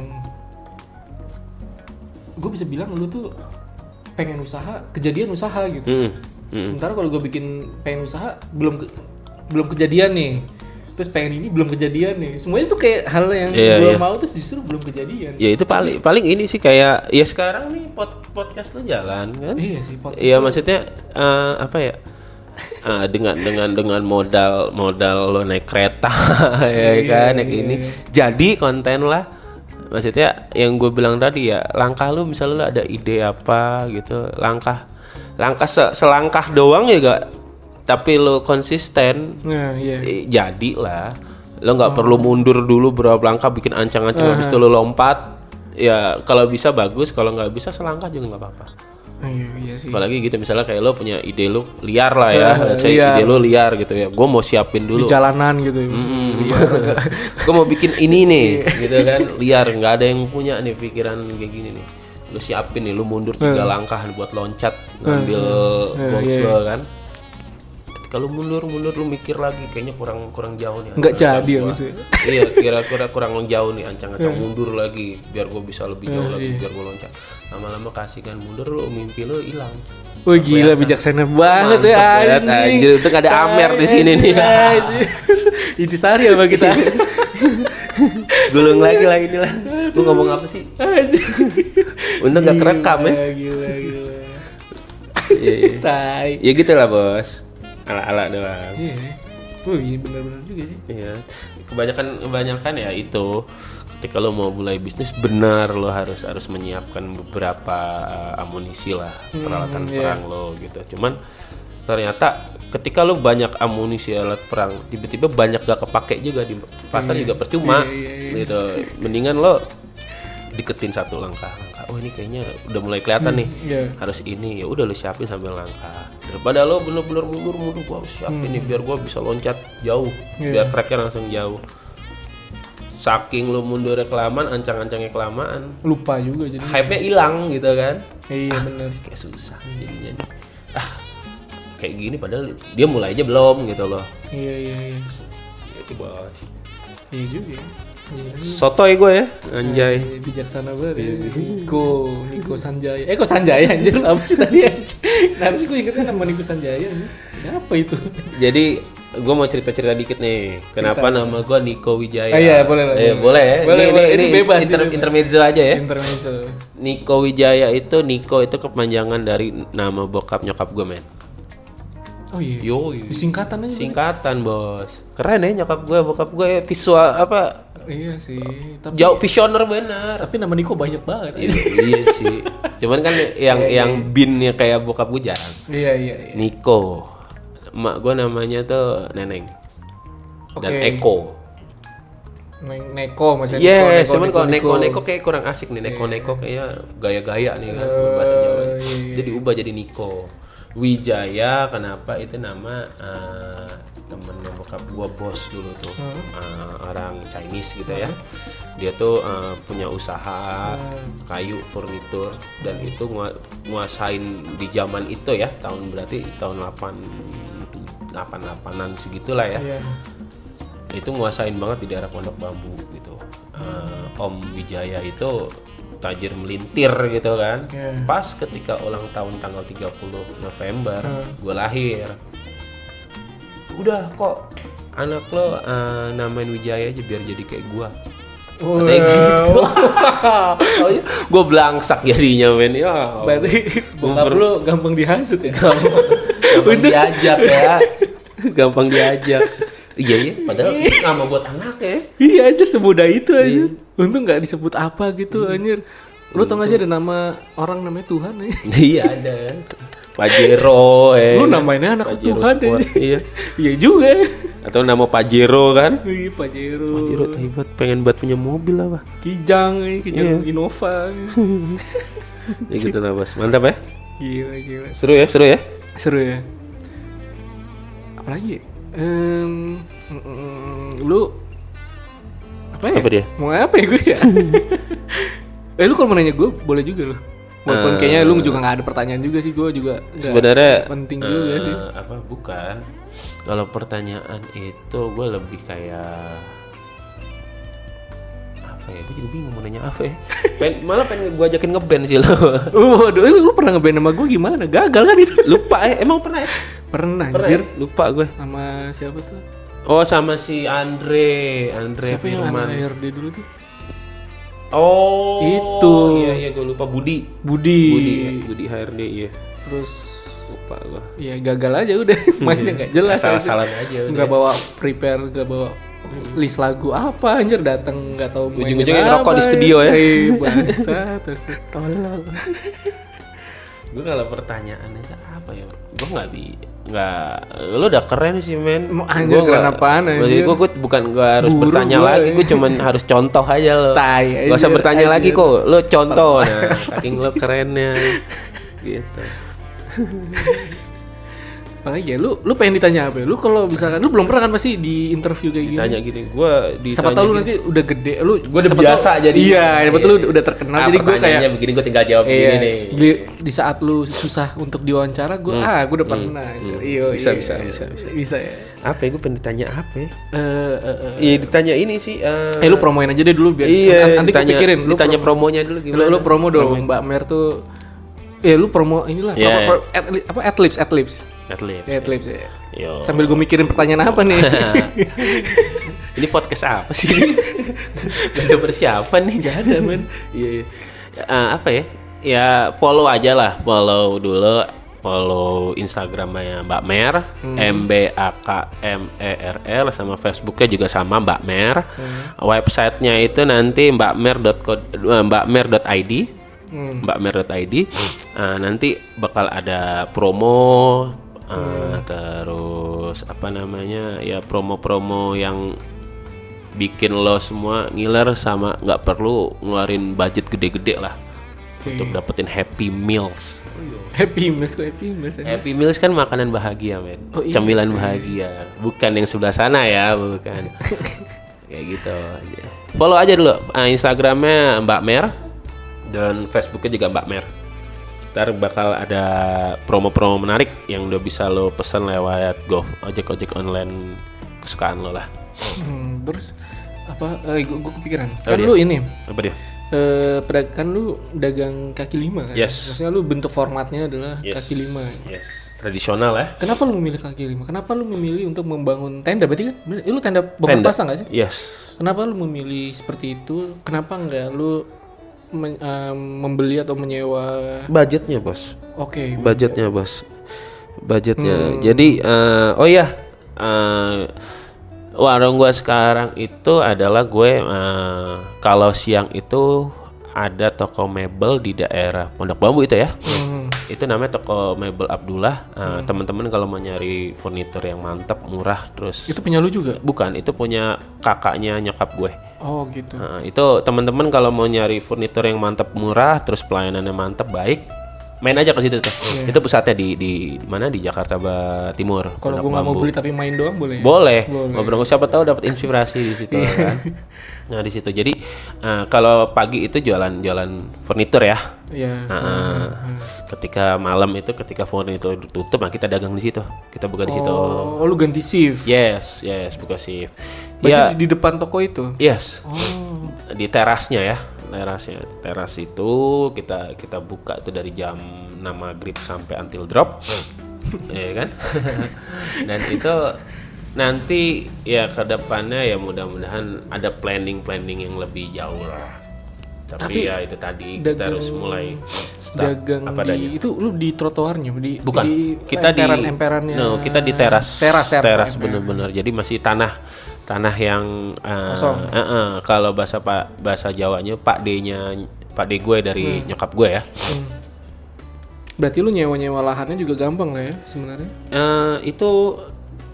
[SPEAKER 1] gue bisa bilang lu tuh pengen usaha, kejadian usaha gitu.
[SPEAKER 2] Mm, mm.
[SPEAKER 1] Sementara kalau gue bikin pengen usaha belum ke- belum kejadian nih. Terus pengen ini belum kejadian nih. Semuanya tuh kayak hal yang
[SPEAKER 2] Iya,
[SPEAKER 1] gue
[SPEAKER 2] iya.
[SPEAKER 1] mau terus justru belum kejadian.
[SPEAKER 2] Ya itu paling paling ini sih kayak ya sekarang nih pod- podcast lu jalan kan?
[SPEAKER 1] Iya sih podcast.
[SPEAKER 2] Iya maksudnya eh, apa ya? Eh, dengan dengan dengan modal modal lo naik kereta
[SPEAKER 1] Iya,
[SPEAKER 2] ya kan naik ini jadi konten lah maksudnya yang gue bilang tadi ya langkah lu misalnya lu ada ide apa gitu langkah langkah se- selangkah doang ya gak tapi lo konsisten
[SPEAKER 1] Nah, iya.
[SPEAKER 2] Eh, jadilah lo nggak
[SPEAKER 1] Oh.
[SPEAKER 2] perlu mundur dulu berapa langkah bikin
[SPEAKER 1] Eh.
[SPEAKER 2] ancang-ancang habis itu lo lompat ya kalau bisa bagus kalau nggak bisa selangkah juga nggak apa-apa
[SPEAKER 1] Iya, iya sih.
[SPEAKER 2] apalagi gitu misalnya kayak lo punya ide lo liar lah ya
[SPEAKER 1] Eh,
[SPEAKER 2] saya
[SPEAKER 1] iya.
[SPEAKER 2] ide lo liar gitu ya gue mau siapin
[SPEAKER 1] Di
[SPEAKER 2] dulu
[SPEAKER 1] jalanan gitu. ya.
[SPEAKER 2] Hmm. gue mau bikin ini nih
[SPEAKER 1] Iya.
[SPEAKER 2] gitu kan liar nggak ada yang punya nih pikiran kayak gini nih lo siapin nih lo mundur tiga
[SPEAKER 1] Eh.
[SPEAKER 2] langkah buat loncat ngambil
[SPEAKER 1] iya,
[SPEAKER 2] bongsel kan kalau mundur mundur lu mikir lagi kayaknya kurang kurang jauh nih
[SPEAKER 1] Nggak jadi ya maksudnya.
[SPEAKER 2] iya kira-kira kurang jauh nih ancang-ancang mundur lagi biar gue bisa lebih jauh lagi biar gue loncat lama-lama kasihkan mundur lo mimpi lo hilang
[SPEAKER 1] Wah gila bijaksana banget ya
[SPEAKER 2] Mantep
[SPEAKER 1] anjing.
[SPEAKER 2] banget, anjir. Untung ada Amer di sini nih.
[SPEAKER 1] Anjir. Intisari apa kita?
[SPEAKER 2] gulung lagi lah inilah gue ngomong apa sih
[SPEAKER 1] Anjir.
[SPEAKER 2] untung gak kerekam ya
[SPEAKER 1] Gila, Gila gila.
[SPEAKER 2] Iya, iya.
[SPEAKER 1] Tai.
[SPEAKER 2] ya gitu lah bos ala-ala doang
[SPEAKER 1] Iya. Wih, iya benar-benar juga sih.
[SPEAKER 2] Iya. Kebanyakan kebanyakan ya itu ketika lo mau mulai bisnis benar lo harus harus menyiapkan beberapa eh, amunisi lah peralatan perang lo gitu. Cuman ternyata ketika lo banyak amunisi alat perang tiba-tiba banyak gak kepake juga di pasar juga percuma gitu. Mendingan lo deketin satu langkah langkah oh ini kayaknya udah mulai kelihatan nih
[SPEAKER 1] Iya.
[SPEAKER 2] harus ini ya udah lo siapin sambil langkah daripada lo bener-bener mundur mundur gua harus
[SPEAKER 1] Hmm.
[SPEAKER 2] siapin nih biar gua bisa loncat jauh
[SPEAKER 1] Iya.
[SPEAKER 2] biar tracknya langsung jauh saking lo mundur kelamaan ancang-ancangnya kelamaan
[SPEAKER 1] Lupa juga jadi.
[SPEAKER 2] hype nya hilang gitu kan
[SPEAKER 1] Iya benar.
[SPEAKER 2] kayak susah nih jadinya nih. ah kayak gini padahal dia mulainya belum gitu loh
[SPEAKER 1] Iya iya iya.
[SPEAKER 2] itu bos
[SPEAKER 1] Iya juga. ya. Iya.
[SPEAKER 2] sotoy gue ya anjay
[SPEAKER 1] Iya, bijaksana banget ya.
[SPEAKER 2] Iya.
[SPEAKER 1] Niko, Niko Sanjaya. Eh kok Sanjaya anjir apa sih tadi anjir? Kenapa sih gue ingetnya nama Niko Sanjaya anjir? Siapa itu?
[SPEAKER 2] Jadi gue mau cerita-cerita dikit nih. Kenapa nama gue Niko Wijaya?
[SPEAKER 1] Ah, iya, boleh lah, boleh.
[SPEAKER 2] Eh, boleh ya.
[SPEAKER 1] Boleh,
[SPEAKER 2] ini,
[SPEAKER 1] boleh.
[SPEAKER 2] ini,
[SPEAKER 1] Ini
[SPEAKER 2] ini
[SPEAKER 1] bebas,
[SPEAKER 2] inter-
[SPEAKER 1] ini bebas.
[SPEAKER 2] intermezzo aja ya.
[SPEAKER 1] Intermezzo.
[SPEAKER 2] Niko Wijaya itu Niko itu kepanjangan dari nama bokap nyokap gue men.
[SPEAKER 1] Oh iya.
[SPEAKER 2] Yo,
[SPEAKER 1] Singkatan aja.
[SPEAKER 2] singkatan bos. Keren ya nyokap gue, bokap gue visual apa?
[SPEAKER 1] Iya sih. Tapi
[SPEAKER 2] Jauh visioner bener.
[SPEAKER 1] tapi nama Niko banyak banget. anjir.
[SPEAKER 2] iya sih. Cuman kan yang yang binnya kayak bokap gue jarang.
[SPEAKER 1] Iya iya iya.
[SPEAKER 2] Niko. Emak gue namanya tuh Neneng. Dan
[SPEAKER 1] Oke.
[SPEAKER 2] Eko.
[SPEAKER 1] Ne- Neko maksudnya
[SPEAKER 2] Iya,
[SPEAKER 1] Neko, Neko,
[SPEAKER 2] cuman kalau
[SPEAKER 1] Neko. Iya.
[SPEAKER 2] neko-neko kayak kurang asik nih. Neko-neko kayaknya gaya-gaya nih kan
[SPEAKER 1] Oh,
[SPEAKER 2] bahasa Jawa. Jadi
[SPEAKER 1] iya.
[SPEAKER 2] ubah jadi Niko. Wijaya kenapa itu nama eh, temennya bokap gua bos dulu tuh
[SPEAKER 1] Hmm.
[SPEAKER 2] Eh, orang Chinese gitu ya. Dia tuh eh, punya usaha
[SPEAKER 1] Hmm.
[SPEAKER 2] kayu furnitur dan itu ngua- nguasain di zaman itu ya tahun berarti tahun 8 88-an segitulah ya
[SPEAKER 1] Iya.
[SPEAKER 2] itu nguasain banget di daerah Pondok Bambu gitu. Eh, Om Wijaya itu tajir melintir gitu kan.
[SPEAKER 1] Iya.
[SPEAKER 2] Pas ketika ulang tahun tanggal 30 November, gue lahir. Udah kok anak lo eh, namain Wijaya aja biar jadi kayak gua. Katanya gitu. gue belangsak jadinya men. Ya.
[SPEAKER 1] Berarti bokap lu gampang dihasut ya?
[SPEAKER 2] Gampang diajak ya. Gampang diajak. Iya iya, padahal nama buat anak ya.
[SPEAKER 1] iya aja semudah itu anjir. Untung nggak disebut apa
[SPEAKER 2] Iya.
[SPEAKER 1] gitu anjir. Lu tau gak sih ada nama orang namanya Tuhan anjir?
[SPEAKER 2] iya ada Pajero eh
[SPEAKER 1] Lu namainnya anak
[SPEAKER 2] Pajero
[SPEAKER 1] Tuhan
[SPEAKER 2] Sport,
[SPEAKER 1] anjir.
[SPEAKER 2] iya
[SPEAKER 1] Iya juga.
[SPEAKER 2] atau nama Pajero kan
[SPEAKER 1] Wih, Pajero,
[SPEAKER 2] Pajero tai banget, pengen buat punya mobil apa
[SPEAKER 1] Kijang, anjir. Kijang
[SPEAKER 2] Iya.
[SPEAKER 1] Innova. anjir.
[SPEAKER 2] ya gitu lah bos mantap ya
[SPEAKER 1] Gila, gila.
[SPEAKER 2] seru ya seru ya
[SPEAKER 1] Seru ya. Apalagi? ya? Em, mm, mm, lu apa ya?
[SPEAKER 2] apa dia
[SPEAKER 1] Mau apa ya gue ya? eh lu kalau mau nanya gue boleh juga loh. Walaupun kayaknya lu juga nggak ada pertanyaan juga sih gue juga. nggak-
[SPEAKER 2] Eh. sebenarnya
[SPEAKER 1] penting juga
[SPEAKER 2] eh,
[SPEAKER 1] sih.
[SPEAKER 2] apa bukan kalau pertanyaan itu gue lebih kayak apa ya gue juga bingung mau nanya apa ya Pen- malah pengen gue ajakin ngeband sih lo
[SPEAKER 1] Uh, waduh, eh, lu, lu pernah ngeband sama gue gimana? Gagal kan itu?
[SPEAKER 2] lupa ya emang pernah ya
[SPEAKER 1] Pernah,
[SPEAKER 2] Pernah
[SPEAKER 1] anjir.
[SPEAKER 2] ya? lupa gue
[SPEAKER 1] Sama siapa tuh?
[SPEAKER 2] Oh sama si Andre, Andre
[SPEAKER 1] Siapa yang
[SPEAKER 2] Firman.
[SPEAKER 1] anak RD dulu tuh?
[SPEAKER 2] Oh
[SPEAKER 1] Itu.
[SPEAKER 2] Iya iya gue lupa Budi.
[SPEAKER 1] Budi.
[SPEAKER 2] Budi ya, Budi HRD iya
[SPEAKER 1] Terus
[SPEAKER 2] lupa gue.
[SPEAKER 1] ya gagal aja udah mainnya nggak jelas
[SPEAKER 2] Iya. Salah
[SPEAKER 1] aja.
[SPEAKER 2] salah aja. udah.
[SPEAKER 1] nggak bawa prepare nggak bawa list lagu apa anjir datang nggak tahu mainin
[SPEAKER 2] Ujung-ujungnya
[SPEAKER 1] apa,
[SPEAKER 2] ngerokok di studio ya.
[SPEAKER 1] Eh, bangsa terus tolol
[SPEAKER 2] Gue kalau pertanyaan itu apa ya? Gue nggak bi nggak lo udah keren sih men
[SPEAKER 1] Mau anjir, keren apaan, anjir?
[SPEAKER 2] gue, gue bukan gue harus
[SPEAKER 1] Buruk
[SPEAKER 2] bertanya
[SPEAKER 1] gua,
[SPEAKER 2] lagi gue
[SPEAKER 1] anjir.
[SPEAKER 2] cuman harus contoh aja lo
[SPEAKER 1] Tai,
[SPEAKER 2] gak usah
[SPEAKER 1] anjir,
[SPEAKER 2] bertanya lagi
[SPEAKER 1] anjir.
[SPEAKER 2] kok lo contoh nah, saking lo kerennya gitu
[SPEAKER 1] apalagi ya lu lu pengen ditanya apa ya? lu kalau misalkan lu belum pernah kan pasti di interview kayak gini
[SPEAKER 2] tanya gini gue
[SPEAKER 1] siapa tahu lu nanti udah gede lu
[SPEAKER 2] Gua udah
[SPEAKER 1] siapa
[SPEAKER 2] biasa
[SPEAKER 1] tahu-
[SPEAKER 2] jadi.
[SPEAKER 1] iya siapa tahu lu
[SPEAKER 2] Iya.
[SPEAKER 1] udah terkenal
[SPEAKER 2] Ah,
[SPEAKER 1] jadi gue kayak
[SPEAKER 2] pertanyaannya begini gue tinggal jawab
[SPEAKER 1] iya,
[SPEAKER 2] begini nih. Hmm.
[SPEAKER 1] di, di saat lu susah untuk diwawancara gue ah gue udah pernah anjir. Iya,
[SPEAKER 2] Bisa,
[SPEAKER 1] iya,
[SPEAKER 2] bisa,
[SPEAKER 1] iya.
[SPEAKER 2] bisa, bisa.
[SPEAKER 1] ya
[SPEAKER 2] Apa ya? Gue pengen ditanya apa
[SPEAKER 1] Eh,
[SPEAKER 2] ya?
[SPEAKER 1] eh, eh.
[SPEAKER 2] Iya ditanya ini sih. eh,
[SPEAKER 1] eh lu promoin aja deh dulu biar
[SPEAKER 2] iya.
[SPEAKER 1] nanti gue
[SPEAKER 2] ditanya,
[SPEAKER 1] pikirin lu
[SPEAKER 2] ditanya
[SPEAKER 1] promo-
[SPEAKER 2] promonya dulu gimana?
[SPEAKER 1] Lu, lu promo dong Mbak Mer tuh Ya lu promo inilah
[SPEAKER 2] Iya,
[SPEAKER 1] apa,
[SPEAKER 2] iya.
[SPEAKER 1] pro- atli- apa adlibs adlibs.
[SPEAKER 2] Atlet.
[SPEAKER 1] Ya adlibs ya.
[SPEAKER 2] Yo.
[SPEAKER 1] Sambil gue mikirin pertanyaan apa nih.
[SPEAKER 2] ini podcast apa sih? Gak ada persiapan nih. Gak ada Ya, men. Iya. iya. Eh, apa ya? Ya follow aja lah, follow dulu follow Instagramnya Mbak Mer, M B A K M E R L sama Facebooknya juga sama Mbak Mer. Websitenya itu nanti mbakmer.co eh, mbakmer.id. mbakmer.id. Eh, nanti bakal ada promo eh, terus apa namanya? ya promo-promo yang bikin lo semua ngiler sama nggak perlu ngeluarin budget gede-gede lah untuk dapetin happy meals.
[SPEAKER 1] Happy Meals kok Happy Meals aja.
[SPEAKER 2] Happy meals kan makanan bahagia, men.
[SPEAKER 1] Oh, iya
[SPEAKER 2] Cemilan bahagia. Bukan yang sebelah sana ya, bukan. Kayak gitu. Follow aja dulu eh, Instagramnya Mbak Mer dan Facebooknya juga Mbak Mer. Ntar bakal ada promo-promo menarik yang udah bisa lo pesan lewat Gov ojek ojek online kesukaan lo lah.
[SPEAKER 1] Hmm, terus apa eh, gua, gua kepikiran.
[SPEAKER 2] Oh,
[SPEAKER 1] Kan
[SPEAKER 2] iya.
[SPEAKER 1] lu ini
[SPEAKER 2] Apa dia?
[SPEAKER 1] eh pada- kan lu dagang kaki lima kan?
[SPEAKER 2] Yes.
[SPEAKER 1] Maksudnya lu bentuk formatnya adalah
[SPEAKER 2] Yes.
[SPEAKER 1] kaki lima.
[SPEAKER 2] Yes. Tradisional ya.
[SPEAKER 1] Kenapa lu memilih kaki lima? Kenapa lu memilih untuk membangun tenda? Berarti kan bener- eh, lu tenda bangun
[SPEAKER 2] Tenda.
[SPEAKER 1] pasang nggak sih?
[SPEAKER 2] Yes.
[SPEAKER 1] Kenapa lu memilih seperti itu? Kenapa nggak lu men- eh, membeli atau menyewa?
[SPEAKER 2] Budgetnya bos.
[SPEAKER 1] Oke.
[SPEAKER 2] budgetnya bos
[SPEAKER 1] Hmm.
[SPEAKER 2] budgetnya jadi eh, oh ya warung gua sekarang itu adalah gue eh, kalau siang itu ada toko mebel di daerah Pondok Bambu itu ya
[SPEAKER 1] Hmm.
[SPEAKER 2] itu namanya toko mebel Abdullah Eh, teman-teman kalau mau nyari furnitur yang mantap murah terus
[SPEAKER 1] Itu punya lu juga?
[SPEAKER 2] bukan itu punya kakaknya nyokap gue
[SPEAKER 1] Oh gitu.
[SPEAKER 2] Nah, itu teman-teman kalau mau nyari furnitur yang mantap murah, terus pelayanannya mantap baik, main aja ke situ tuh.
[SPEAKER 1] Iya.
[SPEAKER 2] Itu pusatnya di di mana di Jakarta Ba- Timur.
[SPEAKER 1] Kalau
[SPEAKER 2] Pondok
[SPEAKER 1] gua nggak mau
[SPEAKER 2] Bambu.
[SPEAKER 1] beli tapi main doang boleh? ya?
[SPEAKER 2] boleh,
[SPEAKER 1] Boleh. Iya.
[SPEAKER 2] ngobrol siapa tahu dapat inspirasi di situ kan. Nah, di situ. Jadi eh, kalau pagi itu jualan-jualan furnitur ya.
[SPEAKER 1] Iya.
[SPEAKER 2] Nah, eh, ketika malam itu ketika furnitur tutup, nah kita dagang di situ. Kita buka di situ.
[SPEAKER 1] Oh, lu ganti shift.
[SPEAKER 2] Yes, yes, buka shift.
[SPEAKER 1] Berarti
[SPEAKER 2] Ya,
[SPEAKER 1] di di depan toko itu.
[SPEAKER 2] Yes. Di terasnya ya, terasnya. Teras itu kita kita buka tuh dari jam 6 maghrib sampai until drop. Iya kan? Dan itu nanti ya ke depannya ya mudah-mudahan ada planning-planning yang lebih jauh lah. Tapi, ya itu tadi kita
[SPEAKER 1] dagang-
[SPEAKER 2] harus mulai start
[SPEAKER 1] dagang
[SPEAKER 2] apa
[SPEAKER 1] di
[SPEAKER 2] adanya.
[SPEAKER 1] itu lu di trotoarnya di
[SPEAKER 2] Bukan,
[SPEAKER 1] di
[SPEAKER 2] kita di
[SPEAKER 1] emperan-emperannya.
[SPEAKER 2] No, kita di teras.
[SPEAKER 1] Teras, teras, ya.
[SPEAKER 2] bener-bener. Jadi masih tanah tanah yang eh,
[SPEAKER 1] Kosong.
[SPEAKER 2] eh, eh, kalau bahasa Pak bahasa Jawanya Pak D-nya Pak D gue dari
[SPEAKER 1] Hmm.
[SPEAKER 2] nyokap gue ya.
[SPEAKER 1] Berarti lu nyewa-nyewa lahannya juga gampang lah ya sebenarnya.
[SPEAKER 2] Eh, itu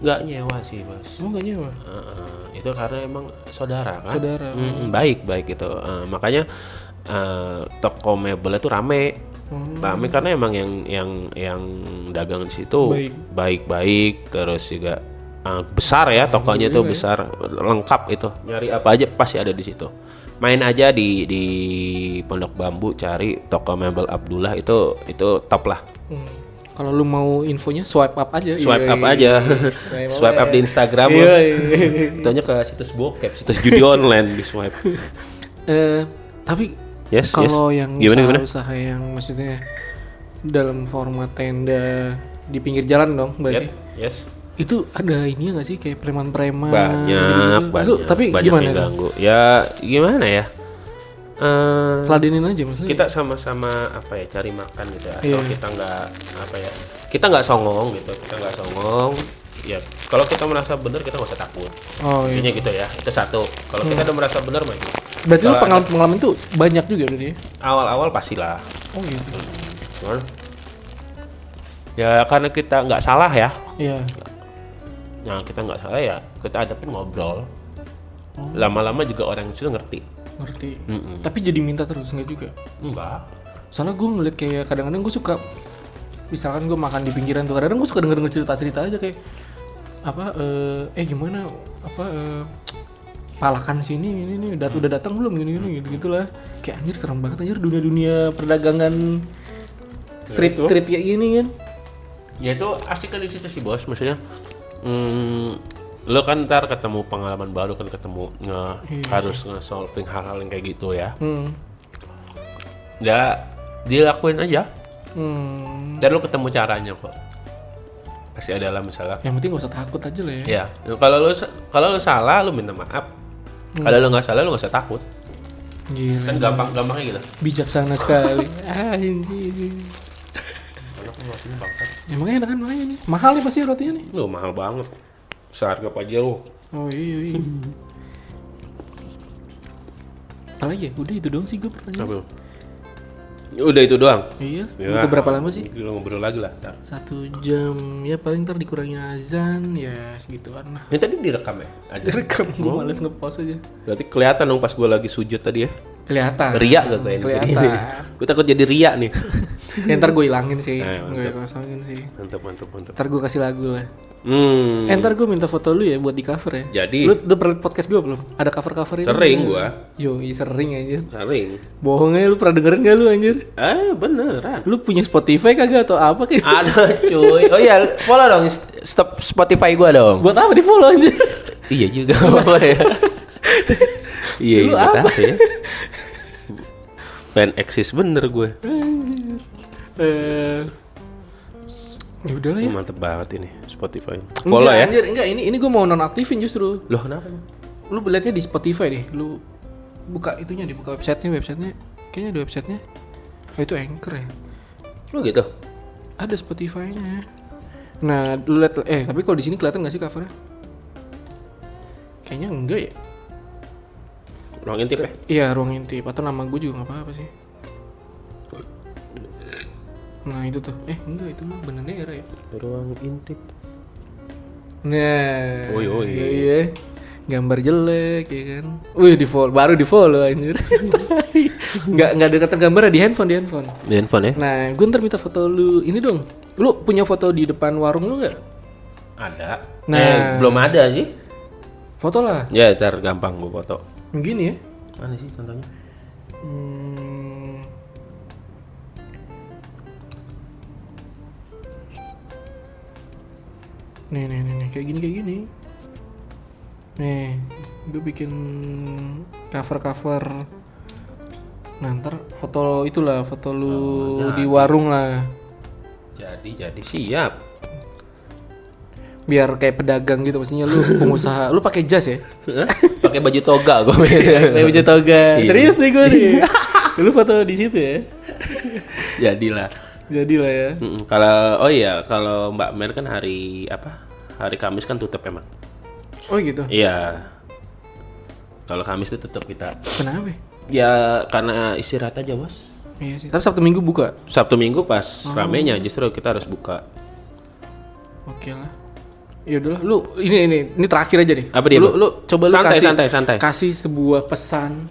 [SPEAKER 2] nggak nyewa sih, Bos.
[SPEAKER 1] Lu nggak nyewa?
[SPEAKER 2] Eh, eh, itu karena emang saudara kan.
[SPEAKER 1] Saudara.
[SPEAKER 2] Mm, baik, baik itu. Eh, makanya eh, toko mebel itu rame.
[SPEAKER 1] Hmm.
[SPEAKER 2] Rame karena emang yang yang yang dagang di situ
[SPEAKER 1] Baik.
[SPEAKER 2] baik-baik terus juga uh, besar
[SPEAKER 1] Iya,
[SPEAKER 2] ya tokonya itu besar lengkap itu nyari apa aja pasti ada di situ main aja di di pondok bambu cari toko mebel Abdullah itu itu top lah
[SPEAKER 1] Hmm. Kalau lu mau infonya swipe up aja. Iya,
[SPEAKER 2] swipe
[SPEAKER 1] Yoi.
[SPEAKER 2] up aja
[SPEAKER 1] Swipe up
[SPEAKER 2] swipe up
[SPEAKER 1] aja.
[SPEAKER 2] di Instagram
[SPEAKER 1] Iya,
[SPEAKER 2] lo.
[SPEAKER 1] iya, iya.
[SPEAKER 2] Tanya ke situs bokep situs judi online di swipe
[SPEAKER 1] Eh, tapi
[SPEAKER 2] Yes,
[SPEAKER 1] kalau
[SPEAKER 2] yes.
[SPEAKER 1] yang
[SPEAKER 2] Gimana, gimana?
[SPEAKER 1] usaha-usaha yang maksudnya dalam format tenda di pinggir jalan dong berarti.
[SPEAKER 2] Yep, yes
[SPEAKER 1] Itu ada ini nggak sih kayak preman-preman?
[SPEAKER 2] banyak
[SPEAKER 1] gitu-gitu?
[SPEAKER 2] banyak
[SPEAKER 1] Lu- tapi
[SPEAKER 2] banyak
[SPEAKER 1] gimana?
[SPEAKER 2] yang
[SPEAKER 1] tuh?
[SPEAKER 2] ganggu ya gimana ya Eh,
[SPEAKER 1] Ladenin aja maksudnya.
[SPEAKER 2] kita sama-sama apa ya cari makan gitu ya. asal
[SPEAKER 1] Iya.
[SPEAKER 2] kita nggak apa ya kita nggak songong gitu kita nggak songong ya kalau kita merasa benar kita nggak usah takut
[SPEAKER 1] Oh iya.
[SPEAKER 2] intinya gitu ya itu satu kalau
[SPEAKER 1] Hmm.
[SPEAKER 2] kita udah merasa benar maju
[SPEAKER 1] Berarti lu
[SPEAKER 2] Kalau
[SPEAKER 1] pengalaman pengalaman itu banyak juga berarti ya?
[SPEAKER 2] awal-awal pastilah
[SPEAKER 1] Oh gitu.
[SPEAKER 2] cuman ya karena kita nggak salah ya
[SPEAKER 1] Iya.
[SPEAKER 2] nah kita nggak salah ya kita hadapin ngobrol lama-lama juga orang itu ngerti
[SPEAKER 1] Ngerti. Tapi jadi minta terus nggak juga?
[SPEAKER 2] enggak
[SPEAKER 1] Soalnya gue ngeliat kayak kadang-kadang gue suka misalkan gue makan di pinggiran tuh kadang-kadang gue suka denger denger cerita-cerita aja kayak apa eh, eh gimana apa eh, palakan sini ini nih udah udah datang belum gini gini gitu gitulah kayak anjir serem banget anjir dunia dunia perdagangan street street kayak gini kan
[SPEAKER 2] ya itu asik kan di situ sih bos maksudnya hmm, lo kan ntar ketemu pengalaman baru kan ketemu nge,
[SPEAKER 1] Iya,
[SPEAKER 2] harus nge-solving hal-hal yang kayak gitu ya
[SPEAKER 1] hmm.
[SPEAKER 2] ya dilakuin aja
[SPEAKER 1] hmm.
[SPEAKER 2] dan lo ketemu caranya kok pasti ada lah misalnya
[SPEAKER 1] yang penting gak usah takut aja lah ya
[SPEAKER 2] ya kalau lo kalau lo salah lo minta maaf
[SPEAKER 1] Hmm.
[SPEAKER 2] kalau lo nggak salah lo nggak usah takut
[SPEAKER 1] gila Hmm.
[SPEAKER 2] kan gampang gampangnya gitu
[SPEAKER 1] bijaksana sekali anjir
[SPEAKER 2] rotinya bangsat.
[SPEAKER 1] Ya makanya enak kan makanya nih. Mahal nih pasti rotinya nih.
[SPEAKER 2] Loh, mahal banget. Seharga Pajero.
[SPEAKER 1] Oh iya iya. Apa lagi ya? Udah itu doang sih gue pertanyaan.
[SPEAKER 2] Apa? Udah itu doang.
[SPEAKER 1] Iya.
[SPEAKER 2] Ya.
[SPEAKER 1] Hmm. Itu berapa lama sih?
[SPEAKER 2] Gila ngobrol lagi lah. Ntar.
[SPEAKER 1] Satu jam ya paling ntar dikurangin azan ya segituan lah.
[SPEAKER 2] Ini tadi direkam ya? Aja.
[SPEAKER 1] Rekam gue males ngepost aja.
[SPEAKER 2] Berarti kelihatan dong pas gue lagi sujud tadi ya.
[SPEAKER 1] Kelihatan.
[SPEAKER 2] Ria gak gue ini?
[SPEAKER 1] Kelihatan.
[SPEAKER 2] Gue takut jadi ria nih.
[SPEAKER 1] ya, ntar gue hilangin sih,
[SPEAKER 2] Eh,
[SPEAKER 1] gue kosongin sih.
[SPEAKER 2] mantap, mantap, mantap.
[SPEAKER 1] Ntar gue kasih lagu lah.
[SPEAKER 2] Hmm.
[SPEAKER 1] Eh, ntar gue minta foto lu ya buat di cover ya.
[SPEAKER 2] Jadi
[SPEAKER 1] Lu udah pernah liat podcast gue belum? Ada cover-cover ini?
[SPEAKER 2] Iya. sering gue.
[SPEAKER 1] Yo, sering aja.
[SPEAKER 2] Sering.
[SPEAKER 1] Bohong aja lu pernah dengerin gak lu anjir?
[SPEAKER 2] Ah beneran.
[SPEAKER 1] Lu punya Spotify kagak atau apa kayak?
[SPEAKER 2] Ada cuy. Oh iya, follow dong st- stop Spotify gua dong.
[SPEAKER 1] Buat apa di follow anjir?
[SPEAKER 2] iya juga apa ya. Iya,
[SPEAKER 1] Lu
[SPEAKER 2] iya
[SPEAKER 1] apa?
[SPEAKER 2] tahu ya. Pengen eksis bener gue.
[SPEAKER 1] Anjir. Eh. Ya udahlah ya.
[SPEAKER 2] Mantep banget ini Spotify. Follow
[SPEAKER 1] Enggak,
[SPEAKER 2] ya.
[SPEAKER 1] anjir, enggak ini ini gue mau nonaktifin justru.
[SPEAKER 2] Loh kenapa? emang?
[SPEAKER 1] Lu liatnya di Spotify deh. Lu buka itunya deh, buka websitenya, websitenya. Kayaknya ada websitenya. Oh, itu Anchor ya.
[SPEAKER 2] Lu gitu.
[SPEAKER 1] Ada Spotify-nya. Nah, lu liat eh tapi kalau di sini kelihatan nggak sih covernya? Kayaknya enggak ya.
[SPEAKER 2] Ruang intip ya.
[SPEAKER 1] Iya, ruang intip atau nama gue juga nggak apa-apa sih. Nah itu tuh, eh enggak itu mah bendera ya.
[SPEAKER 2] Ruang intip.
[SPEAKER 1] Nah,
[SPEAKER 2] Oi, oi.
[SPEAKER 1] iya, iya. gambar jelek ya kan. Wih di follow, baru di follow anjir. nggak nggak ada kata gambar di handphone di handphone.
[SPEAKER 2] Di handphone ya?
[SPEAKER 1] Nah, gue ntar minta foto lu. Ini dong, lu punya foto di depan warung lu nggak?
[SPEAKER 2] Ada.
[SPEAKER 1] Nah.
[SPEAKER 2] Eh, belum ada sih.
[SPEAKER 1] Foto lah,
[SPEAKER 2] Ya, ntar gampang gue foto.
[SPEAKER 1] begini ya.
[SPEAKER 2] Mana sih contohnya?
[SPEAKER 1] Hmm. Nih, nih, nih, nih, kayak gini, kayak gini. Nih, gue bikin cover-cover. Nah, ntar foto itulah, foto lu di warung lah.
[SPEAKER 2] Jadi, jadi siap.
[SPEAKER 1] Biar kayak pedagang gitu, maksudnya lu pengusaha. lu pakai jas ya?
[SPEAKER 2] Hah? Pakai baju toga gue.
[SPEAKER 1] Pakai baju toga.
[SPEAKER 2] Iya.
[SPEAKER 1] Serius nih gue nih. lu foto di situ ya?
[SPEAKER 2] Jadilah.
[SPEAKER 1] Jadilah ya.
[SPEAKER 2] Mm-mm. Kalau oh iya, kalau Mbak Mer kan hari apa? Hari Kamis kan tutup emang.
[SPEAKER 1] Oh gitu.
[SPEAKER 2] Iya. Kalau Kamis tuh tutup kita.
[SPEAKER 1] Kenapa? ya?
[SPEAKER 2] Ya karena istirahat aja, Bos.
[SPEAKER 1] Iya sih. Tapi Sabtu Minggu buka.
[SPEAKER 2] Sabtu Minggu pas
[SPEAKER 1] Oh.
[SPEAKER 2] ramenya justru kita harus buka.
[SPEAKER 1] Oke lah. Ya udahlah, lu ini ini ini terakhir aja deh.
[SPEAKER 2] Apa dia,
[SPEAKER 1] Lu
[SPEAKER 2] Bu?
[SPEAKER 1] lu coba lu
[SPEAKER 2] Santai,
[SPEAKER 1] kasih
[SPEAKER 2] santai, santai.
[SPEAKER 1] kasih sebuah pesan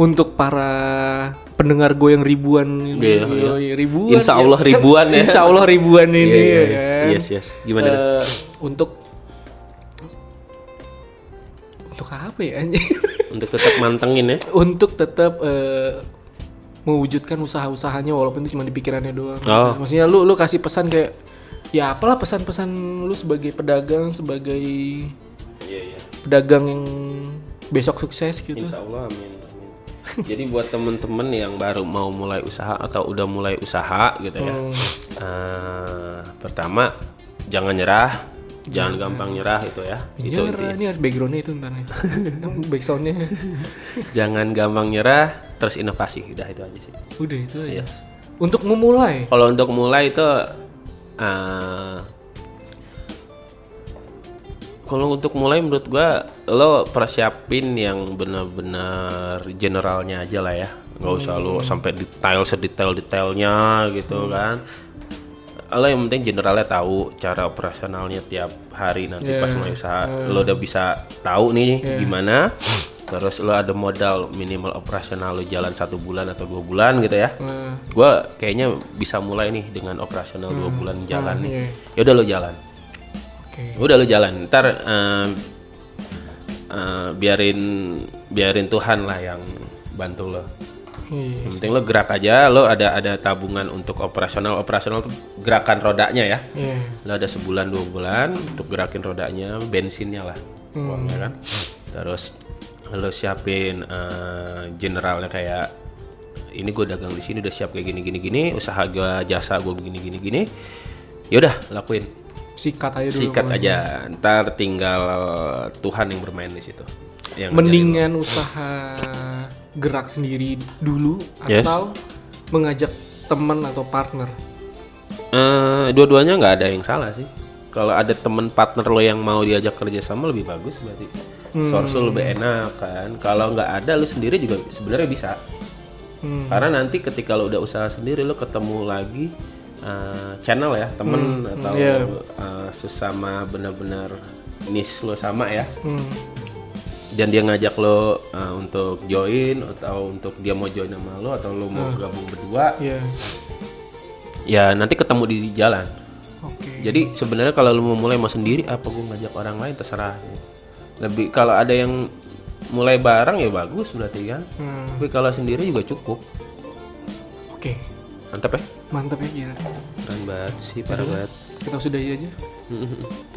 [SPEAKER 1] untuk para pendengar gue yang ribuan ini.
[SPEAKER 2] Iya, iya.
[SPEAKER 1] Yoi, ribuan.
[SPEAKER 2] Insya Allah
[SPEAKER 1] Kan,
[SPEAKER 2] ribuan ya.
[SPEAKER 1] Insya Allah ribuan ini
[SPEAKER 2] Iya, iya,
[SPEAKER 1] ya
[SPEAKER 2] iya.
[SPEAKER 1] kan.
[SPEAKER 2] Yes, yes. Gimana? Ren?
[SPEAKER 1] Eh, untuk untuk apa ya anjing?
[SPEAKER 2] Untuk tetap mantengin ya.
[SPEAKER 1] untuk tetap eh, mewujudkan usaha-usahanya walaupun itu cuma di pikirannya doang.
[SPEAKER 2] Oh.
[SPEAKER 1] Maksudnya lu lu kasih pesan kayak ya apalah pesan-pesan lu sebagai pedagang sebagai
[SPEAKER 2] Iya, iya.
[SPEAKER 1] pedagang yang besok sukses gitu.
[SPEAKER 2] Insya Allah amin. amin. Jadi buat temen-temen yang baru mau mulai usaha atau udah mulai usaha gitu ya. Eh, pertama jangan nyerah, jangan gampang nyerah itu ya. Itu
[SPEAKER 1] Ya, ini harus backgroundnya itu ntar ya. Kan nih. Backsoundnya
[SPEAKER 2] jangan gampang nyerah, terus inovasi. Udah itu aja sih.
[SPEAKER 1] udah itu
[SPEAKER 2] Iya.
[SPEAKER 1] aja. Untuk memulai
[SPEAKER 2] Kalau untuk mulai itu eh, kalau untuk mulai menurut gua lo persiapin yang benar-benar generalnya aja lah ya. nggak usah lo sampai detail sedetail-detailnya gitu kan. Lo yang penting generalnya tahu cara operasionalnya tiap hari nanti pas mulai usaha lo udah bisa tahu nih gimana. Terus lo ada modal minimal operasional lo jalan satu bulan atau dua bulan gitu ya
[SPEAKER 1] eh,
[SPEAKER 2] gue kayaknya bisa mulai nih dengan operasional dua bulan jalan nih
[SPEAKER 1] iya.
[SPEAKER 2] ya udah lo jalan Ya
[SPEAKER 1] oke.
[SPEAKER 2] udah lo jalan ntar eh, eh, biarin biarin Tuhan lah yang bantu lo
[SPEAKER 1] Iya.
[SPEAKER 2] yang penting lo gerak aja lo ada ada tabungan untuk operasional operasional tuh gerakan rodanya ya
[SPEAKER 1] Iya.
[SPEAKER 2] lo ada sebulan dua bulan untuk gerakin rodanya bensinnya lah uangnya kan terus lo siapin eh, generalnya kayak ini gue dagang di sini udah siap kayak gini gini gini usaha gue jasa gue gini gini gini yaudah lakuin
[SPEAKER 1] Sikat aja dulu.
[SPEAKER 2] sikat aja ntar tinggal Tuhan yang bermain di situ yang
[SPEAKER 1] mendingan usaha gerak sendiri dulu
[SPEAKER 2] Yes.
[SPEAKER 1] atau mengajak teman atau partner
[SPEAKER 2] eh, dua-duanya nggak ada yang salah sih. Kalau ada temen partner lo yang mau diajak kerja sama lebih bagus berarti. Source lo lebih enak kan. Kalau nggak ada lo sendiri juga sebenarnya bisa. Karena nanti ketika lo udah usaha sendiri lo ketemu lagi eh, channel ya temen atau eh, sesama benar-benar niche lo sama ya
[SPEAKER 1] Hmm,
[SPEAKER 2] dan dia ngajak lo uh, untuk join atau untuk dia mau join sama lo atau lo mau gabung berdua
[SPEAKER 1] Iya.
[SPEAKER 2] ya nanti ketemu di jalan
[SPEAKER 1] Oke.
[SPEAKER 2] jadi sebenarnya kalau lo mau mulai mau sendiri apa gue ngajak orang lain terserah sih. lebih kalau ada yang mulai bareng ya bagus berarti kan
[SPEAKER 1] Hmm,
[SPEAKER 2] tapi kalau sendiri juga cukup
[SPEAKER 1] Oke.
[SPEAKER 2] mantap ya
[SPEAKER 1] Mantap ya gila.
[SPEAKER 2] keren banget sih parah banget
[SPEAKER 1] Kita sudahi aja.
[SPEAKER 2] Iya.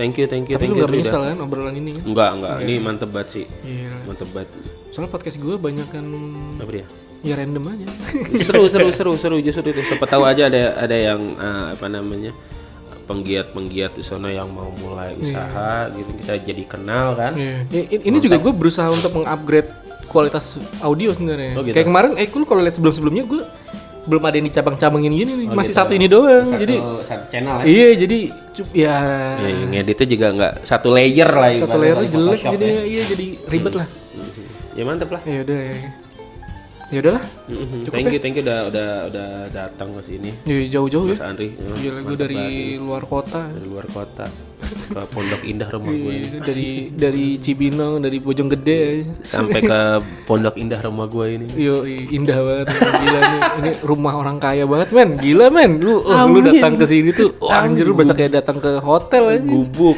[SPEAKER 2] thank you thank you
[SPEAKER 1] Tapi
[SPEAKER 2] thank
[SPEAKER 1] lu
[SPEAKER 2] you
[SPEAKER 1] gak menyesal kan obrolan ini kan?
[SPEAKER 2] enggak enggak ini mantep banget sih
[SPEAKER 1] Iya.
[SPEAKER 2] mantep banget
[SPEAKER 1] Soalnya podcast gue banyak kan
[SPEAKER 2] apa dia
[SPEAKER 1] ya random aja.
[SPEAKER 2] seru seru seru seru justru itu siapa tahu aja ada ada yang eh, apa namanya penggiat penggiat di sana yang mau mulai usaha gitu kita jadi kenal kan
[SPEAKER 1] Iya. I- i- Ini juga gue berusaha untuk mengupgrade kualitas audio sebenarnya.
[SPEAKER 2] Oh, gitu.
[SPEAKER 1] Kayak kemarin, eh lu kalau lihat sebelum sebelumnya gue belum ada yang dicabang-cabangin gini nih, masih satu ini doang. Jadi
[SPEAKER 2] Oh, gitu. Satu- satu channel ya,
[SPEAKER 1] iya, jadi cu- ya
[SPEAKER 2] ya yang ngeditnya juga nggak satu layer lah
[SPEAKER 1] satu
[SPEAKER 2] ibaratnya,
[SPEAKER 1] layer
[SPEAKER 2] kalau
[SPEAKER 1] jelek
[SPEAKER 2] Photoshop
[SPEAKER 1] jadi iya jadi ribet lah.
[SPEAKER 2] ya mantep lah
[SPEAKER 1] Ya udah ya. Ya udahlah.
[SPEAKER 2] Mhm. thank you thank you udah udah udah datang ke sini
[SPEAKER 1] Ya jauh-jauh ya.
[SPEAKER 2] Mas Andri Ya,
[SPEAKER 1] Gila gue dari luar kota.
[SPEAKER 2] dari luar kota ke Pondok Indah rumah gue
[SPEAKER 1] Iya, dari dari Cibinong, dari Bojonggede. aja.
[SPEAKER 2] sampai ke Pondok Indah rumah gue ini
[SPEAKER 1] Yo, indah banget. Gila nih. Ini rumah orang kaya banget, men. Gila, men. Lu oh, lu datang ke sini tuh, wah, anjir lu berasa kayak datang ke hotel aja.
[SPEAKER 2] gubuk.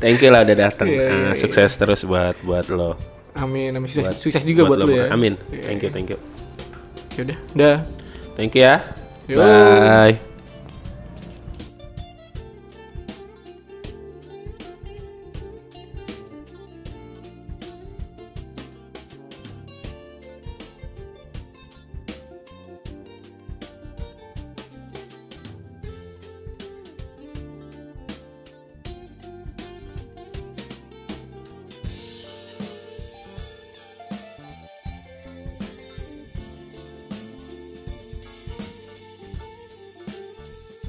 [SPEAKER 2] Thank you lah udah datang.
[SPEAKER 1] Iya,
[SPEAKER 2] Ah, sukses terus buat buat lo.
[SPEAKER 1] Amin, amin. Sukses, Eh, sukses juga buat,
[SPEAKER 2] lo
[SPEAKER 1] lu ya.
[SPEAKER 2] Amin. Thank you, thank you.
[SPEAKER 1] Yaudah, dah.
[SPEAKER 2] Thank you ya. Bye.